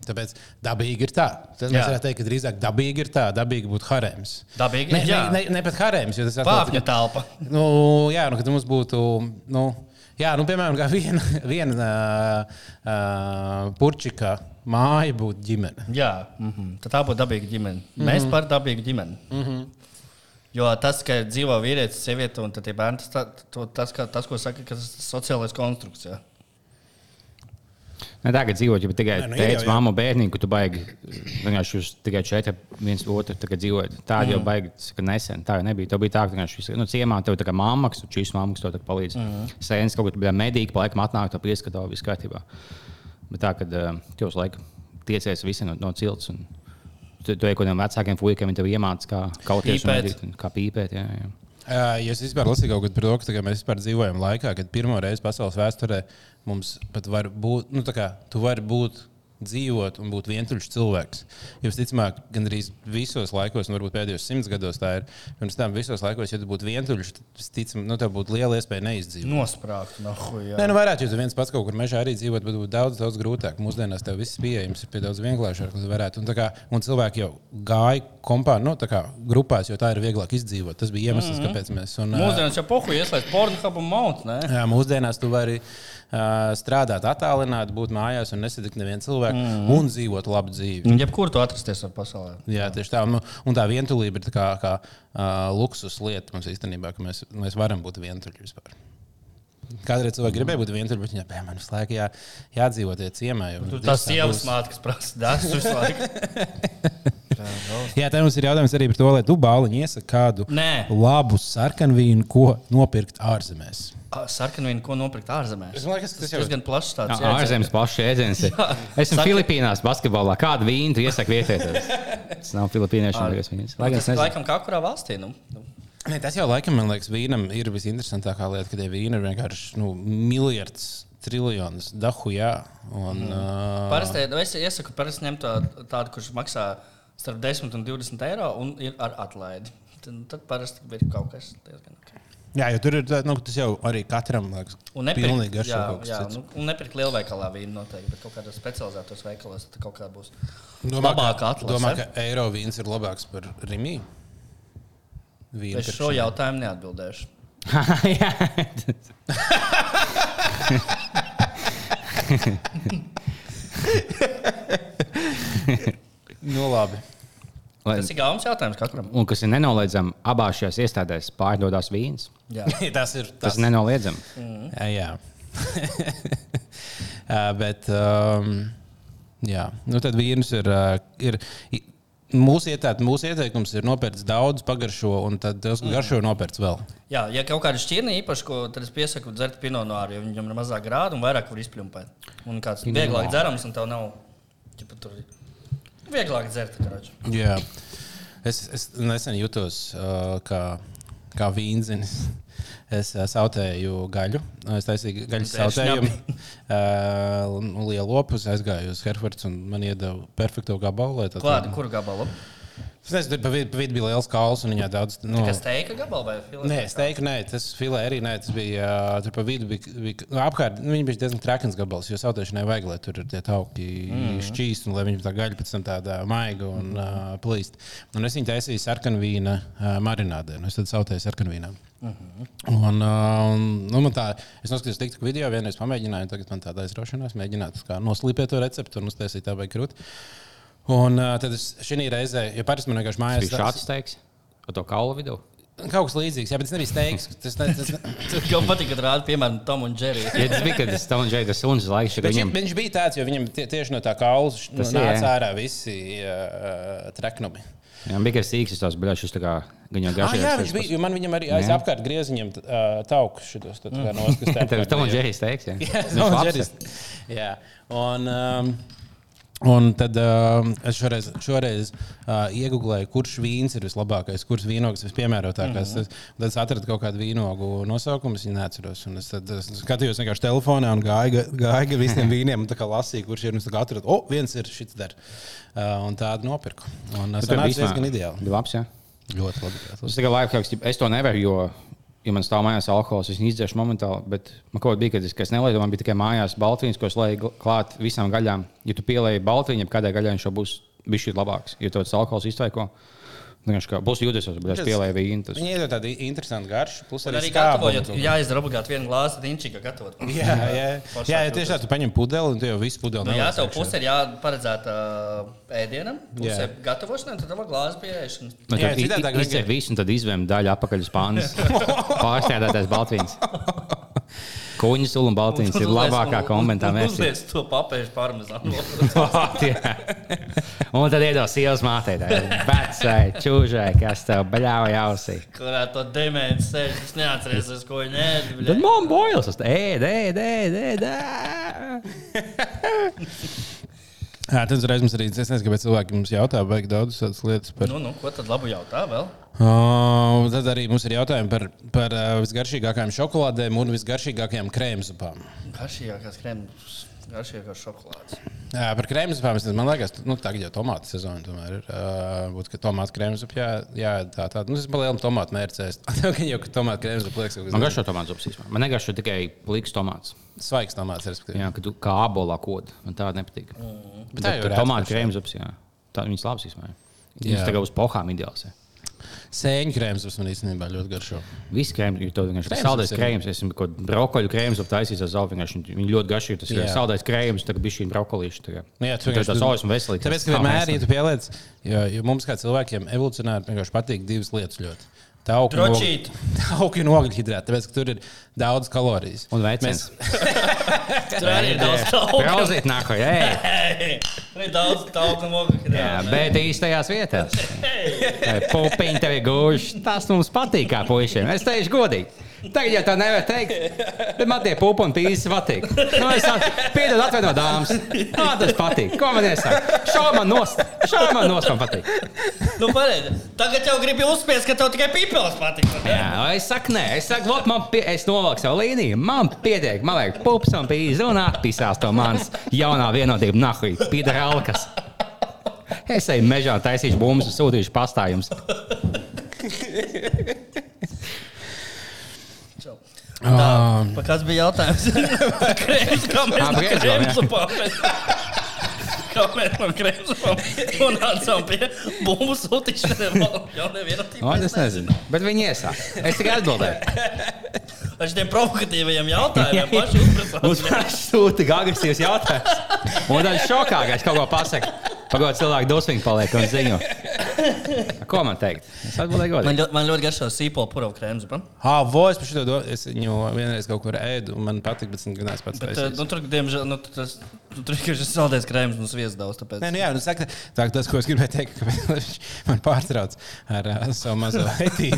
Speaker 3: Tāpēc dabīgi ir tā. Tad
Speaker 2: Jā.
Speaker 3: mēs varētu teikt, ka drīzāk dabīgi ir tā, dabīgi būtu harems.
Speaker 2: Dabīgi,
Speaker 3: ne, ne,
Speaker 2: jā.
Speaker 3: ne, ne pat harems, jo tas atkal-
Speaker 2: Pāpņu telpa.
Speaker 3: Nu, jā, nu, kad mums būtu. Nu, jā, nu, piemēram, kā viena, viena uh, purčika māja būtu ģimene.
Speaker 2: Jā, mm -hmm. tā būtu dabīga ģimene. Mm -hmm.
Speaker 3: Mhm.
Speaker 2: Mēs par dabīgu ģimeni. Mm -hmm. Jo tas, ka dzīvo vīrietis, sieviete un tad tie bērni, tas, tā- to- tas, ka- tas ko saka, ka tas ir sociālais konstrukts. Jā.
Speaker 1: Ne tā, ka dzīvot, ja tikai
Speaker 3: Nē, nu,
Speaker 1: nu,
Speaker 3: ir
Speaker 1: teica
Speaker 3: jau, jā.
Speaker 1: mamma, bērniņ, ka tu baigi vienkārši jūs tikai četri viens otru tā kā dzīvojat. Tā
Speaker 3: Mm.
Speaker 1: jau baigi ka nesen. Tā jau nebija. Tā bija tā, ka vienkārši visi- nu, ciemā tev tā kā mamma, kas šīs mammas tev tā kā palīdz.
Speaker 3: Mm.
Speaker 1: Sēnes kaut kur bija medīgi, pa laikam atnāk, tā pieskatā viss kārtībā. Bet tā, kad eh, tev uz laiku tiecies visi no, no cilts. Un, Tu tu ej kaut kādiem vecākiem puikiem, viņi tev iemācīja, kā kaut ko
Speaker 2: Pīpēt.
Speaker 1: tādu kā pīpēt. Jā, jā.
Speaker 3: Uh, es vispār lasīju kaut ko par to, ka tā kā mēs vispār dzīvojam laikā, kad pirmo reizi pasaules vēsturē mums pat var būt, nu, tā kā tu vari būt. Dzīvot un būt vientuļš cilvēks. Jo, visticamāk, gandrīz visos laikos, un varbūt pēdējos simts gados tā ir. Pirms tam visos laikos, ja tu būtu vientuļš, tad, visticam, nu, tev būtu liela iespēja neizdzīvot.
Speaker 2: Nosprākt, no huja.
Speaker 3: Nē, nu varētu jūs viens pats kaut kur mežā arī dzīvot, bet būtu daudz, daudz grūtāk. Mūsdienās tev viss pieejams ir pie daudz vienkāršāk, lai varētu. Un, tā kā, un cilvēki jau gāja kompā, nu, tā kā grupās, jo tā ir vieglāk izdzīvot. Tas bija iemesls, mm -hmm. kāpēc mēs. Un, ā,
Speaker 2: Mūsdienās jau pohu ieslēdz pornogrāfu un monētu. nē?
Speaker 3: Jā, mūsdienās tu vari uh, strādāt, attālināt, būt mājās un nesatikt nevienu cilvēku mm -hmm. un dzīvot labu dzīvi.
Speaker 2: Un Jebkur tu atrasties ar pasaulē.
Speaker 3: Jā, tieši tā. Un, un tā vientulība ir tā kā, kā uh, luksus lieta mums īstenībā, ka mēs, mēs varam būt vientuļi vispār. Kādreiz cilvēki gribēja būt vientuļi, bet viņi bija manā slēgā, jā, jādzīvot tie ciemā. jo
Speaker 2: Nu, Tur
Speaker 3: drīz
Speaker 2: tas
Speaker 3: tā
Speaker 2: sievas
Speaker 3: būs.
Speaker 2: māte, kas prasa dārstu visu laiku.
Speaker 3: Jā, tā mums ir jautājums arī par to, lai tu bāliņi iesaki kādu
Speaker 2: Nē.
Speaker 3: labu sarkanvīnu, ko nopirkt ārzemēs.
Speaker 2: Ā, Sarkanvienu, ko nopirkt ārzemēs?
Speaker 3: Es domāju, ka tas
Speaker 2: tas
Speaker 3: jau-
Speaker 2: ir diezgan plašs tāds.
Speaker 1: Jā, ārzemes pašu jēdziens. ir. Esmu
Speaker 2: Saka-
Speaker 1: Filipīnās basketbolā. Kādu vīnu tu iesaki vietējais? Tas nav filipīniešu vīns. Lai gan es
Speaker 2: Tas
Speaker 1: nezinu.
Speaker 2: laikam kā kurā valstī. Nu? Nu,
Speaker 3: Ne, tas jau laikam, man liekas, vīnam ir visinteresantākā lieta, kad tie vīni ir vienkārši nu, miljards, triljonus dahu. Jā,
Speaker 2: Mhm.
Speaker 3: un, mm. uh,
Speaker 2: Parasti nu, es iesaku, parasti ņemt tā- tādu, kurš maksā starp 10 un 20 eiro un ir ar atlaidi. Tad, tad parasti ir kaut kas diezgan ok.
Speaker 3: Jā, jo tur ir tā, nu, tas jau arī katram liekas,
Speaker 2: Un
Speaker 3: pilnīgi
Speaker 2: nepirkt,
Speaker 3: garšo
Speaker 2: jā,
Speaker 3: kaut
Speaker 2: jā,
Speaker 3: kas cits.
Speaker 2: nu, un nepirkt lielveikalā vīnu noteikti, bet kaut kādos specializētos veikalos tad kaut kā būs.
Speaker 3: Domā,
Speaker 2: Labāka
Speaker 3: ka-
Speaker 2: atlase.
Speaker 3: Domā, ka eiro vīns ir labāks par rimī. Vīnu
Speaker 2: Es šo
Speaker 3: pirkšanai.
Speaker 2: jautājumu neatbildēšu.
Speaker 1: Jā.
Speaker 3: Nu, labi.
Speaker 1: Lai,
Speaker 2: Tas ir galvenais jautājums katram.
Speaker 1: un kas ir nenoliedzami, abās šajās iestādēs pārdodas vīns.
Speaker 2: Jā.
Speaker 3: tas ir tas.
Speaker 1: Tas ir nenoliedzami.
Speaker 3: Jā, jā. Ā, Bet, um, jā, nu tad vīns ir. ā, ir i- Mūsu, ietēt, mūsu ieteikums ir nopirkt daudz, pagaršo, un tad tas garšo nopirkt vēl.
Speaker 2: jā, ja kaut kāda šķirne īpaši, ko, tad es piesaku dzert pino no ārā, jo viņam ir mazāk grādu un vairāk var izpļumpēt. Un kāds vieglāk dzerams, un tev nav ķipa, tur vieglāk dzert. Karoči.
Speaker 3: Jā. Es, es nesen jutos uh, kā, kā vīnzinis. Es uh, sautēju gaļu, es taisīju gaļas
Speaker 2: Tieši
Speaker 3: sautējumu, uh, un lielu lopu, es aizgāju uz Herfords un man iedeva perfekto gabalu. lai tā-
Speaker 2: Klādi, kuru gabalu?
Speaker 3: Es nezinu, tur pa vidu, pa vidu bija liels kauls un viņa daudz. Nu,
Speaker 2: Kas teika gabalu vai filmu?
Speaker 3: Nē, es teiktu, nē, tas filē arī nē, tas bija ā, tur pa vidu. Bija, bija, nu, apkārt nu, viņi bija diezgan trakns gabals, jo sautēšanai vajag, lai tur ir tie tauki mm. šķīsti un lai viņi tā gaļa pēc tam tāda maiga un mm. uh, plīst. Un es viņu taisīju sarkanvīna uh, marinādē, un es tad sautēju sarkanvīnā. Mhm. Un, uh, un, nu, man tā, es noskatījos tiktu video, vienreiz pamēģināju, tagad man tāda aizraušanās, mēģināt kā noslīpēt to recepti un uztaisīt tā vai krūt. Un uh, tad es šī reizē, jo parasti man vienkārši
Speaker 1: Tas
Speaker 3: mājās
Speaker 1: bija šāds teiks. Ar to kaulu vidū.
Speaker 3: Kaut kas līdzīgs, jā, bet tas nebija steigs. Tas, ne, tas, ne...
Speaker 2: Jau patīk, kad rāda piemēram Tomu un Džeriju.
Speaker 1: Ja tas bija, kad es tam džēju, tas suns laiks.
Speaker 3: Bet
Speaker 1: Viņam
Speaker 3: viņam... viņš bija tāds, jo viņam tie, tieši no tā kaula nu,
Speaker 1: Tas jā.
Speaker 3: nāca ārā visi uh, traknumi.
Speaker 1: Viņam bija garš īks, tas bija šis tā kā viņa
Speaker 3: Ah,
Speaker 1: garš.
Speaker 3: jā, viņš bija. jo Man viņam arī aiz
Speaker 1: Jā.
Speaker 3: apkārt griezt viņam uh, taukus šitos. tad tā kā noskastē
Speaker 1: Tev
Speaker 3: apkārt,
Speaker 1: Tom un
Speaker 3: jā.
Speaker 1: Džerijs teiks, jā.
Speaker 3: Jā,
Speaker 1: Viņš
Speaker 3: Tom un
Speaker 1: labs ir.
Speaker 3: Džerijs. Jā, un, um, un tad um, es šoreiz, šoreiz uh, iegūlēju, kurš vīns ir vislabākais, kurš vīnogs vispiemērotākais. Mm
Speaker 2: Mhm.
Speaker 3: -hmm. Tad es atradu kaut kādu vīnogu nosaukumu, es viņu neatceros. un Es, tad, es skatījos vienkārši telefonā un gāju, ga- gāju ga visiem vīniem un tā kā lasīju, kurš ir. un es tā kā Atradu, o, viens ir šis der. Uh, un tādu nopirku. Un
Speaker 1: Tev
Speaker 2: Nu,
Speaker 3: tas
Speaker 1: bija
Speaker 3: nāca
Speaker 1: īstenā-
Speaker 3: diezgan ideāli.
Speaker 1: Bija labs, jā.
Speaker 3: Ļoti labi. ļoti labi.
Speaker 1: Tas tikai laika hacks, es to nevaru, jo, ja man stāv mājās alkohols, es viņu izdzēšu momentāli. Bet man kaut kā bija, kad es, ka es nelietu, man bija tikai mājās baltiņas, ko es lieku gl- klāt visām gaļām. Ja tu pielēji baltiņu, jebkādai gaļai viņš jau būs bijis šī labāks. Jo tas alkohols iztaiko. nu, Vienkārši kā Būs jūtas, ka es pielēju vīnu. tas-
Speaker 3: Viņai ir tāda interesanta garša, plus
Speaker 2: Un
Speaker 3: arī
Speaker 2: arī
Speaker 3: skābuma
Speaker 2: gatavojot,
Speaker 3: kaut kā.
Speaker 2: ja izdara obligāti vienu glāzi, tad inčīga gatavot.
Speaker 3: Jā, jā, jā, jā tieši tā, tu paņem pudeli un tu jau visu pudeli.
Speaker 2: Nu, jā,
Speaker 3: nelasi
Speaker 2: tev
Speaker 3: iekšā.
Speaker 2: puse ir jāparedzēta ā, ēdienam, puse
Speaker 3: Jā.
Speaker 2: ir gatavošanai, tad tava glāze pieešanas.
Speaker 1: Man
Speaker 3: Jā,
Speaker 1: tur bija
Speaker 3: citādi tā
Speaker 1: izdzēra
Speaker 3: vienkārši-
Speaker 1: visu, un tad izvēlējās daļu apakaļ uz pānas. Pārstādātais Baltīns. Kuņģis un Baltīns ir labākā komentā.
Speaker 2: Mēs
Speaker 1: versija.
Speaker 2: uzliec to papēžu parmezānu.
Speaker 1: Tie. un tad iedod sievas mātei, tā vecai, čūžai, kas tev bļauja ausī.
Speaker 2: Kurā to demēns sēž, es neatceros, ko viņa
Speaker 1: Tad
Speaker 2: ēda.
Speaker 1: man boils, tas ēd, ēd, ēd, ēd. ēd.
Speaker 3: Jā, tad uzreiz mums arī es nezinu, kāpēc cilvēki mums jautā, vai daudz tādas lietas par.
Speaker 2: Nu, nu, ko tad labu jautā vēl?
Speaker 3: Uh, tad arī mums ir jautājumi par, par uh, visgaršīgākajām šokolādēm un visgaršīgākajām krēmzupām.
Speaker 2: Garšīgākās krēmas, garšīgākās šokolādes.
Speaker 3: Jā, par krēmzupām es nezinu, man liekas, nu, tagad jau tomātu sezona tomēr ir. Uh, būtu, ka tomātu krēmzupa, jā, jā, tā tāda. Nu, es palielam tomātu mērcēs. Tā kā jau ka tomātu krēmzupa liekas,
Speaker 1: Man
Speaker 3: ka
Speaker 1: garšo tomāts upsīs. Man negaršo tikai pliks tomāts.
Speaker 3: svaigs tomāts, respektīvi.
Speaker 1: Jā, kad tu kā abolā kod. Man tāda nepatīk. Bet
Speaker 3: Mm. tā jau ir
Speaker 1: tomāta
Speaker 3: atsevišķi.
Speaker 1: krēms ups, jā. Tā viņas labs īstenībā.
Speaker 3: Jā.
Speaker 1: Viņas tagad uz pohām ideāls. Jā.
Speaker 3: Sēņu krēmzups man īstenībā ļoti garšo.
Speaker 1: Viss krēms, jo tas vienkārši ir
Speaker 3: Krēms
Speaker 1: saldais
Speaker 3: ups ir.
Speaker 1: krēms. Es esmu kaut kādu brokoļu krēms aptaisījis ar zelta. Viņi ļoti garšīgi. Tas ir
Speaker 3: Jā.
Speaker 1: saldais krēms, tagad bija šī brokolīša. tagad.
Speaker 3: Nu Jā,
Speaker 1: Tagad tas ausis un veselīgs.
Speaker 3: Tāpēc,
Speaker 1: Kā
Speaker 3: ka vienmēr,
Speaker 1: mēs
Speaker 3: ja tu pieliec, jo, jo mums kā cilvēkiem evolucionāri vienkārši patīk divas lietas ļoti. Tauki un
Speaker 2: Tročīt.
Speaker 3: ogļ- tauki un ogļhidrāti, tāpēc, ka tur ir daudz kalorijas.
Speaker 1: Un veicins.
Speaker 2: Tur arī ir daudz tauku.
Speaker 1: Grauzīt nākamajā.
Speaker 2: Tur ir daudz tauku un ogļu.
Speaker 1: Jā, bet īstajās vietās. Pupiņi tev ir gūži. Tas mums patīk, kā puišiem. Es teikšu godīgi. Tagad jau tā nevar teikt. Bet man tie pupi un pīzes patīk. Nu, es piedodu atvainot dāmas. Nā, tas patīk. Ko man iesaka? Šā man nost. Šā man nost man patīk.
Speaker 2: Nu, pareizi. Tagad jau gribi uzspiest, ka tev tikai pīpils patīk. vai ne?
Speaker 1: Jā, es saku, nē, es saku, lūk, man pie, es novilku savu līniju. Man pietiek, man vajag pupas un pīzes un atpīsās to manas jaunā vienotība nahuī. Pīdara alkas. Es eju mežā, taisīšu bumbas un sūtīšu pastājumus.
Speaker 3: Ah,
Speaker 2: Pa Kāds bija jautājums? Krēms, kā mēs
Speaker 1: Ah,
Speaker 2: no
Speaker 1: krēms,
Speaker 2: krēmsu pārmēs. Kā mēs no krēmsu pārmēs nonācām pie bumbu sūtīšanas. Jau neviena
Speaker 1: O,
Speaker 2: tīpa.
Speaker 1: es nezinu, bet viņi iesāk. Es tikai atbildēju.
Speaker 2: Ar šiem provokatīvajiem jautājumiem paši
Speaker 1: Mums
Speaker 2: uzprasām.
Speaker 1: sūta agresīvs jautājums. Un tad šokā, ka es kaut ko pasaku. Pagaidā cilvēki dusmīgi paliek un ziņo. Ko man teikt? Es atbildēju
Speaker 2: Man,
Speaker 1: godīgi.
Speaker 2: ļo, man ļoti garšo sīpola purovu krēmsu. pa.
Speaker 3: ah, vo, es par šito do- es viņu vienreiz kaut kur ēdu, un man patīk, bet es negribēju pats
Speaker 2: Bet, eh, nu,
Speaker 3: taisīt.
Speaker 2: tur, diemžēl, nu, tas, nu, tur ir saldēts krēms un sviesta daudz. Tāpēc.
Speaker 3: Nē, nu jā, nu saka, tā, tas, ko es gribēju teikt, ka viņš man pārtrauc ar uh, savu mazo etīdu.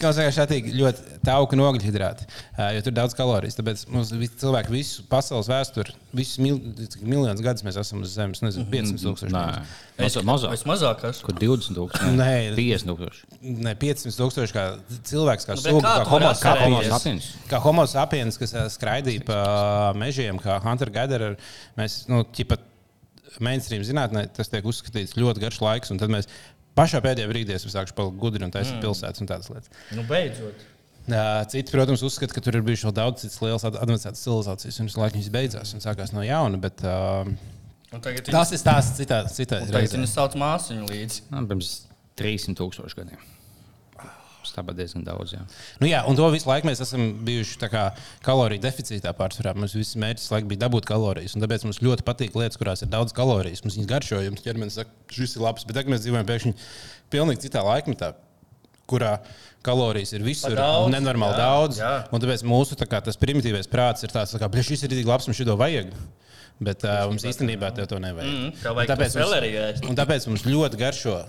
Speaker 3: Kā jau teicu, patīk ļoti tauki un ogļhidrāti, ā, jo tur ir daudz kalorijas. Tāpēc mums vis- cilvēki visu pasaules vēsturi, visus mil, cik miljonus gadus mēs esam uz Zemes, nu, nezinu, 500 tūkstoši.
Speaker 1: Nē,
Speaker 3: gadus.
Speaker 1: es esmu mazāk.
Speaker 2: Vismazāk, kas.
Speaker 1: Kur 20 tūkstoši?
Speaker 3: Nē.
Speaker 1: 50 tūkstoši.
Speaker 3: Ne 500 tūkstoši kā cilvēks, kā
Speaker 2: Nu, bet kā
Speaker 3: sūkļa, kā,
Speaker 2: tu
Speaker 3: homo-
Speaker 2: vari
Speaker 3: kā homo
Speaker 2: atcerēties?
Speaker 3: sapiens. Kā homo sapiens, kas ā, skraidīja pa uh, mežiem, kā Hunter Gatherer, mēs, nu, ķipat mainstream zinātnē, tas tiek uzskatīts ļoti garš laiks, un tad mēs pašā pēdējā brīdī esam sākuši palikt gudri un taisīt mm. pilsētas un tādas lietas.
Speaker 2: Nu, beidzot.
Speaker 3: Ā, Citi, protams, uzskata, ka tur ir bijušas vēl daudz citas lielas ad- advancētas civilizācijas, un visu laiku viņas beidzās un sākās no jauna. Bet, um,
Speaker 2: Un tagad viņi-
Speaker 3: tas ir tās citas
Speaker 2: tagad viņi
Speaker 3: lietas.
Speaker 2: sauc māsiņu līdzi.
Speaker 1: Nu, pirms 300 tūkstoši gadiem. Tā bija diezgan daudz. Jā.
Speaker 3: Nu, jā, un to visu laiku mēs esam bijuši tā kā kaloriju deficītā pārsvarā. Mums viss mērķis laikam bija dabūt kalorijas, un tāpēc mums ļoti patīk lietas, kurās ir daudz kalorijas. Mums viņas garšo, jums ķermenis saka, šis ir labs, bet tagad mēs dzīvojam pēkšņi pilnīgi citā laikmetā. kurā kalorijas ir visur,
Speaker 2: Pa daudz,
Speaker 3: daudz, nenormāli
Speaker 2: jā,
Speaker 3: jā, daudz. Jā.
Speaker 2: jā.
Speaker 3: Tāpēc mūsu tā kā, tas Mm-hmm. primitīvais prāts ir tāds, ka šis ir tik labs, man šito vajag. Bet uh, mums īstenībā tev to nevajag.
Speaker 2: Mm, tev vajag
Speaker 3: Un tāpēc,
Speaker 2: to selleriju ēst.
Speaker 3: mums, un tāpēc mums ļoti garšo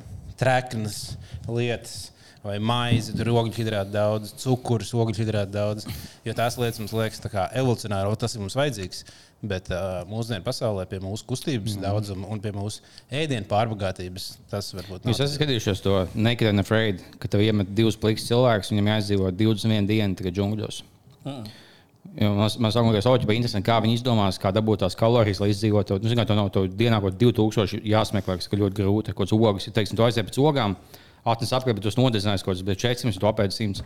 Speaker 3: treknas lietas. Vai maizi, tur ir ogļhidrāti daudz, cukurus, ogļhidrāti daudz. Jo tās lietas mums liekas, tā kā evolūcionāri, o, tas ir mums vajadzīgs. Bet uh, mūsdienu pasaulē, pie mūsu kustības mm. daudzuma un pie mūsu ēdienu pārbagātības, tas
Speaker 1: Jūs
Speaker 3: varbūt nav.
Speaker 1: esat skatījušies to Naked and Afraid, ka tev iemet divus pliks cilvēkus, viņam jāizdzīvo 21 dienu tikai džungļos. Mēs sakām, ka tas ir interesanti, kā viņi izdomās, kā dabūt tās kalorijas, lai izdzīvotu. Nu, ziniet, to nav to dienā, ko 2000 jāsmeklē, kas ir ļoti grūti. Kaut kāds ogas, ja teiksim, tu aizies pēc ogām, atnes apkārt, bet tu nodezinās kaut kāds 400, tu apēdi 100.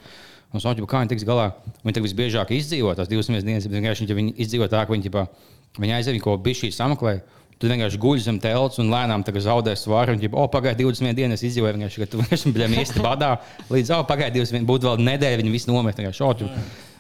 Speaker 1: Un es domāju, kā viņi tiks galā. Viņi tā visbiežāk izdzīvo tās 21 dienas, bet vienkārši viņi, viņi izdzīvo tā, ka viņi, ģipā, viņi aiziet, viņi kaut ko bišķī sameklē. Tu vienkārši guļ zem telpas un lēnām tā kā zaudē svaru. Viņa jau pagāja 21 dienas, izdzīvoja vienkārši, ka tu vienkārši biji īsti badā. Līdz tam pagāja 21, būtu vēl nedēļa, viņa visu nomet. vienkārši, o, tu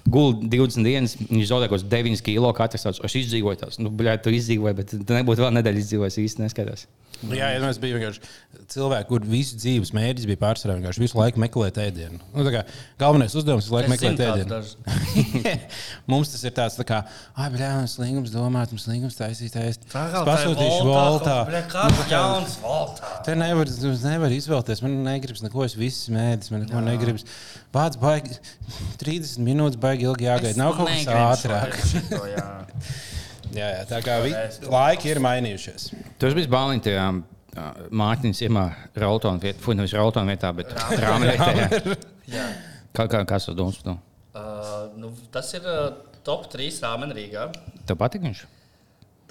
Speaker 1: Gulēji 20 dienas, viņš zaudēja kaut kādus 9 kilo. Katrs tāds, es izdzīvoju tās. Nu, bļā, tu izdzīvoji, bet tu nebūtu vēl nedēļa izdzīvojis. Īsti neskatās.
Speaker 3: Nu, Jā, ja mēs bijām vienkārši cilvēki, kur visu dzīves mērķis bija pārsvarā vienkārši visu laiku meklēt ēdienu. Nu, tā kā, galvenais uzdevums ir laiku
Speaker 2: Es zinu
Speaker 3: meklēt
Speaker 2: tādus
Speaker 3: ēdienu. mums tas ir tāds, tā kā, ah, brāl, mums līgums domāt, mums līgums taisītājs. Pasūtīšu voltā.
Speaker 7: Kāds jauns voltā?
Speaker 3: Te nevar, es nevaru izvēlēties. Man negribas neko, es visu mēdus, man neko negribas. Vārds baigi 30 minūtes, baigi ilgi jāgaida. Nav kaut kas ātrāk. Jā, jā, tā kā vi, laiki ir mainījušies.
Speaker 1: Tu esi bijis Bāliņš tajā ā, Mārtiņas iemā Rautona vietā, fuck, nevis Rautona vietā, bet Rāmē vietā.
Speaker 2: Jā.
Speaker 1: Kā, kā, kas tas domas par to?
Speaker 2: Uh, nu, tas ir uh, top 3 rāmenis Rīgā.
Speaker 1: Tev patīk viņš?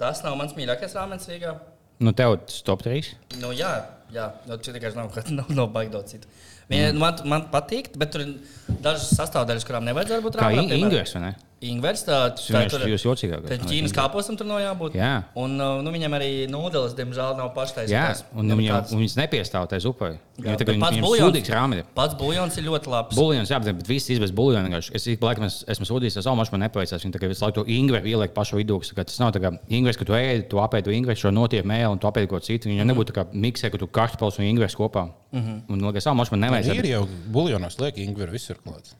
Speaker 2: Tas nav mans mīļākais rāmenis Rīgā.
Speaker 1: Nu, tev tas top 3.
Speaker 2: Nu, jā, jā. Nu, tur vienkārši nav, nav, nav baigta citu. Viņa, mm. man, man patīk, bet tur ir dažas sastāvdaļas, kurām nevajadzētu būt
Speaker 1: Kā
Speaker 2: rāmenī.
Speaker 1: in- Ingūns, vai ne?
Speaker 2: Ingūns. Tā,
Speaker 1: Tas
Speaker 2: tā tur
Speaker 1: vienkārši
Speaker 2: ir
Speaker 1: jūs jocīgākais.
Speaker 2: tā ir Ķīnas kāposam, tur nav jābūt.
Speaker 1: Jā.
Speaker 2: Un uh, nu, viņam arī nūdeles, diemžēl, nav paštaisnīgas.
Speaker 1: Jā, un viņam, viņas nepiestāv tajā upē. Viņa tā kā viņam ir sūdīgs rāmītis.
Speaker 2: Pats buļļons ir ļoti labs.
Speaker 1: Buļļons, jā, bet viss izbēdz buļļonu. vienkārši. Es ik pa laikam es- esmu sūdzījis, es domāju, man nepaveicās. Viņa tagad visu laiku to ingveru ieliek pašu vidū. tā kā Tas nav tā kā ingvers, ka tu ej, tu apēdi to ingveru, šo notiek mēlē un tu apēdi ko citu.
Speaker 2: Mhm.
Speaker 1: Viņa nebūtu tā kā miksē, ka tu kartupels un ingvers kopā. Un, liekas, ah, man nevajag.
Speaker 3: Ir jau buļļonos, liek ingveru visur klāt.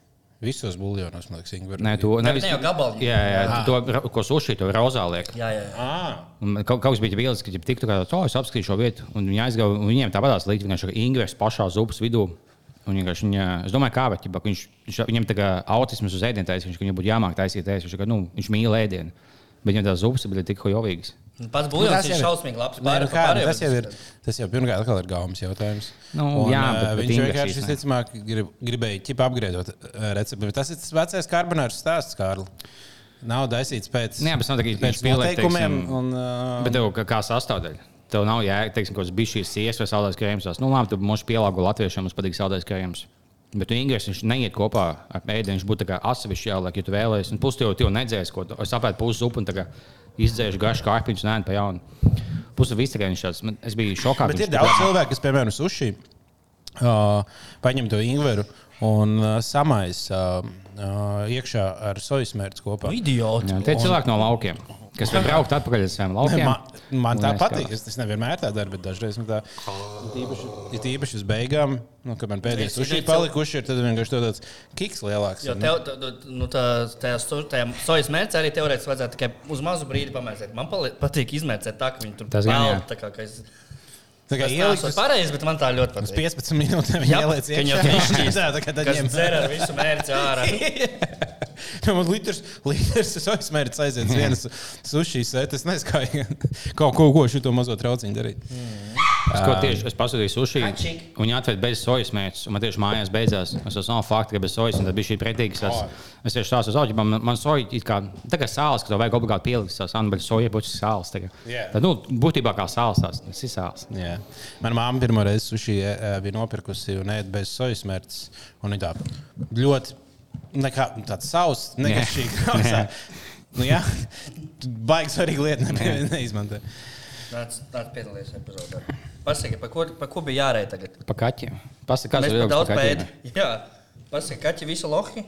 Speaker 3: Visos buļļonos, man liekas, ingveru.
Speaker 1: Nē, to
Speaker 2: Nevis... Ne jau Ah. gabalā.
Speaker 1: Jā, jā, to, ra- ko suši to rozā liek.
Speaker 2: jā, jā. jā.
Speaker 1: Un man Kaut, kaut kas bija bijis, ka viņi tiktu kādā to es apskatīju šo vietu, un viņi aizgāja, un viņiem tāpatās līdzi vienkārši ingvers pašā zupas vidū. Un vienkārši Viņa, es domāju, kā bet, ķipa, ka viņš, viņš, viņam tā kā autisms uz ēdienu taisīs, viņš, ka viņam būtu jāmāk taisīt ēst, viņš, ka, nu, viņš mīl ēdienu. Bet viņam tās zupas bija tik hojovīgas.
Speaker 2: Un Pats
Speaker 3: Nu,
Speaker 2: buļļons ir
Speaker 3: jau
Speaker 2: šausmīgi labs.
Speaker 3: Nē, nu
Speaker 2: Pārējā-
Speaker 3: kā, nu,
Speaker 2: pārējā
Speaker 3: tas, jau ir,
Speaker 2: bet-
Speaker 3: tas jau pirmkārt atkal ir gaumas jautājums.
Speaker 1: Nu, jā,
Speaker 3: ā,
Speaker 1: bet- bet
Speaker 3: viņš
Speaker 1: Ingers
Speaker 3: vienkārši
Speaker 1: īstenībā.
Speaker 3: visticamāk grib, gribēja ķipa apgriezt recepti. Bet Tas ir tas vecais karbonārs stāsts, Kārl. Nav taisīts pēc,
Speaker 1: Nē, bet nav tā, ka viņš
Speaker 3: pēc
Speaker 1: pieliek,
Speaker 3: noteikumiem.
Speaker 1: teiksim,
Speaker 3: Un, uh,
Speaker 1: Bet tev kā, kā sastāvdaļa? Tev nav jāiet, teiksim, kaut kāds bijis šīs siesas vai saldais krējums. tās, Nu, labi, tu mums pielāgo latviešiem, mums patīk saldais krējums. Bet tu ingres, viņš neiet kopā ar ēdienu, viņš būtu tā kā atsevišķi jāliek, ja tu vēlēsies. Un pusi jau tev nedzēs, ko tu es apēdu pusi zupu un tā kā izdzēšu garšu kārpiņus, nē, pa jaunu. Pusi viss tikai viņš tāds, man- es biju šokā.
Speaker 3: Bet
Speaker 1: ka
Speaker 3: ir
Speaker 1: viņš-
Speaker 3: daudz cilvēku, kas, piemēram, suši uh, paņem to ingveru un uh, samaisa uh, uh, iekšā ar sojas mērķi
Speaker 1: Nu,
Speaker 2: Nu,
Speaker 3: kopā.
Speaker 2: Idiots.
Speaker 1: Jā, Tie ir cilvēki no laukiem, kas var braukt atpakaļ uz saviem
Speaker 3: Ne,
Speaker 1: laukiem.
Speaker 3: man, man
Speaker 1: Un
Speaker 3: tā
Speaker 1: es kā-
Speaker 3: patīk. Es, es nevienmēr tā daru, bet dažreiz man tā ir tīpaši, ir tīpaši uz beigām, nu, kad man pēdējais
Speaker 2: Es
Speaker 3: suši
Speaker 2: redzēju-
Speaker 3: palikuši, ir tad vienkārši to tāds kiks lielāks.
Speaker 2: Jo
Speaker 3: ir, nu.
Speaker 2: tev, t- t- nu, tā, tajā, stu- tajā sojas mērķī arī teorētiski vajadzētu tikai uz mazu brīdi pamēģināt. Man pali, patīk izmērcēt tā, ka viņi tur
Speaker 1: Tas gan
Speaker 2: peld,
Speaker 1: jā.
Speaker 2: tā kā, ka es-
Speaker 3: Tā kā
Speaker 2: Tas
Speaker 3: ielikt
Speaker 2: nav
Speaker 3: uz-
Speaker 2: pareizi, bet man tā ļoti
Speaker 3: uz
Speaker 2: patīk.
Speaker 3: 15 minūtēm viņa
Speaker 2: Jā,
Speaker 3: ieliec
Speaker 2: ka
Speaker 3: iekšā.
Speaker 2: viņam piešķīst.
Speaker 3: Jā, tā kā tad
Speaker 2: Kas
Speaker 3: ņem. Nu,
Speaker 2: dzer ar visu mērķi ārā?
Speaker 3: Man litrs, litrs sojas mērķis aiziet uz vienas suši sēdes. Es nezinu, kā kaut ko, ko šo mazo trauciņu darīt.
Speaker 1: Es, ko tieši es pasūtīju sushi,
Speaker 2: Ačik.
Speaker 1: un viņi atveda bez sojas mērķus. Man tieši mājās beidzās. Es saprotu, no fakta, ka bez sojas un tad bija šī pretīga. Es, es tieši tādu saktu, man, man soja ir kā tāda sāla, ka to vajag obligāti pielikt. Tas ir soja, būs sāls. tagad.
Speaker 3: Jā.
Speaker 1: Tad, nu, būtībā kā sāls tās, tas ir sāls.
Speaker 3: Jā. Mana mamma pirmo reizi suši ē, bija nopirkusi un ēda bez sojas mērķis. Un viņa tā ļoti nekā, tāds savs, negaršīgs.
Speaker 1: Nē.
Speaker 3: Nu, jā, baigs svarīgi lieta ne, neizmantot.
Speaker 2: Nāc, nāc piedalīties epizodē. Pasaki, pa ko, pa ko bija jārēja tagad?
Speaker 1: Pa kaķiem. Pasaka,
Speaker 2: Mēs
Speaker 1: kas
Speaker 2: par
Speaker 1: ir
Speaker 2: daudz pēdējām. Jā, pasaki, kaķi visu lohi.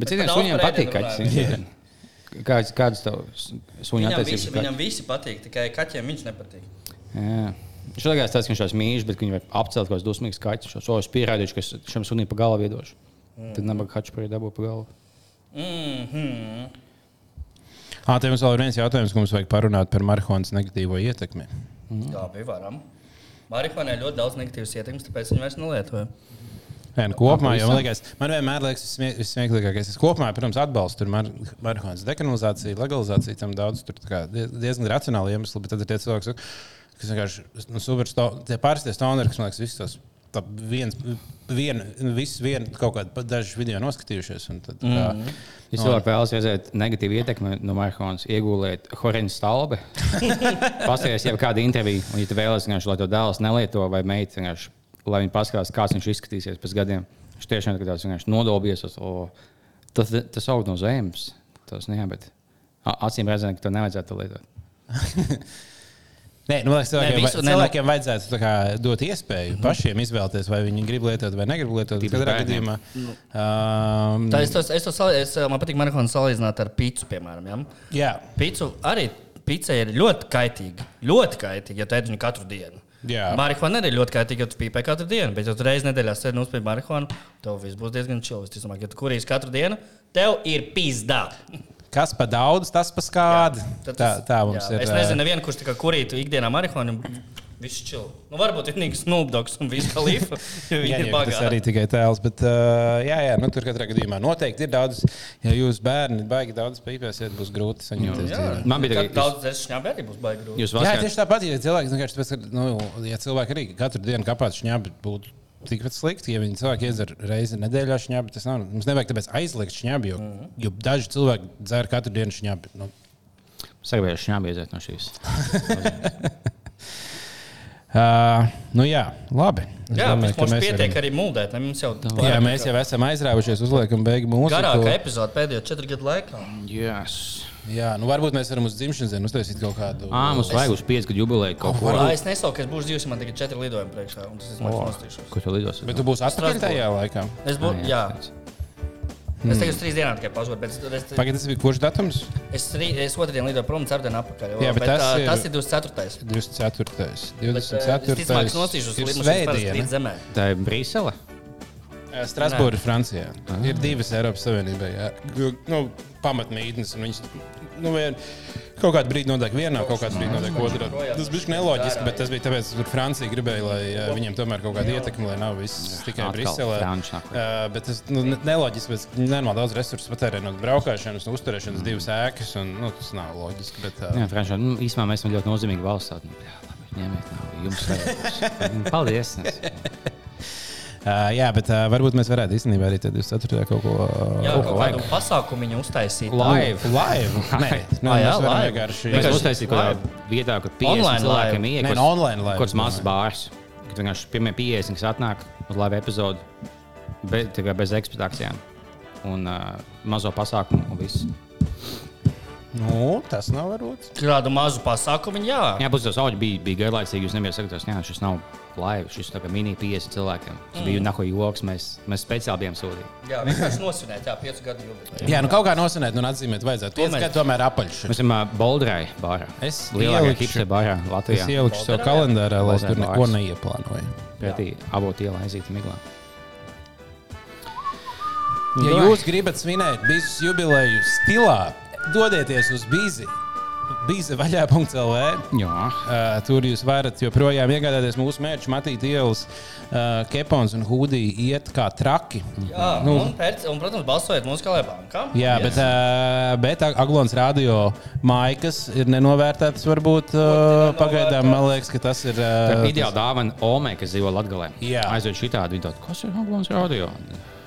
Speaker 1: Bet
Speaker 2: par
Speaker 1: citiem
Speaker 2: daudz
Speaker 1: suņiem
Speaker 2: par
Speaker 1: patīk
Speaker 2: ēdienu
Speaker 1: kaķis. Kāds, kāds tev s- suņu
Speaker 2: Viņam visi,
Speaker 1: attiecības? pret
Speaker 2: viņam visi patīk, tikai kaķiem viņš nepatīk.
Speaker 1: Jā. Viņš liekas, tas, ka viņš tās mīl, bet viņi var apcelt kaut kādas dusmīgas kaķis. Šo soju es pierādīšu, ka es šim sunim pa galvu
Speaker 2: Mhm.
Speaker 1: iedošu. Tad nabaga kaķis prie dabū pa galvu.
Speaker 2: Mm -hmm.
Speaker 3: Ā, te mums vēl ir viens jautājums, ko mums vajag parunāt par marihuānas negatīvo ietekmi.
Speaker 2: Jā,
Speaker 3: Mm.
Speaker 2: bija varam. Marihuānai ļoti daudz negatīvas ietekmes, tāpēc viņi vairs nelietoja.
Speaker 3: Nē, nu, kopumā, jo, man, liekas, man vienmēr liekas, tas smie- vissmieklīgākais. Es kopumā, protams, atbalstu tur mar marihuānas dekriminalizāciju, legalizāciju, tam daudz tur tā kā die- diezgan racionāli iemesli, bet tad ir tie cilvēki, kas vienkārši nu, superstar, tie pārstie stoneri, kas man liekas, visus tos. Tā viens, vien, visu vienu kaut kādu pa- dažu video noskatījušies. un Tad, mm
Speaker 2: Mhm.
Speaker 3: -hmm.
Speaker 1: Es varu vēlas redzēt negatīvu ietekmi no marihuānas, iegūlēt Horēna stābi. Pastāties jau kādu interviju, un, ja tu vēlaties, vienkārši, lai to dēls nelieto vai meita, vienkārši, lai viņi paskatās, kāds viņš izskatīsies pēc gadiem. Viņš tiešām ir tāds vienkārši nodobies. Tas, o, tas, tas aug no zemes. Tas, nu jā, bet, a- acīm redzot, ka to nevajadzētu lietot.
Speaker 3: Nē, nu, liekas, cilvēkiem, ne,
Speaker 2: visu-
Speaker 3: visu,
Speaker 2: nē, nu- Mhm.
Speaker 3: cilvēkiem ne, vajadzētu tā kā, dot iespēju mm. pašiem izvēlēties, vai viņi grib lietot vai negrib lietot.
Speaker 1: Tīpaši
Speaker 3: Katrā
Speaker 1: bērniem.
Speaker 3: gadījumā um,
Speaker 2: Nu. Tā es to, es to sal, es, eh, man patīk marihuānu salīdzināt ar pīci, piemēram. Ja?
Speaker 3: jā,
Speaker 2: Pīci arī pīci ir ļoti kaitīga. Ļoti kaitīga, ja tu ēd viņu katru dienu.
Speaker 3: Jā.
Speaker 2: Marihuāna arī ir ļoti kaitīga, ja tu pīpē katru dienu. Bet, ja tu reizē nedēļā sēdi un uzpīpē marihuānu, tev viss būs diezgan čils. Visticamāk, ja tu kurīs katru dienu, tev ir pīzdā.
Speaker 3: kas par daudz, tas par skādi.
Speaker 2: Tad
Speaker 3: Tā,
Speaker 2: tas-
Speaker 3: tā mums
Speaker 2: jā,
Speaker 3: jā, ir.
Speaker 2: Es nezinu, nevienu, kurš tā kā kurītu ikdienā marihuānu. Viss čil. Nu, varbūt vienīgs snubdoks un viss kalīfs.
Speaker 3: Jā,
Speaker 2: Viņi ir
Speaker 3: jā, tas
Speaker 2: bagāti.
Speaker 3: arī tikai tēls, bet uh, jā, jā, nu, tur katrā gadījumā noteikti ir daudz. Ja jūs bērni baigi daudz pīpēsiet, būs grūti saņemties.
Speaker 2: Jā,
Speaker 3: dzīvē.
Speaker 1: Man bija
Speaker 2: Kad
Speaker 1: tagad-
Speaker 2: daudz zēšņā arī būs baigi grūti.
Speaker 1: Jūs
Speaker 3: Jā,
Speaker 1: varat
Speaker 3: tieši tāpat, ja cilvēks vienkārši tāpēc, ka, nu, ja cilvēki arī katru dienu kāpās šņābi, būtu tikpat slikti. Ja viņi cilvēki iedzer reizi nedēļā šņābi, tas nav. Mums nevajag tāpēc aizliegt šņābi, jo,
Speaker 2: Mhm.
Speaker 3: jo daži cilvēki dzēr katru dienu šņābi. Nu,
Speaker 1: sagatavot šņābi iziet no šīs.
Speaker 3: uh, nu jā, labi. Es
Speaker 2: Jā,
Speaker 3: domāju,
Speaker 2: mums
Speaker 3: ka
Speaker 2: mums
Speaker 3: mēs
Speaker 2: pietiek
Speaker 3: varam-
Speaker 2: arī mūldēt. ne? Mums jau
Speaker 3: Jā,
Speaker 2: tā
Speaker 3: mēs jau esam aizrāvušies, uzliekam beigu mūsu
Speaker 2: garākā epizode pēdējo četru gadu laikā.
Speaker 1: Yes.
Speaker 3: Jā, nu varbūt mēs varam uz dzimšanas dienu uztaisīt kaut kādu.
Speaker 1: Ā, mums vajag uz 5 gadu jubileju kaut ko.
Speaker 2: Kurā es nesaucu, ka es būšu dzīves, man tikai četri lidojumi priekšā. un Tas es mācīšos.
Speaker 1: Ko tu lidosi?
Speaker 3: Bet tu būsi atpakaļ tajā laikā.
Speaker 2: Es būtu, jā,
Speaker 3: Hmm.
Speaker 2: es tikai uz trīs dienām tikai pazudu, bet es,
Speaker 3: Pagaid, tas bija kurš datums?
Speaker 2: es, rī- es otrdien lidoju prom un ceturtdien apakaļ.
Speaker 3: Jā, bet tas
Speaker 2: ā,
Speaker 3: ir-
Speaker 2: tas ir 24.
Speaker 1: eh,
Speaker 3: 24.
Speaker 2: Bet, ā,
Speaker 3: 24.
Speaker 2: Es ticamāk, nosīšos
Speaker 3: ir
Speaker 2: līdz
Speaker 3: svētdiena.
Speaker 2: zemē.
Speaker 1: Tā ir Brīsele.
Speaker 3: Eh, Strasbūrā, Francijā. Ah. Ir divas Eiropas Savienībā. jā. Jo, Nu, pamatnītnes, un viņas nu, vien, kaut kādā brīdī notiek vienā, kaut kādā brīdī notiek otrā. Tas bija neloģiski, bet tas bija tāpēc, ka Francija gribēja, lai jā, viņiem tomēr kaut kāda ietekme, lai nav viss tikai
Speaker 1: Atkal
Speaker 3: Briselē.
Speaker 1: Franči nāk.
Speaker 3: Uh, bet tas nu, ne- neloģiski, bet nenormāli daudz resursu patērē no braukšanas, no uzturēšanas, divas ēkas. Un, nu, tas nav loģiski. Bet, uh,
Speaker 1: Jā, Frančija, nu, īstenībā mēs esam ļoti nozīmīgi valsts. tāda, nu, Jā, labi, ņemiet, nav jums vajag. Paldies!
Speaker 3: Uh, jā, bet uh, varbūt mēs varētu īstenībā arī tad 24. kaut ko uh,
Speaker 2: Jā,
Speaker 3: kaut ko
Speaker 2: kaut kādu pasākumu viņa uztaisīt.
Speaker 1: Live.
Speaker 3: Live. Nē, nu,
Speaker 2: Ah, jā,
Speaker 3: mēs varam
Speaker 2: live.
Speaker 3: vienkārši.
Speaker 1: Mēs uztaisījām kaut kādā vietā, kur 50
Speaker 2: Online
Speaker 1: cilvēkiem
Speaker 2: live.
Speaker 1: ienāk.
Speaker 3: Nē, nu, online live.
Speaker 1: Kaut kāds mazs bārs. Kad vienkārši pirmie 50, kas atnāk uz live epizodu, be, tikai bez ekspektācijām. Un uh, mazo pasākumu un viss.
Speaker 3: Nu, tas nav varbūt.
Speaker 2: Kādu mazu pasākumu, jā.
Speaker 1: Jā, būs tas audio bija, bija garlaicīgi. Jūs nebijāt sakot, jā, šis nav live, šis tā kā mini 50 cilvēkiem. Tas
Speaker 3: Mm.
Speaker 1: bija naho joks, mēs, mēs speciāli bijām sūtīti.
Speaker 2: Jā, vienkārši nosvinēt, jā, piecu gadu jubileju.
Speaker 3: Jā, nu kaut kā nosinēt, nu atzīmēt vajadzētu.
Speaker 2: To
Speaker 3: Piec
Speaker 2: mēs-
Speaker 3: gadu tomēr apaļš.
Speaker 1: Mēs esam uh, Boldrai bārā.
Speaker 3: Es
Speaker 1: lielākajā
Speaker 3: ielikšu-
Speaker 1: hipster bārā Latvijā.
Speaker 3: Es ielikšu savu kalendārā, lai es tur neko
Speaker 1: Balzēm
Speaker 3: neieplānoju.
Speaker 1: pretī avotu ielā aiziet miglā.
Speaker 3: Ja jūs gribat svinēt biznesa jubileju stilā, dodieties uz bīzi. Bīze vaļā.lv.
Speaker 1: Jā,
Speaker 3: Uh, tur jūs varat joprojām iegādāties mūsu mērķu, matīt ielas, uh, kepons un hūdī iet kā traki.
Speaker 2: Jā, nu. un, pēc, un, protams, balsojiet mūsu kalē bankā.
Speaker 3: Jā, bet, uh, bet Ag- Aglons radio maikas ir nenovērtētas. Varbūt uh, pagaidām man liekas, ka tas ir.
Speaker 1: tā
Speaker 3: Uh,
Speaker 1: ir ideāla dāvana Omei, kas dzīvo Latvijā.
Speaker 3: Jā.
Speaker 1: aiziet šitādi. Viņi tādi, kas ir Hongkongas radio?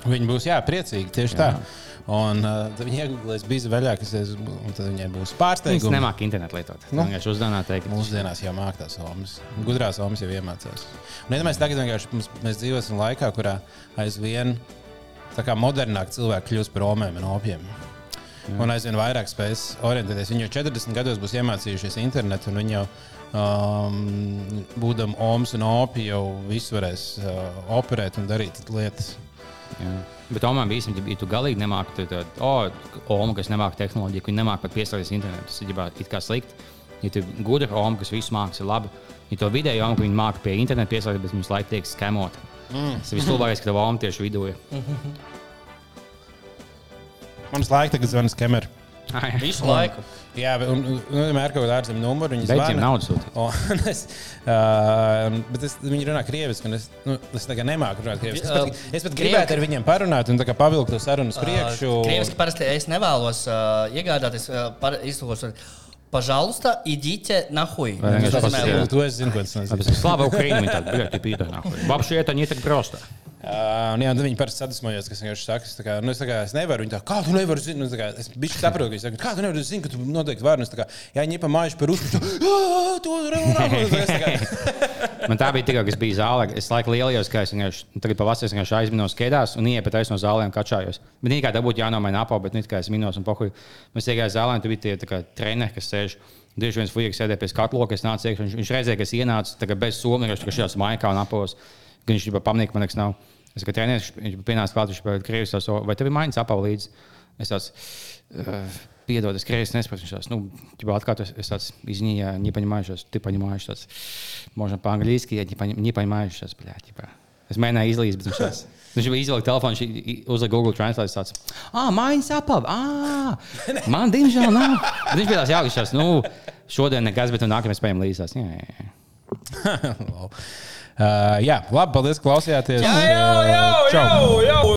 Speaker 3: Viņi būs jā, priecīgi tieši jā. tā. Un uh, tad viņi iegūlēs bizi vaļā, kas ir. Un tad viņiem būs
Speaker 1: Viņas
Speaker 3: pārsteigums.
Speaker 1: nemāk internetu lietot.
Speaker 3: Nu.
Speaker 1: Nu. Vienkārši uzdāvinā teikt,
Speaker 3: Mūsdienās jau mākslās omas. Gudrās omas jau iemācās. Un, ja mēs tagad vienkārši mums- mēs dzīvosim laikā, kurā aizvien tā kā modernāk cilvēki kļūst par omēm un opiem. Un aizvien vairāk spēs orientēties. Viņi jau 40 gados būs iemācījušies internetu, un viņi jau, um, būdami omas un opi, jau visu varēs uh, operēt un darīt lietas.
Speaker 1: Jā. Bet tomēr bija īstenībā, ja tu galīgi nemāki, tad, tad oh, Oma, kas nemāki tehnoloģiju, viņi nemāki pat pieslēgties internetam, tas ir ģibā it kā slikti. Ja tu gudri Oma, kas visu māks, ir labi. Ja to vidēji Oma, ka viņi māki pie interneta pieslēgties, bet viņus laiku tiek skemot. Mm. Tas ir vislabākais, ka tev Oma tieši vidū ir.
Speaker 3: Mums laika tagad zvanīs kamerā.
Speaker 1: Ai.
Speaker 2: Visu laiku.
Speaker 3: Jā, bet un, un, un vienmēr kaut kāda ārzemju numura. Viņa
Speaker 1: Beidziem naudu sūtīt.
Speaker 3: Un es, uh, un- bet es, viņi runā krieviski, un es, nu, es tā kā nemāku runāt krieviski. Es pat, es pat gribētu ar viņiem parunāt, un tā kā pavilkt to sarunu uz priekšu.
Speaker 2: Ā, Krieviski Uh, parasti es nevēlos ā, iegādāties, ā, par- iztulkos ar Пожалуйста, идите нахуй.
Speaker 1: Vai vienkārši
Speaker 2: Tas
Speaker 1: pasaki,
Speaker 2: nozīmē,
Speaker 1: jā.
Speaker 3: To es zinu, ko tas nozīmē.
Speaker 1: Tāpēc, ka Slava Ukraina viņa tāda, bļaļ, tipīta nākot. Вообще это не так просто.
Speaker 3: Uh, un jā, un tad viņi parasti sadusmojās, kas vienkārši saka, es tā kā, nu, es, tā kā, es nevaru. Viņi tā, kā tu nevari zināt, nu, tā kā, es bišķi saprotu, ka viņi saka, kā tu nevari zināt, ka tu noteikti vari. Un es tā kā, Ja viņi pa mājuši par uzskatu, to runā.
Speaker 1: Man tā bija tikai, kas bija zālē. Es laikam lielajos, ka es vienkārši nu, tagad pavasarī es vienkārši aizminos skēdās un ieeju pat aiz no zālēm kačājos. Bet vienkārši tā būtu jānomaina apava, bet ne tikai es minos un pohuju. Mēs iegājām zālē, un tur bija tie tā kā treneri, kas sēž. Dažreiz viens fujiks sēdēja pie skatloka, es nācu iekšā. Viņš, viņš redzēja, ka es ienācu tā kā bez somu, viņš tikai šajās maijā un apavos. ka Viņš jau pamanīja, ka man nekas nav. Es tikai trenēju, viņš pienāca klāt, viņš bija krievis, tās, "O, vai tev ir maiņas apava līdzi? Es tāds, "Eh, Piedod, es krievis nesaprotu. Viņš tāds, nu, tā kā tas ir tāds, izņēma, не понимаю, сейчас, ты понимаешь, сейчас. Можно по-английски, я не, пони- не понимаю, сейчас, блядь, типа. Es mēģināju izlīst, bet viņš tāds. Viņš jau izvilka telefonu, viņš i- uzlika Google Translate. Tāds, ah, mājas apava, ah, man diemžēl nav. Bet viņš bija tāds jauks, tas, nu, šodien nekas, bet nu nākamajā spējam līdzās. Jā, jā, jā.
Speaker 3: Uh, jā, labi, paldies, ka klausījāties.
Speaker 2: Jā, jā, jā,
Speaker 3: Čau!
Speaker 2: jā,